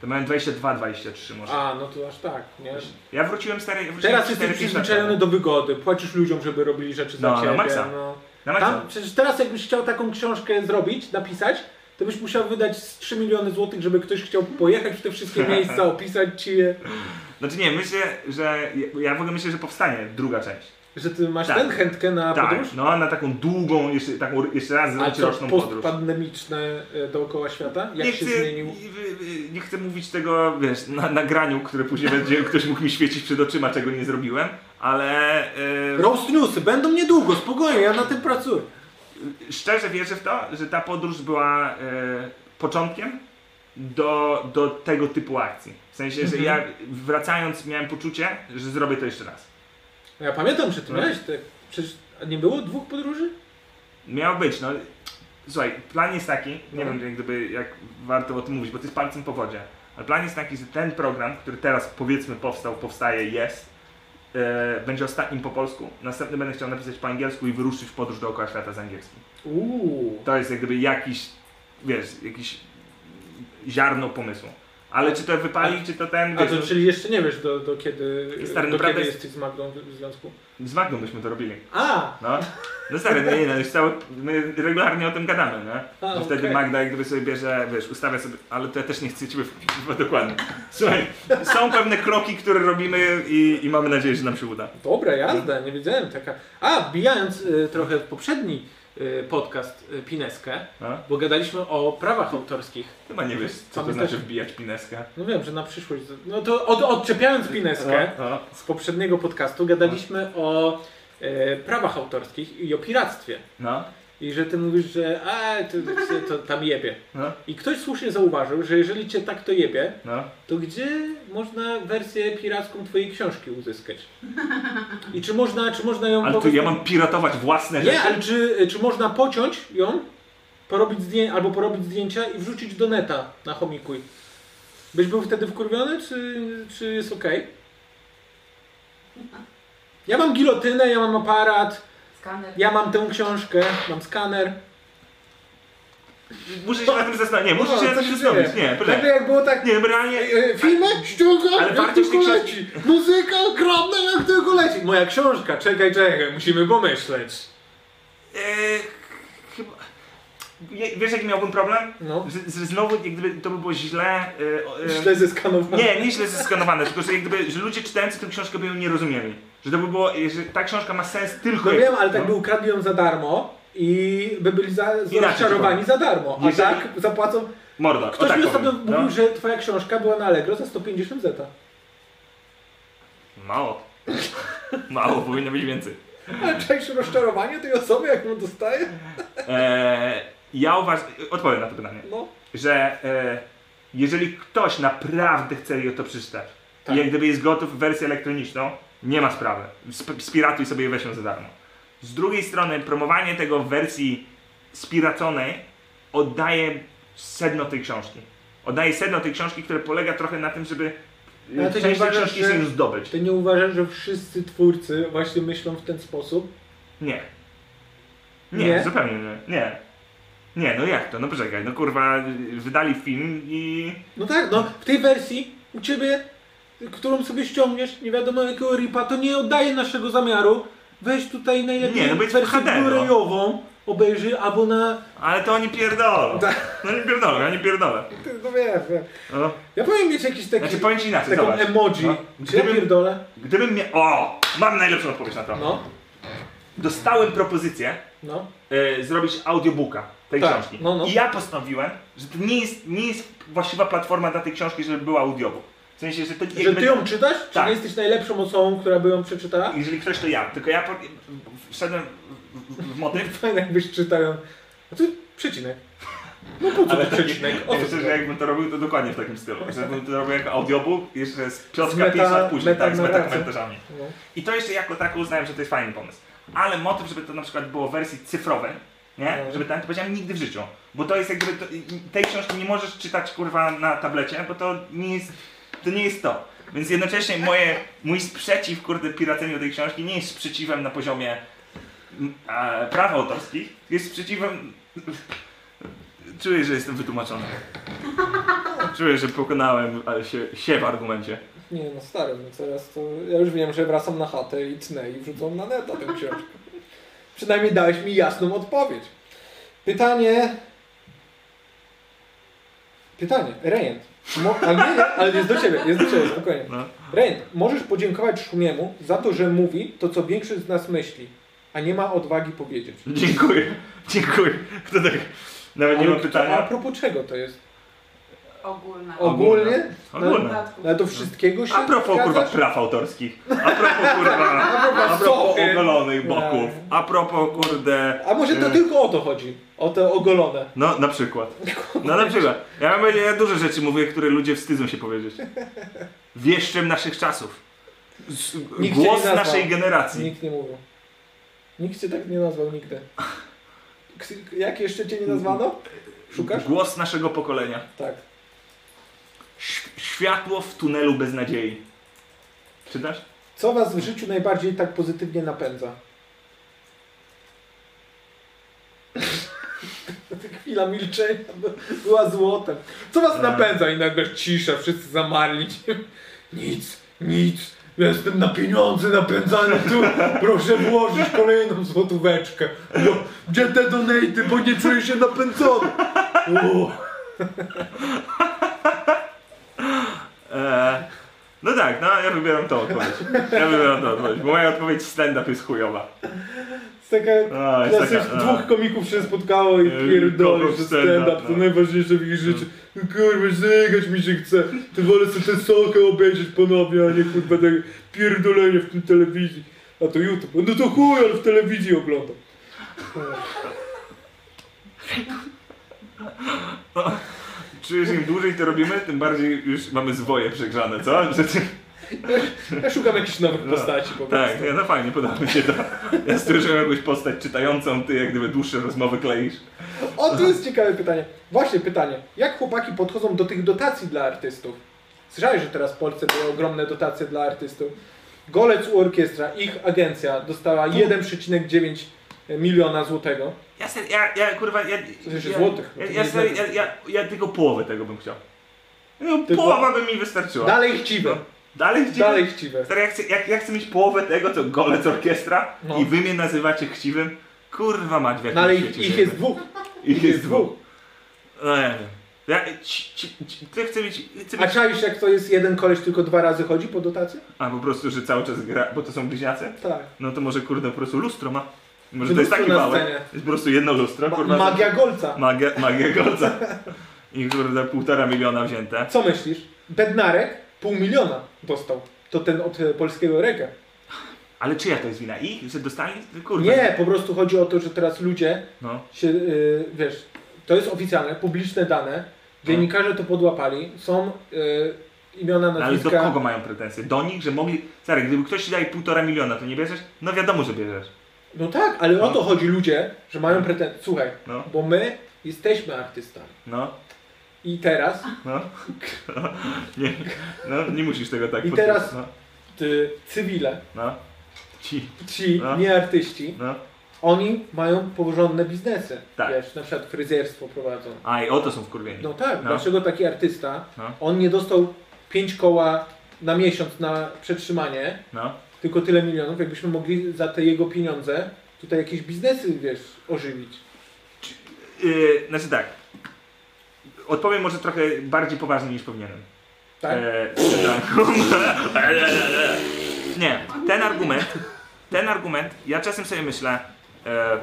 B: To miałem 22, 23 może.
D: A, no to aż tak, nie?
B: Ja wróciłem stary. Wróciłem
D: Teraz
B: cztery,
D: jesteś
B: pięć lat
D: przyzwyczajony
B: temu.
D: do wygody, płacisz ludziom, żeby robili rzeczy
B: No,
D: za
B: na
D: ciebie.
B: maksa.
D: No.
B: Na maksa.
D: Tam, przecież teraz jakbyś chciał taką książkę zrobić, napisać, to byś musiał wydać z 3 miliony złotych, żeby ktoś chciał pojechać w te wszystkie miejsca, opisać ci je.
B: Znaczy nie, myślę, że. ja- Ja w ogóle myślę, że powstanie druga część.
D: Że ty masz
B: Tak.
D: tę chętkę na
B: tak,
D: podróż?
B: no na taką długą, jeszcze, taką jeszcze raz
D: A
B: zrobić
D: co,
B: roczną podróż.
D: postpandemiczne e, dookoła świata? Jak
B: nie
D: się
B: chcę,
D: zmienił?
B: y, y, y, Nie chcę mówić tego, wiesz, na nagraniu, które później będzie ktoś mógł mi świecić przed oczyma, czego nie zrobiłem, ale. y,
D: Roast newsy, będą niedługo, spokojnie, ja na tym pracuję.
B: szczerze wierzę w to, że ta podróż była e, początkiem do, do tego typu akcji. W sensie, że ja wracając miałem poczucie, że zrobię to jeszcze raz.
D: No Ja pamiętam, że ty
B: No.
D: miałeś te... Przecież nie było dwóch podróży?
B: Miał być, no. Słuchaj, plan jest taki, nie
D: No.
B: wiem jak gdyby jak warto o tym mówić, bo to jest palcem po wodzie. Ale plan jest taki, że ten program, który teraz powiedzmy powstał, powstaje, jest, e, będzie ostatnim po polsku. Następny będę chciał napisać po angielsku i wyruszyć w podróż dookoła świata z angielskim.
D: Uuu.
B: To jest jak gdyby jakiś, wiesz, jakiś ziarno pomysłu. Ale czy to wypali, czy to ten,
D: A
B: wiesz, no,
D: to czyli jeszcze nie wiesz do, do kiedy,
B: Stary,
D: do
B: naprawdę
D: kiedy
B: jest-
D: jesteś z Magdą w związku?
B: z Magdą byśmy to robili.
D: A!
B: No, no stary, no nie, no, już cały, my regularnie o tym gadamy, nie?
D: A,
B: No wtedy
D: okej.
B: Magda jak gdyby sobie bierze, wiesz, ustawia sobie, ale to ja też nie chcę ciebie w- w- dokładnie. Słuchaj, są pewne kroki, które robimy i, i mamy nadzieję, że nam się uda.
D: Dobra jazda, nie wiedziałem taka. A, wbijając y, trochę w poprzedni y, podcast y, Pineskę,
B: No?
D: bo gadaliśmy o prawach autorskich.
B: Chyba nie wiesz, co to
D: Pamiętasz-
B: znaczy wbijać pineskę.
D: No wiem, że na przyszłość. No to od, odczepiając Pineskę
B: No, no.
D: z poprzedniego podcastu, gadaliśmy o y, prawach autorskich i o piractwie.
B: no,
D: I że ty mówisz, że a, to, to, to tam jebie.
B: no,
D: I ktoś słusznie zauważył, że jeżeli cię tak to jebie,
B: no.
D: to gdzie można wersję piracką twojej książki uzyskać? I czy można, czy można ją
B: Ale
D: po
B: to ja
D: prostu-
B: mam piratować własne
D: No, Nie,
B: rzeczy?
D: ale czy, czy można pociąć ją, porobić zdję- albo porobić zdjęcia i wrzucić do neta na chomikuj? Byś był wtedy wkurwiony, czy, czy jest okej? Ja mam gilotynę, ja mam aparat,
E: Skaner.
D: ja mam tę książkę, mam skaner.
B: Muszę się na tym zastanowić, nie, muszę
D: No,
B: się
D: co
B: na
D: się
B: tym zastanowić,
D: dzieje?
B: nie,
D: Nagle
B: poczekaj.
D: jak było tak,
B: Nie, realnie,
D: e, filmy, ściąga,
B: Ale
D: jak
B: wartość
D: tylko
B: tej
D: leci, muzyka ogromna, jak tylko leci. Moja książka, czekaj, czekaj, musimy pomyśleć.
B: Eee, chyba. Nie, Wiesz, jaki miałbym problem?
D: No,
B: Że, że znowu jak gdyby to by było źle. e, o, e,
D: źle zeskanowane.
B: Nie, nie źle zeskanowane, tylko że, jak gdyby, że ludzie czytający tę książkę by ją nie rozumieli. Że to by było. e, Że ta książka ma sens tylko.
D: No
B: jak-
D: wiem, ale tak
B: no.
D: by ukradli ją za darmo i by byli za,
B: Inaczej
D: rozczarowani za darmo. A
B: Jeżeli-
D: tak zapłacą.
B: Mordo. o
D: Ktoś
B: tak
D: mi ostatnio
B: powiem.
D: mówił, że twoja książka była na Allegro za 150 zeta.
B: no. Mało. Mało, powinno być więcej.
D: Ale czujesz rozczarowanie tej osoby, jak ją dostaje?
B: Eee, ja uważam. Odpowiem na to pytanie.
D: No.
B: że e, jeżeli ktoś naprawdę chce je to przeczytać
D: Tak.
B: i jak gdyby jest gotów w wersję elektroniczną, nie ma sprawy. Sp- spiratuj sobie i weź ją za darmo. Z drugiej strony promowanie tego w wersji spiraconej oddaje sedno tej książki. Oddaje sedno tej książki, które polega trochę na tym, żeby
D: Ale
B: e,
D: to nie
B: część tej
D: uważasz,
B: książki
D: że-
B: sobie zdobyć.
D: Ty nie uważasz, że wszyscy twórcy właśnie myślą w ten sposób?
B: Nie. Nie,
H: Nie?
B: zupełnie nie. Nie. Nie, no jak to? No poczekaj, no kurwa, y, wydali film i...
D: No tak, no w tej wersji u ciebie, którą sobie ściągniesz, nie wiadomo jakiego ripa, to nie oddaje naszego zamiaru. Weź tutaj najlepiej
B: Nie, no bo jest w
D: wersję
B: HD, no.
D: Blu-rayową, obejrzyj albo na...
B: Ale to oni pierdolą. No nie pierdolą, ja nie pierdolę.
D: No wiem, wiem.
B: No.
D: Ja powinien mieć jakiś taki...
B: Znaczy powiem ci inaczej,
D: taką
B: zobacz.
D: emoji.
B: No.
D: Czy ja
B: Gdybym,
D: pierdolę?
B: gdybym mnie... O! Mam najlepszą odpowiedź na to.
D: No,
B: Dostałem propozycję
D: no.
B: e, zrobić audiobooka tej
D: Tak,
B: książki.
D: no, no.
B: I ja postanowiłem, że to nie jest, nie jest właściwa platforma dla tej książki, żeby była audiobook. W sensie, że to
D: Że ty ją czytasz? Czy
B: Tak.
D: nie jesteś najlepszą osobą, która by ją przeczytała?
B: Jeżeli ktoś to ja, tylko ja po... wszedłem w- w- w motyw,
D: Fajnie jakbyś czytał ją. No to przecinek. No po co
B: Ale
D: tu przecinek? O co
B: Jeszcze,
D: tu
B: że jakbym to robił, to dokładnie w takim stylu. Jakbym to robił jako audiobook, jeszcze z
D: Z
B: piotka
D: meta-
B: 5 lat później, tak, z
D: metanarracją.
B: metakomentarzami.
D: No.
B: I to jeszcze jako tak uznałem, że to jest fajny pomysł. Ale motyw, żeby to na przykład było w wersji cyfrowej, nie?
D: No.
B: Żeby tam to powiedziałem nigdy w życiu. Bo to jest jak gdyby, to, tej książki nie możesz czytać kurwa na tablecie, bo to nie jest to. Nie jest to. Więc jednocześnie moje, mój sprzeciw, kurde, piraceniu tej książki nie jest sprzeciwem na poziomie m, a, praw autorskich, jest sprzeciwem... Czuję, że jestem wytłumaczony. Czuję, że pokonałem ale się, się w argumencie.
D: Nie no stary, no teraz to ja już wiem, że wracam na chatę i tnę i wrzucam na neta tę książkę. Przynajmniej dałeś mi jasną odpowiedź. Pytanie... Pytanie, Rejent. Mo- ale nie, nie, ale jest do ciebie, jest do ciebie, spokojnie.
B: No.
D: Rejent, możesz podziękować Szumiemu za to, że mówi to, co większość z nas myśli, a nie ma odwagi powiedzieć.
B: Dziękuję, dziękuję. Kto tak... Nawet nie
D: Ale
B: mam
D: kto- A
B: pytania.
D: propos czego to jest?
E: Ogólna.
D: Ogólnie?
B: Ogólne.
E: Dodatków.
D: No Ale do wszystkiego się
B: A propos kurwa
D: zgadzasz?
B: praw autorskich. A propos kurwa... A propos
D: sochy.
B: ogolonych boków. A propos kurde...
D: A może to
B: y,
D: tylko o to chodzi? O te ogolone.
B: No, na przykład. No na przykład. Ja, mam- ja dużo rzeczy mówię, które ludzie wstydzą się powiedzieć. Wieszczem naszych czasów. Z,
D: Nikt cię
B: głos
D: nie nazwał.
B: naszej generacji.
D: Nikt nie mówił. Nikt cię tak nie nazwał nigdy. Ksy- Jak jeszcze cię nie nazwano? Szukasz?
B: Głos naszego pokolenia.
D: Tak.
B: Ś- światło w tunelu bez nadziei. Czytasz?
D: Co was w życiu najbardziej tak pozytywnie napędza? Chwila milczenia by- była złotem. Co was
B: Tak.
D: napędza? I nagle cisza, wszyscy zamarli. Nic, nic. Ja Jestem na pieniądze napędzany tu. Proszę włożyć kolejną złotóweczkę. No, gdzie te donaty, bo nie czuję się napędzony. O,
B: Eee, no tak, no ja wybieram tą odpowiedź. Ja wybieram tą odpowiedź, bo moja odpowiedź stand-up jest chujowa.
D: jest taka
B: A, jest
D: Klasycz,
B: taka- e. a.
D: dwóch komików się spotkało i
B: Yy,
D: pierdoli,
B: kogoś
D: że
B: stand-up,
D: stand-up to
B: no.
D: najważniejsze w ich życiu. No Kurwa, zygać mi się chce. To wolę sobie tę sokę obejrzeć ponownie, a nie kurwa tak pierdolenie w tym telewizji. A to YouTube. No to chuj, ale w telewizji oglądam.
B: Czujesz, im dłużej to robimy, tym bardziej już mamy zwoje przegrzane, co? Że ty...
D: Ja szukam jakichś nowych
B: No,
D: postaci po prostu.
B: Tak, nie, no fajnie, podoba mi się to. Ja stworzyłem jakąś postać czytającą, ty jak gdyby dłuższe rozmowy kleisz.
D: O, to jest ciekawe pytanie. Właśnie pytanie. Jak chłopaki podchodzą do tych dotacji dla artystów? Słyszałeś, że teraz w Polsce były ogromne dotacje dla artystów. Golec u Orkiestra, ich agencja dostała 1,9 miliona złotego.
B: Ja, se, ja, ja kurwa, ja...
D: To znaczy
B: ja,
D: złotych,
B: Ja,
D: to
B: ja,
D: nie
B: se, ja,
D: znaczy.
B: ja, ja tylko połowę tego bym chciał. No,
D: Tylko-
B: połowa by mi wystarczyła.
D: Dalej chciwe.
B: Dalej chciwy?
D: Dalej chciwe.
B: Stary, ja chcę, ja, ja chcę mieć połowę tego, co golec orkiestra
D: No.
B: i wy mnie nazywacie chciwym. Kurwa mać w jakim
D: No ale ich,
B: świecie
D: ich
B: żyjemy.
D: jest dwóch.
B: Ich jest dwóch.
D: dwóch.
B: No ja wiem. Ja, ci, ci, ci, ty chcę mieć... Chcę
D: A
B: mieć...
D: czaisz jak to jest jeden koleś tylko dwa razy chodzi po dotację?
B: A po prostu, że cały czas gra, bo to są bliźniacy?
D: Tak.
B: No to może kurde po prostu lustro ma. Może
D: Czy
B: to jest
D: lustro
B: taki
D: na
B: mały.
D: scenie?
B: Jest po prostu jedno lustro,
D: Ma,
B: kurwa.
D: magia Golca.
B: Magia, magia golca. I kurde półtora miliona wzięte.
D: Co myślisz? Bednarek pół miliona dostał. To ten od e, polskiego reggae.
B: Ale czyja to jest wina? Ich? Że dostali? Kurde.
D: Nie, po prostu chodzi o to, że teraz ludzie
B: No.
D: się, y, wiesz, to jest oficjalne, publiczne dane, dziennikarze to podłapali, są y, imiona,
B: Ale do
D: nazwiska,
B: kogo mają pretensje? Do nich, że mogli... Stary, gdyby ktoś ci daje półtora miliona, to nie bierzesz? No wiadomo, że bierzesz.
D: no tak, ale o
B: No.
D: to chodzi ludzie, że mają pretensje, słuchaj,
B: No.
D: bo my jesteśmy artystami
B: No.
D: i teraz
B: No. Nie, no, nie musisz tego tak
D: I
B: podkreślać,
D: teraz-
B: No.
D: ty, cywile,
B: no. Ci.
D: ci
B: No.
D: nieartyści
B: No.
D: Oni mają porządne biznesy.
B: Tak.
D: Wiesz, na przykład fryzjerstwo prowadzą.
B: A i o to są wkurwieni.
D: No tak,
B: No.
D: dlaczego taki artysta,
B: No.
D: on nie dostał 5 koła na miesiąc na przetrzymanie,
B: No.
D: tylko tyle milionów, jakbyśmy mogli za te jego pieniądze tutaj jakieś biznesy, wiesz, ożywić.
B: Yy, znaczy tak. Odpowiem może trochę bardziej poważnie niż powinienem.
D: Tak?
B: E, tak. Nie, ten argument, ten argument, ja czasem sobie myślę, e,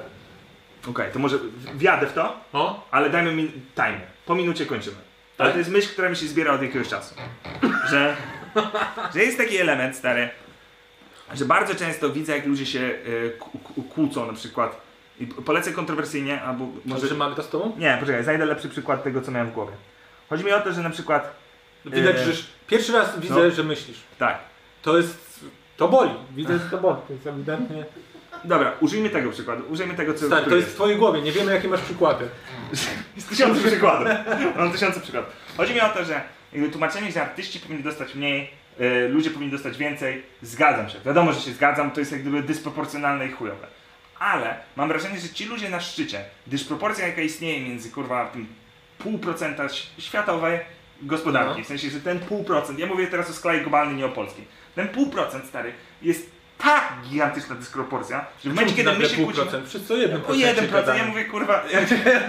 B: okej, to może wjadę w to,
D: O?
B: ale dajmy mi time. Po minucie kończymy.
D: Tak?
B: Ale to jest myśl, która mi się zbiera od jakiegoś czasu. Że, że jest taki element, stary, że bardzo często widzę, jak ludzie się e, ku- ku- kłócą na przykład. I polecę kontrowersyjnie, albo może...
D: Może mamy to z tobą?
B: Nie, poczekaj, znajdę lepszy przykład tego, co miałem w głowie. Chodzi mi o to, że na przykład,
D: Widać,
B: Eee.
D: że pierwszy raz widzę,
B: No.
D: że myślisz.
B: tak,
D: To jest... To boli. Widzę, że to boli. To jest ewidentnie...
B: Dobra, użyjmy tego przykładu. Użyjmy tego, co.
D: Stary,
B: który
D: to jest w twojej głowie. Nie wiemy, jakie masz przykłady.
B: Jest tysiące przykładów. Mam tysiące przykładów. Chodzi mi o to, że jakby tłumaczenie, że artyści powinni dostać mniej, e, ludzie powinni dostać więcej. Zgadzam się. Wiadomo, że się zgadzam, to jest jak gdyby dysproporcjonalne i chujowe. Ale mam wrażenie, że ci ludzie na szczycie, dysproporcja jaka istnieje między kurwa tym pół procenta ś- światowej
D: No.
B: gospodarki, w sensie, że ten pół procent, ja mówię teraz o skali globalnej, nie o polskiej, ten pół procent stary jest tak gigantyczna dysproporcja, że w momencie, kiedy my się kłócimy...
D: Wszyscy o jednym
B: O
D: procencie
B: 1%,
D: gadamy.
B: ja mówię kurwa, ja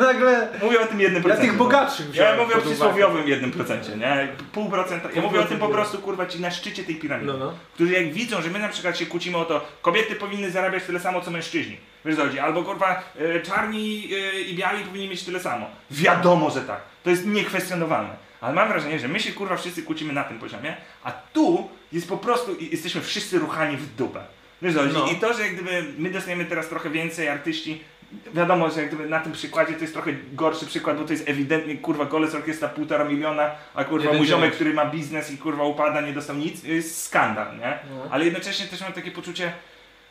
D: Nagle...
B: mówię o tym no. 1%.
D: Ja tych bogatszych
B: Ja
D: wziąłem
B: mówię o
D: pod uwagę.
B: przysłowiowym 1%, nie? Pół procenta. Ja mówię o tym po prostu kurwa ci na szczycie tej piramidy.
D: No, no.
B: Którzy jak widzą, że my na przykład się kłócimy o to, kobiety powinny zarabiać tyle samo co mężczyźni. Wiesz co chodzi? Albo kurwa e, czarni e, i biali powinni mieć tyle samo. Wiadomo, że tak. To jest niekwestionowalne. Ale mam wrażenie, że my się kurwa wszyscy kłócimy na tym poziomie, a tu jest po prostu, i- jesteśmy wszyscy ruchani w dupę. Wiesz co chodzi?
D: No.
B: I to, że jak gdyby my dostajemy teraz trochę więcej artyści, wiadomo, że jak gdyby na tym przykładzie to jest trochę gorszy przykład, bo to jest ewidentnie kurwa golec orkiestra półtora miliona, a kurwa
D: Jeden
B: mój ziomek,
D: dziewięć.
B: który ma biznes i kurwa upada, nie dostał nic, jest skandal, nie?
D: No.
B: Ale jednocześnie też mam takie poczucie,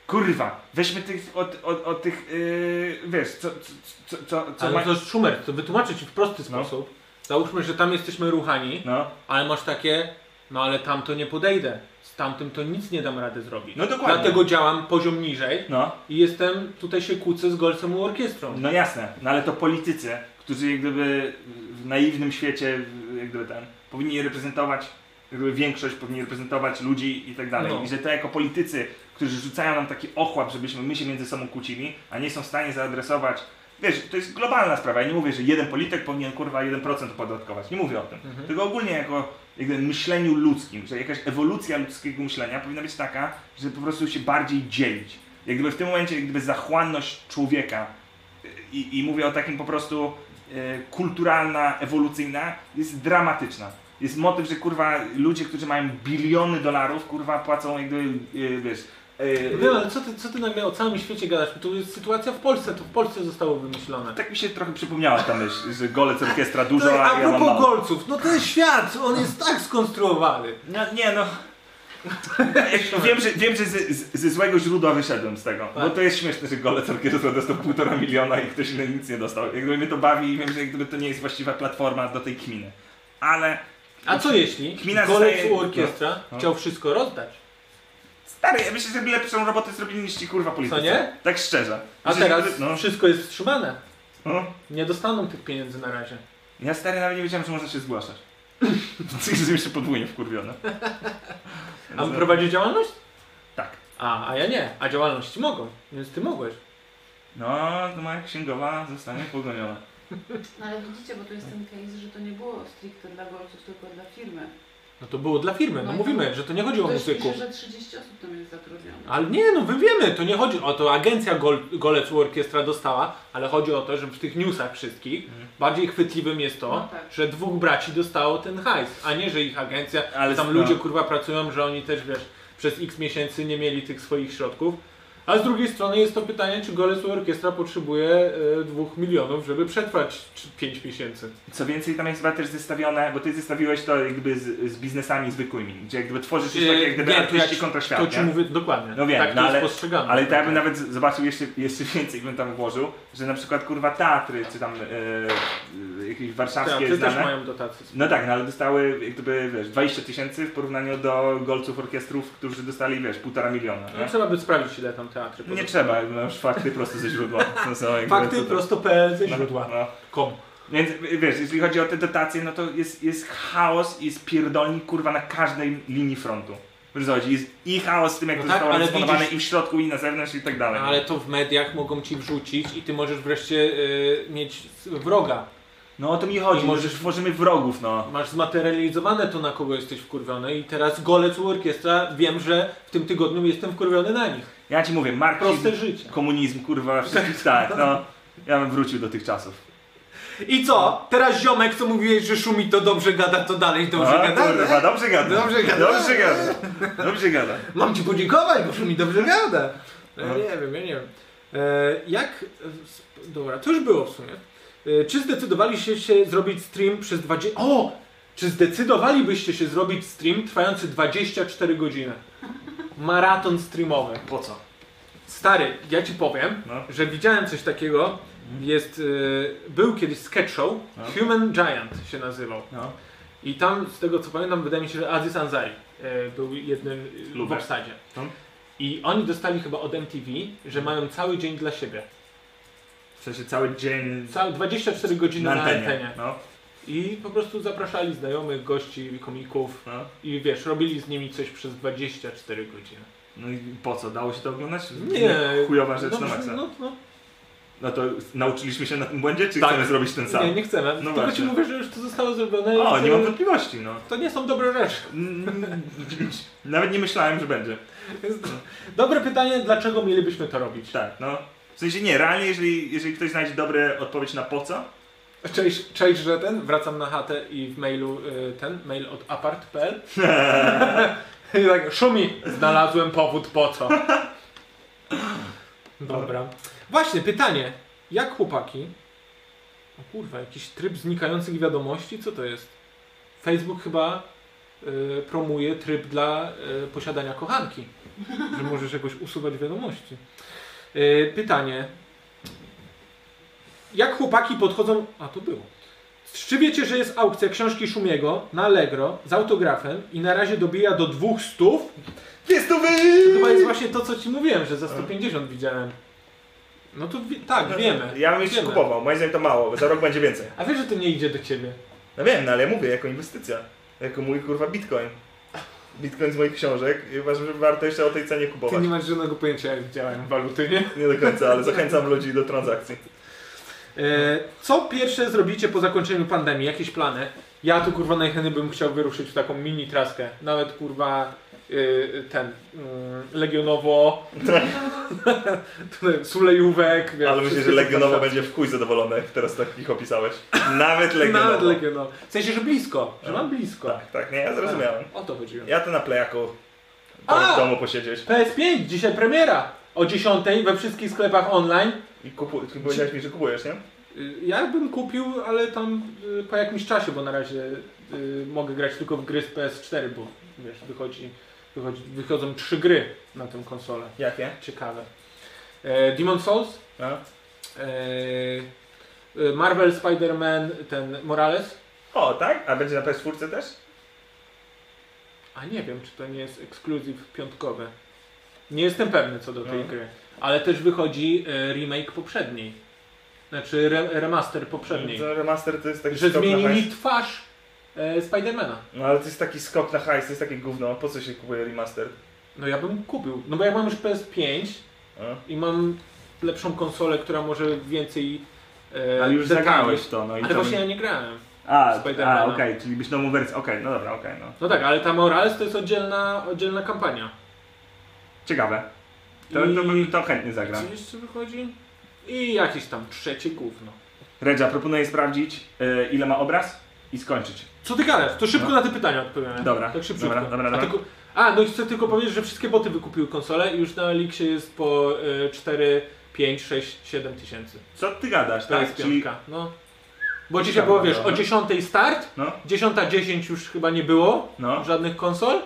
B: kurwa, weźmy tych, od, od, od tych, yy, wiesz, co, co, co, co, co
D: Ale to jest Schumer, to wytłumaczę ci w prosty
B: No.
D: sposób. Załóżmy, że tam jesteśmy ruchani,
B: No,
D: ale masz takie, no ale tam to nie podejdę. Z tamtym to nic nie dam rady zrobić.
B: No dokładnie.
D: Dlatego działam poziom niżej
B: no,
D: i jestem, tutaj się kłócę z golcem u orkiestrą.
B: no jasne, no ale to politycy, którzy jak gdyby w naiwnym świecie, jak gdyby ten, powinni reprezentować, jak gdyby większość powinni reprezentować ludzi i tak dalej.
D: No.
B: I że to jako politycy, którzy rzucają nam taki ochłap, żebyśmy my się między sobą kłócili, a nie są w stanie zaadresować, wiesz, to jest globalna sprawa, ja nie mówię, że jeden polityk powinien kurwa 1% opodatkować, nie mówię o tym, tylko ogólnie jako jakby myśleniu ludzkim, że jakaś ewolucja ludzkiego myślenia powinna być taka, że po prostu się bardziej dzielić. Jak gdyby w tym momencie jak gdyby zachłanność człowieka i, i mówię o takim po prostu e, kulturalna, ewolucyjna, jest dramatyczna. Jest motyw, że kurwa ludzie, którzy mają biliony dolarów, kurwa płacą jakby, e, wiesz... e,
D: Wiem, ale co ty, co ty nagle o całym świecie gadasz? To jest sytuacja w Polsce, to w Polsce zostało wymyślone.
B: tak mi się trochę przypomniała ta myśl, że golec orkiestra dużo,
D: No,
B: a
D: a
B: ja mam
D: propos
B: mało.
D: golców, no ten świat, on jest tak skonstruowany.
B: No, nie no... wiem, że, wiem, że ze, z- ze złego źródła wyszedłem z tego,
D: Tak.
B: bo to jest śmieszne, że golec orkiestra dostał półtora miliona i ktoś inny nic nie dostał. Jakby mnie to bawi i wiem, że jakby to nie jest właściwa platforma do tej kminy. Ale
D: A co jeśli
B: Gmina
D: golec
B: Znaczy, zostaje-
D: u orkiestra
B: no.
D: chciał wszystko rozdać?
B: Stary, ja myślę, że lepszą robotę zrobili niż ci kurwa politycy.
D: Co nie?
B: Tak szczerze.
D: A
B: Myślę, że
D: teraz
B: gdyby- No,
D: wszystko jest wstrzymane.
B: no.
D: Nie dostaną tych pieniędzy na razie.
B: Ja stary nawet nie wiedziałem, że można się zgłaszać. Jestem jeszcze podwójnie wkurwiony.
D: A on prowadzi działalność?
B: Tak.
D: A, a ja nie. A działalności mogą, więc ty mogłeś.
B: No, to moja księgowa zostanie pogoniona.
E: No ale widzicie, bo tu jest ten case, że to nie było stricte dla golców, tylko dla firmy.
D: No to było dla firmy, no
E: No i
D: mówimy, że to nie chodzi o
E: Ktoś pisze,
D: muzyków.
E: że 30 osób tam jest zatrudnionych.
D: Ale nie, no wy wiemy, to nie chodzi o to, agencja gol, Golec u Orkiestra dostała, ale chodzi o to, że w tych newsach wszystkich bardziej chwytliwym jest to,
E: No tak.
D: że dwóch braci dostało ten hajs, a nie, że ich agencja,
B: Ale
D: ale tam
B: no.
D: ludzie kurwa pracują, że oni też, wiesz, przez x miesięcy nie mieli tych swoich środków. A z drugiej strony jest to pytanie, czy Golec u Orkiestra potrzebuje e, dwóch milionów, żeby przetrwać 5 miesięcy.
B: Co więcej, tam jest chyba też zestawione, bo ty zestawiłeś to jakby z, z biznesami zwykłymi, gdzie jakby tworzysz już takie jak gdyby
D: Yy, Nie, to ja
B: artyści
D: ci-
B: kontra świat,
D: To ci
B: nie?
D: mówię dokładnie.
B: Tak, No wiem,
D: tak to
B: no
D: jest
B: ale-
D: postrzegane. Tak.
B: Ale to ja bym nawet z- zobaczył jeszcze, jeszcze więcej, bym tam włożył, że na przykład kurwa teatry, czy tam e, e, jakieś warszawskie
D: Teatry
B: znane.
D: też mają dotacje.
B: No tak, no ale dostały jak gdyby, wiesz, 20 tysięcy w porównaniu do golców orkiestrów, którzy dostali, wiesz, półtora miliona.
D: No,
B: Nie?
D: trzeba by sprawdzić ile tam teatrze.
B: Nie trzeba, jakby masz fakty prosto ze źródła. To są jakby
D: No Fakty
B: tutaj-
D: prosto.pl ze
B: no,
D: źródła.
B: No.
D: Kom.
B: Więc wiesz, jeśli chodzi o te dotacje, no to jest, jest chaos i jest pierdolnik kurwa na każdej linii frontu. Wiesz, co chodzi? Jest i chaos z tym, jak
D: No
B: to
D: tak,
B: zostało
D: ale
B: rozdysponowane
D: widzisz- No
B: i w środku, i na zewnątrz, i tak dalej.
D: Ale to w mediach mogą ci wrzucić i ty możesz wreszcie y, mieć wroga.
B: No o to mi chodzi,
D: I możesz-
B: możesz, możemy wrogów, no.
D: Masz zmaterializowane to, na kogo jesteś wkurwiony i teraz golec u orkiestra, wiem, że w tym tygodniu jestem wkurwiony na nich.
B: Ja ci mówię, marksizm,
D: Proste życie.
B: komunizm, kurwa, wszystkich tak, no. Ja bym wrócił do tych czasów.
D: I co? Teraz ziomek, co mówiłeś, że szumi, to dobrze gada, to dalej dobrze
B: A,
D: gada.
B: No, Kurwa, dobrze gada.
D: Dobrze gada.
B: Dobrze gada. Dobrze gada.
D: Mam ci podziękować, bo szumi dobrze gada. Ja E, nie wiem, ja nie wiem. E, jak... sp- Dobra, to już było w sumie. E, czy zdecydowaliście się zrobić stream przez 20... O! Czy zdecydowalibyście się zrobić stream trwający 24 godziny? Maraton streamowy.
B: Po co?
D: Stary, ja ci powiem,
B: No.
D: że widziałem coś takiego. Jest, y, był kiedyś sketch show,
B: No.
D: Human Giant się nazywał.
B: No.
D: I tam, z tego co pamiętam, wydaje mi się, że Aziz Ansari y, był jednym y,
B: Lubię.
D: w obsadzie.
B: No.
D: I oni dostali chyba od MTV, że mają cały dzień dla siebie.
B: W sensie cały dzień
D: Cały 24 godziny
B: na antenie.
D: Na antenie.
B: No,
D: I po prostu zapraszali znajomych, gości, komików
B: no.
D: i wiesz, robili z nimi coś przez 24 godziny.
B: no i po co? Dało się to oglądać?
D: Nie.
B: Chujowa rzecz
D: no,
B: na
D: brzmi-
B: maksa.
D: no, no,
B: No to nauczyliśmy się na tym błędzie, czy
D: Tak.
B: chcemy zrobić ten sam? No
D: nie, nie chcemy. Tylko
B: właśnie.
D: ci mówię, że już to zostało zrobione.
B: O,
D: i
B: nie mam wątpliwości, no.
D: To nie są dobre rzeczy.
B: Mm, Nawet nie myślałem, że będzie.
D: Jest- Dobre pytanie, dlaczego mielibyśmy to robić?
B: Tak, no. W sensie nie, realnie, jeżeli, jeżeli ktoś znajdzie dobre odpowiedź na po co,
D: Cześć, cześć, że ten, wracam na chatę i w mailu y, ten, mail od apart.pl I tak, szumi, znalazłem powód po co. Dobra. Właśnie, pytanie. Jak chłopaki... O kurwa, jakiś tryb znikających wiadomości? Co to jest? Facebook chyba y, promuje tryb dla y, posiadania kochanki. Że możesz jakoś usuwać wiadomości. Y, pytanie. Jak chłopaki podchodzą. A to było. Czy wiecie, że jest aukcja książki Szumiego na Allegro z autografem i na razie dobija do 200?
B: jest to wy!
D: To chyba jest właśnie to, co ci mówiłem, że za 150 widziałem. No to wi- tak, wiemy.
B: Ja bym jeszcze
D: wiemy.
B: kupował, moim zdaniem to mało, bo za rok będzie więcej.
D: A wiesz, że to nie idzie do ciebie.
B: No wiem, no ale ja mówię, jako inwestycja. Jako mój kurwa bitcoin. Bitcoin z moich książek i uważam, że warto jeszcze o tej cenie
D: Ty
B: kupować.
D: nie masz żadnego pojęcia, jak działają waluty, nie?
B: Nie do końca, ale zachęcam ludzi do transakcji.
D: E, co pierwsze zrobicie po zakończeniu pandemii? Jakieś plany? Ja tu kurwa najchętniej bym chciał wyruszyć w taką mini traskę. Nawet kurwa y, ten y, legionowo. tutaj Sulejówek. wiesz,
B: Ale myślę,
D: wszystkie
B: że
D: te
B: Legionowo
D: trasy.
B: będzie w chuj zadowolony, jak teraz tak ich opisałeś. Nawet Legionowo.
D: Nawet legionowo. W sensie, że blisko, że
B: No.
D: mam blisko.
B: Tak, tak, nie, ja zrozumiałem.
D: O to chodziło.
B: Ja to na plejaku
D: A!
B: w domu posiedzieć.
D: PS5, dzisiaj premiera. O 10 we wszystkich sklepach online.
B: I kupu... ty powiedziałeś mi, że kupujesz, nie?
D: Y, Ja bym kupił, ale tam y, po jakimś czasie, bo na razie y, mogę grać tylko w gry z PS4, bo wiesz, wychodzi, wychodzi, wychodzą trzy gry na tę konsolę.
B: Jakie?
D: Ciekawe. E, Demon Souls,
B: A?
D: e, e, Marvel Spider-Man, ten Morales.
B: O, tak? A będzie na PS4 też?
D: A nie wiem, czy to nie jest ekskluzyw piątkowy. Nie jestem pewny co do tej
B: No.
D: gry. Ale też wychodzi e, remake poprzedniej. Znaczy re, remaster poprzedniej.
B: To remaster to jest taki
D: Że
B: skok na hajs.
D: zmienili twarz e, Spidermana.
B: No ale to jest taki skok na hajs, to jest takie gówno. Po co się kupuje remaster?
D: No ja bym kupił. No bo jak mam już PS5
B: A?
D: i mam lepszą konsolę, która może więcej. E,
B: Ale już
D: detali.
B: zagrałeś w to, no i
D: Ale
B: to...
D: właśnie ja nie grałem.
B: A, a okej,
D: Spidermana.
B: czyli byś nową wersję, okej, no dobra, okej, no.
D: No tak, ale ta Morales to jest oddzielna, oddzielna kampania.
B: Ciekawe. To,
D: I-
B: to bym to chętnie zagrał.
D: Co jeszcze wychodzi? I jakieś tam trzecie gówno.
B: Redzia, proponuję sprawdzić, e, ile ma obraz i skończyć.
D: Co ty gadasz? To szybko
B: No.
D: na te pytania odpowiemy.
B: Dobra,
D: Tak szybciutko.
B: dobra, dobra,
D: A,
B: dobra.
D: tylko, a, no i chcę tylko powiedzieć, że wszystkie boty wykupiły konsole i już na Elixie jest po e, 4, 5, 6, 7 tysięcy.
B: Co ty gadasz,
D: To jest
B: tak? Czyli,
D: piątka. No. Bo dzisiaj było, wiesz, o 10 start,
B: no,
D: 10.10 już chyba nie było
B: no.
D: żadnych konsol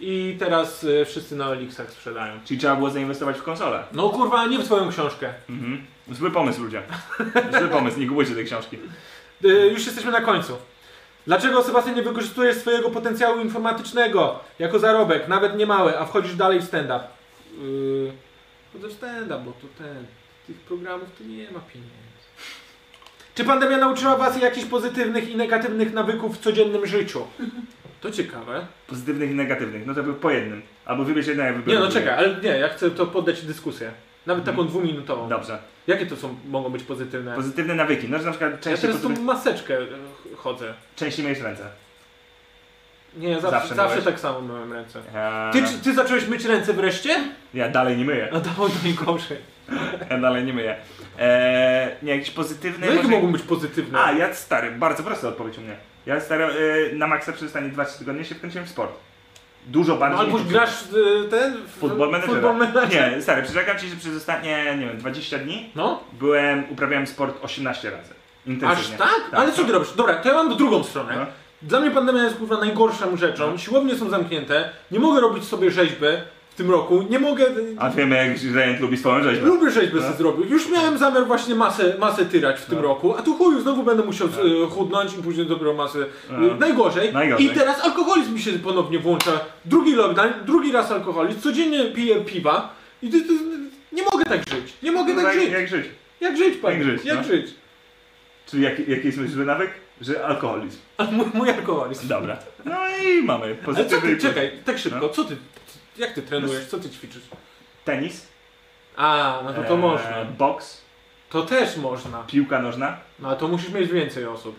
D: i teraz y, wszyscy na Elixach sprzedają.
B: Czyli trzeba było zainwestować w konsolę.
D: No kurwa, nie w twoją książkę.
B: Mhm. Zły pomysł, ludzie. Zły pomysł, nie kupujcie tej książki.
D: Y, już jesteśmy na końcu. Dlaczego Sebastian nie wykorzystujesz swojego potencjału informatycznego jako zarobek, nawet nie mały, a wchodzisz dalej E, w stand-up? Yy, do stand bo to ten, tych programów tu nie ma pieniędzy. Czy pandemia nauczyła was jakichś pozytywnych i negatywnych nawyków w codziennym życiu? To ciekawe.
B: Pozytywnych i negatywnych, no to był po jednym. Albo wybierz jedną, ja wybiorę
D: Nie no
B: drugie.
D: czekaj, ale nie, ja chcę to poddać dyskusję. Nawet taką dwuminutową.
B: Dobrze.
D: Jakie to są, mogą być pozytywne?
B: Pozytywne nawyki, no że na przykład
D: Ja
B: częściej,
D: teraz
B: potem,
D: tą maseczkę e, ch- chodzę.
B: częściej myjesz ręce.
D: Nie, zawsze, zawsze,
B: Zawsze myłeś?
D: tak samo myłem ręce.
B: Eee,
D: Ty, czy- ty zacząłeś myć ręce wreszcie?
B: Ja dalej nie myję,
D: No to to mi gorzej.
B: ja dalej nie myję. Eee, nie, jakieś pozytywne...
D: No jakie
B: może-
D: mogą być pozytywne? No,
B: A, ja stary, bardzo prosta odpowiedź u mnie. Ja stary, e, na maksa przez ostatnie 2-3 tygodnie się wkręciłem w sport. Dużo
D: No,
B: bardziej...
D: albo
B: niż-
D: grasz y, ten... w-
B: Futbol menedżera.
D: Futbol menedżera.
B: Nie, stary, przyrzekam ci, że przez ostatnie, nie wiem, 20 dni
D: No,
B: byłem, uprawiałem sport 18 razy.
D: aż
B: Intensywnie.
D: tak? Ale co ty robisz? Dobra, to ja mam drugą stronę.
B: No.
D: Dla mnie pandemia jest kurwa najgorszą rzeczą. Siłownie są zamknięte, nie mogę robić sobie rzeźby w tym roku, nie mogę... y,
B: A wiemy, jak Rejent lubi swoją rzeźbę.
D: Lubię rzeźby
B: No.
D: sobie zrobił. Już miałem zamiar właśnie masę, masę tyrać w tym
B: No.
D: roku, a tu chuju, znowu będę musiał y, chudnąć i później dopiero masę. y,
B: No.
D: Najgorzej.
B: Najgorzej.
D: I teraz alkoholizm mi się ponownie włącza. Drugi lockdown, drugi raz alkoholizm, codziennie piję piwa i ty, ty, nie mogę tak żyć. Nie mogę tak
B: jak,
D: żyć.
B: jak żyć?
D: Jak żyć, panie?
B: Jak żyć,
D: Jak
B: no.
D: żyć?
B: Czyli jaki, jaki jest mój zły nawyk? Że alkoholizm.
D: A mój, mój alkoholizm.
B: Dobra. No i mamy
D: Ale co
B: pozytywy.
D: ty, czekaj, tak szybko,
B: No.
D: co ty, jak ty trenujesz, co ty ćwiczysz?
B: Tenis.
D: A, no to to
B: e,
D: można.
B: Boks.
D: To też można.
B: Piłka nożna.
D: No a to musisz mieć więcej osób.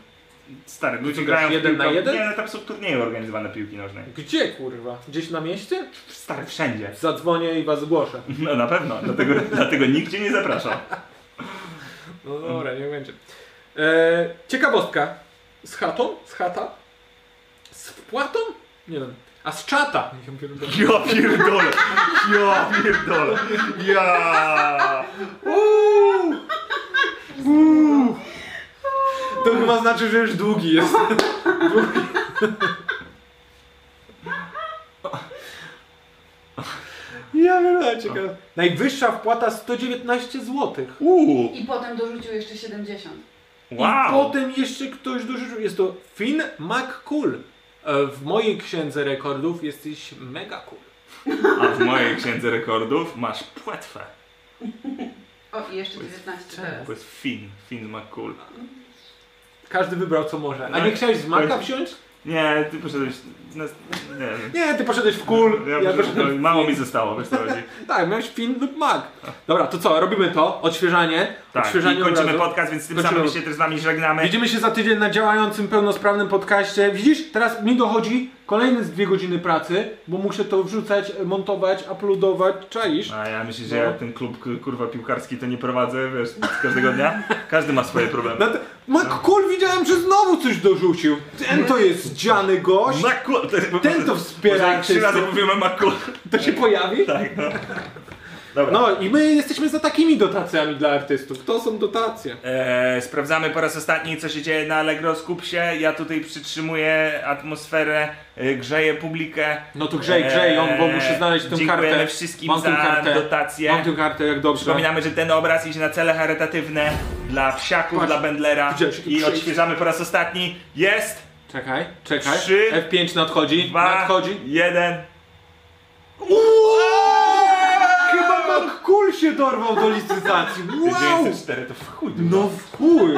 B: Stary, ludzie
D: co,
B: grają
D: grasz
B: w
D: jeden
B: piłkę-
D: na jeden?
B: Nie, ale tam są turnieje organizowane piłki nożnej.
D: Gdzie kurwa? Gdzieś na mieście?
B: Stary, wszędzie.
D: Zadzwonię i was zgłoszę.
B: No na pewno. Dlatego, dlatego nikt cię nie zaprasza.
D: No dobra, nie będzie. E, ciekawostka. Z chatą? Z chata? Z wpłatą? Nie wiem. A z czata? Nie wiem, pierdolę.
B: Ja pierdolę. Ja pierdolę. Ja.
D: Uuu! Uuu! To chyba znaczy, że już długi jest. Długi. Ja wiem, ciekawe. Najwyższa wpłata 119 zł.
B: Uuu.
E: I potem dorzucił jeszcze 70.
B: Wow.
D: I potem jeszcze ktoś dorzucił. Jest to Finn McCool. E, W mojej księdze rekordów jesteś mega cool.
B: A w mojej księdze rekordów masz płetwę.
E: O, i jeszcze 19 teraz.
B: To jest Finn. Finn McCool.
D: Każdy wybrał co może. A
B: No
D: nie
B: i-
D: chciałeś z Maca
B: powiedz-
D: wziąć?
B: Nie, ty poszedłeś... No, nie wiem.
D: Nie, ty poszedłeś w cool.
B: Ja poszedłem, mało mi zostało, wiesz co chodzi.
D: Tak, miałeś Finn lub Mac. Dobra, to co? Robimy to. Odświeżanie.
B: Tak, i
D: odświeżanie
B: kończymy
D: obrazu.
B: podcast, więc tym
D: Kończymy.
B: samym się też z nami żegnamy.
D: Widzimy się za tydzień na działającym, pełnosprawnym podcaście. Widzisz, teraz mi dochodzi kolejne z dwie godziny pracy, bo muszę to wrzucać, montować, uploadować, czaisz?
B: A ja myślę, że
D: No.
B: ja ten klub k- kurwa piłkarski to nie prowadzę, wiesz, z każdego dnia. Każdy ma swoje problemy.
D: Na te... McCool widziałem, że znowu coś dorzucił. Ten to jest dziany gość.
B: Makul!
D: no, Ten to wspiera
B: Trzy razy
D: artystów.
B: mówimy Makul.
D: To się pojawi?
B: Tak, no. Dobra.
D: No i my jesteśmy za takimi dotacjami dla artystów. To są dotacje.
B: Eee, sprawdzamy po raz ostatni, co się dzieje na Allegro. Skup się. Ja tutaj przytrzymuję atmosferę, e, grzeję publikę.
D: No to grzej, grzej ją, bo muszę znaleźć tę
B: Eee, Dziękujemy
D: kartę.
B: wszystkim
D: Mam tę
B: za
D: kartę.
B: dotację.
D: Mam tę kartę, jak dobrze.
B: Przypominamy, że ten obraz idzie na cele charytatywne dla psiaków,
D: Patrz,
B: dla Bendlera
D: widziałeś, jaki
B: i
D: przejście.
B: odświeżamy po raz ostatni. Jest!
D: Czekaj, czekaj.
B: Trzy,
D: F5 nadchodzi,
B: Dwa,
D: nadchodzi.
B: jeden.
D: Chyba McCool się dorwał do licytacji. Wow!
B: 904 to w chuj.
D: No w chuj!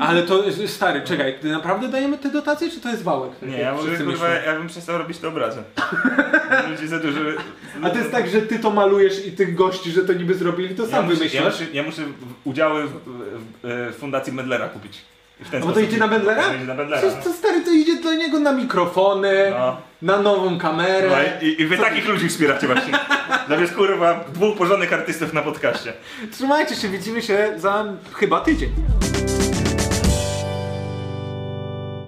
D: Ale to, stary, czekaj, naprawdę dajemy te dotacje, czy to jest wałek?
B: Nie,
D: Jak
B: ja, może,
D: wszyscy
B: kurwa,
D: myślą?
B: ja bym przestał robić te obrazy. Ludzie za dużo...
D: A to jest tak, że ty to malujesz i tych gości, że to niby zrobili, to sam
B: muszę- Ja
D: wymyślasz?
B: muszę, ja muszę w- udziały w, w, e, w fundacji Medlera kupić. I w ten
D: A bo to
B: sposób-
D: idzie na Bendlera?
B: To idzie na Bendlera.
D: Przecież to stary, to idzie do niego na mikrofony,
B: No.
D: na nową
B: No
D: kamerę.
B: i, I wy takich ludzi wspieracie właśnie. Zamiast kurwa dwóch porządnych artystów na podcaście.
D: Trzymajcie się, widzimy się za chyba tydzień.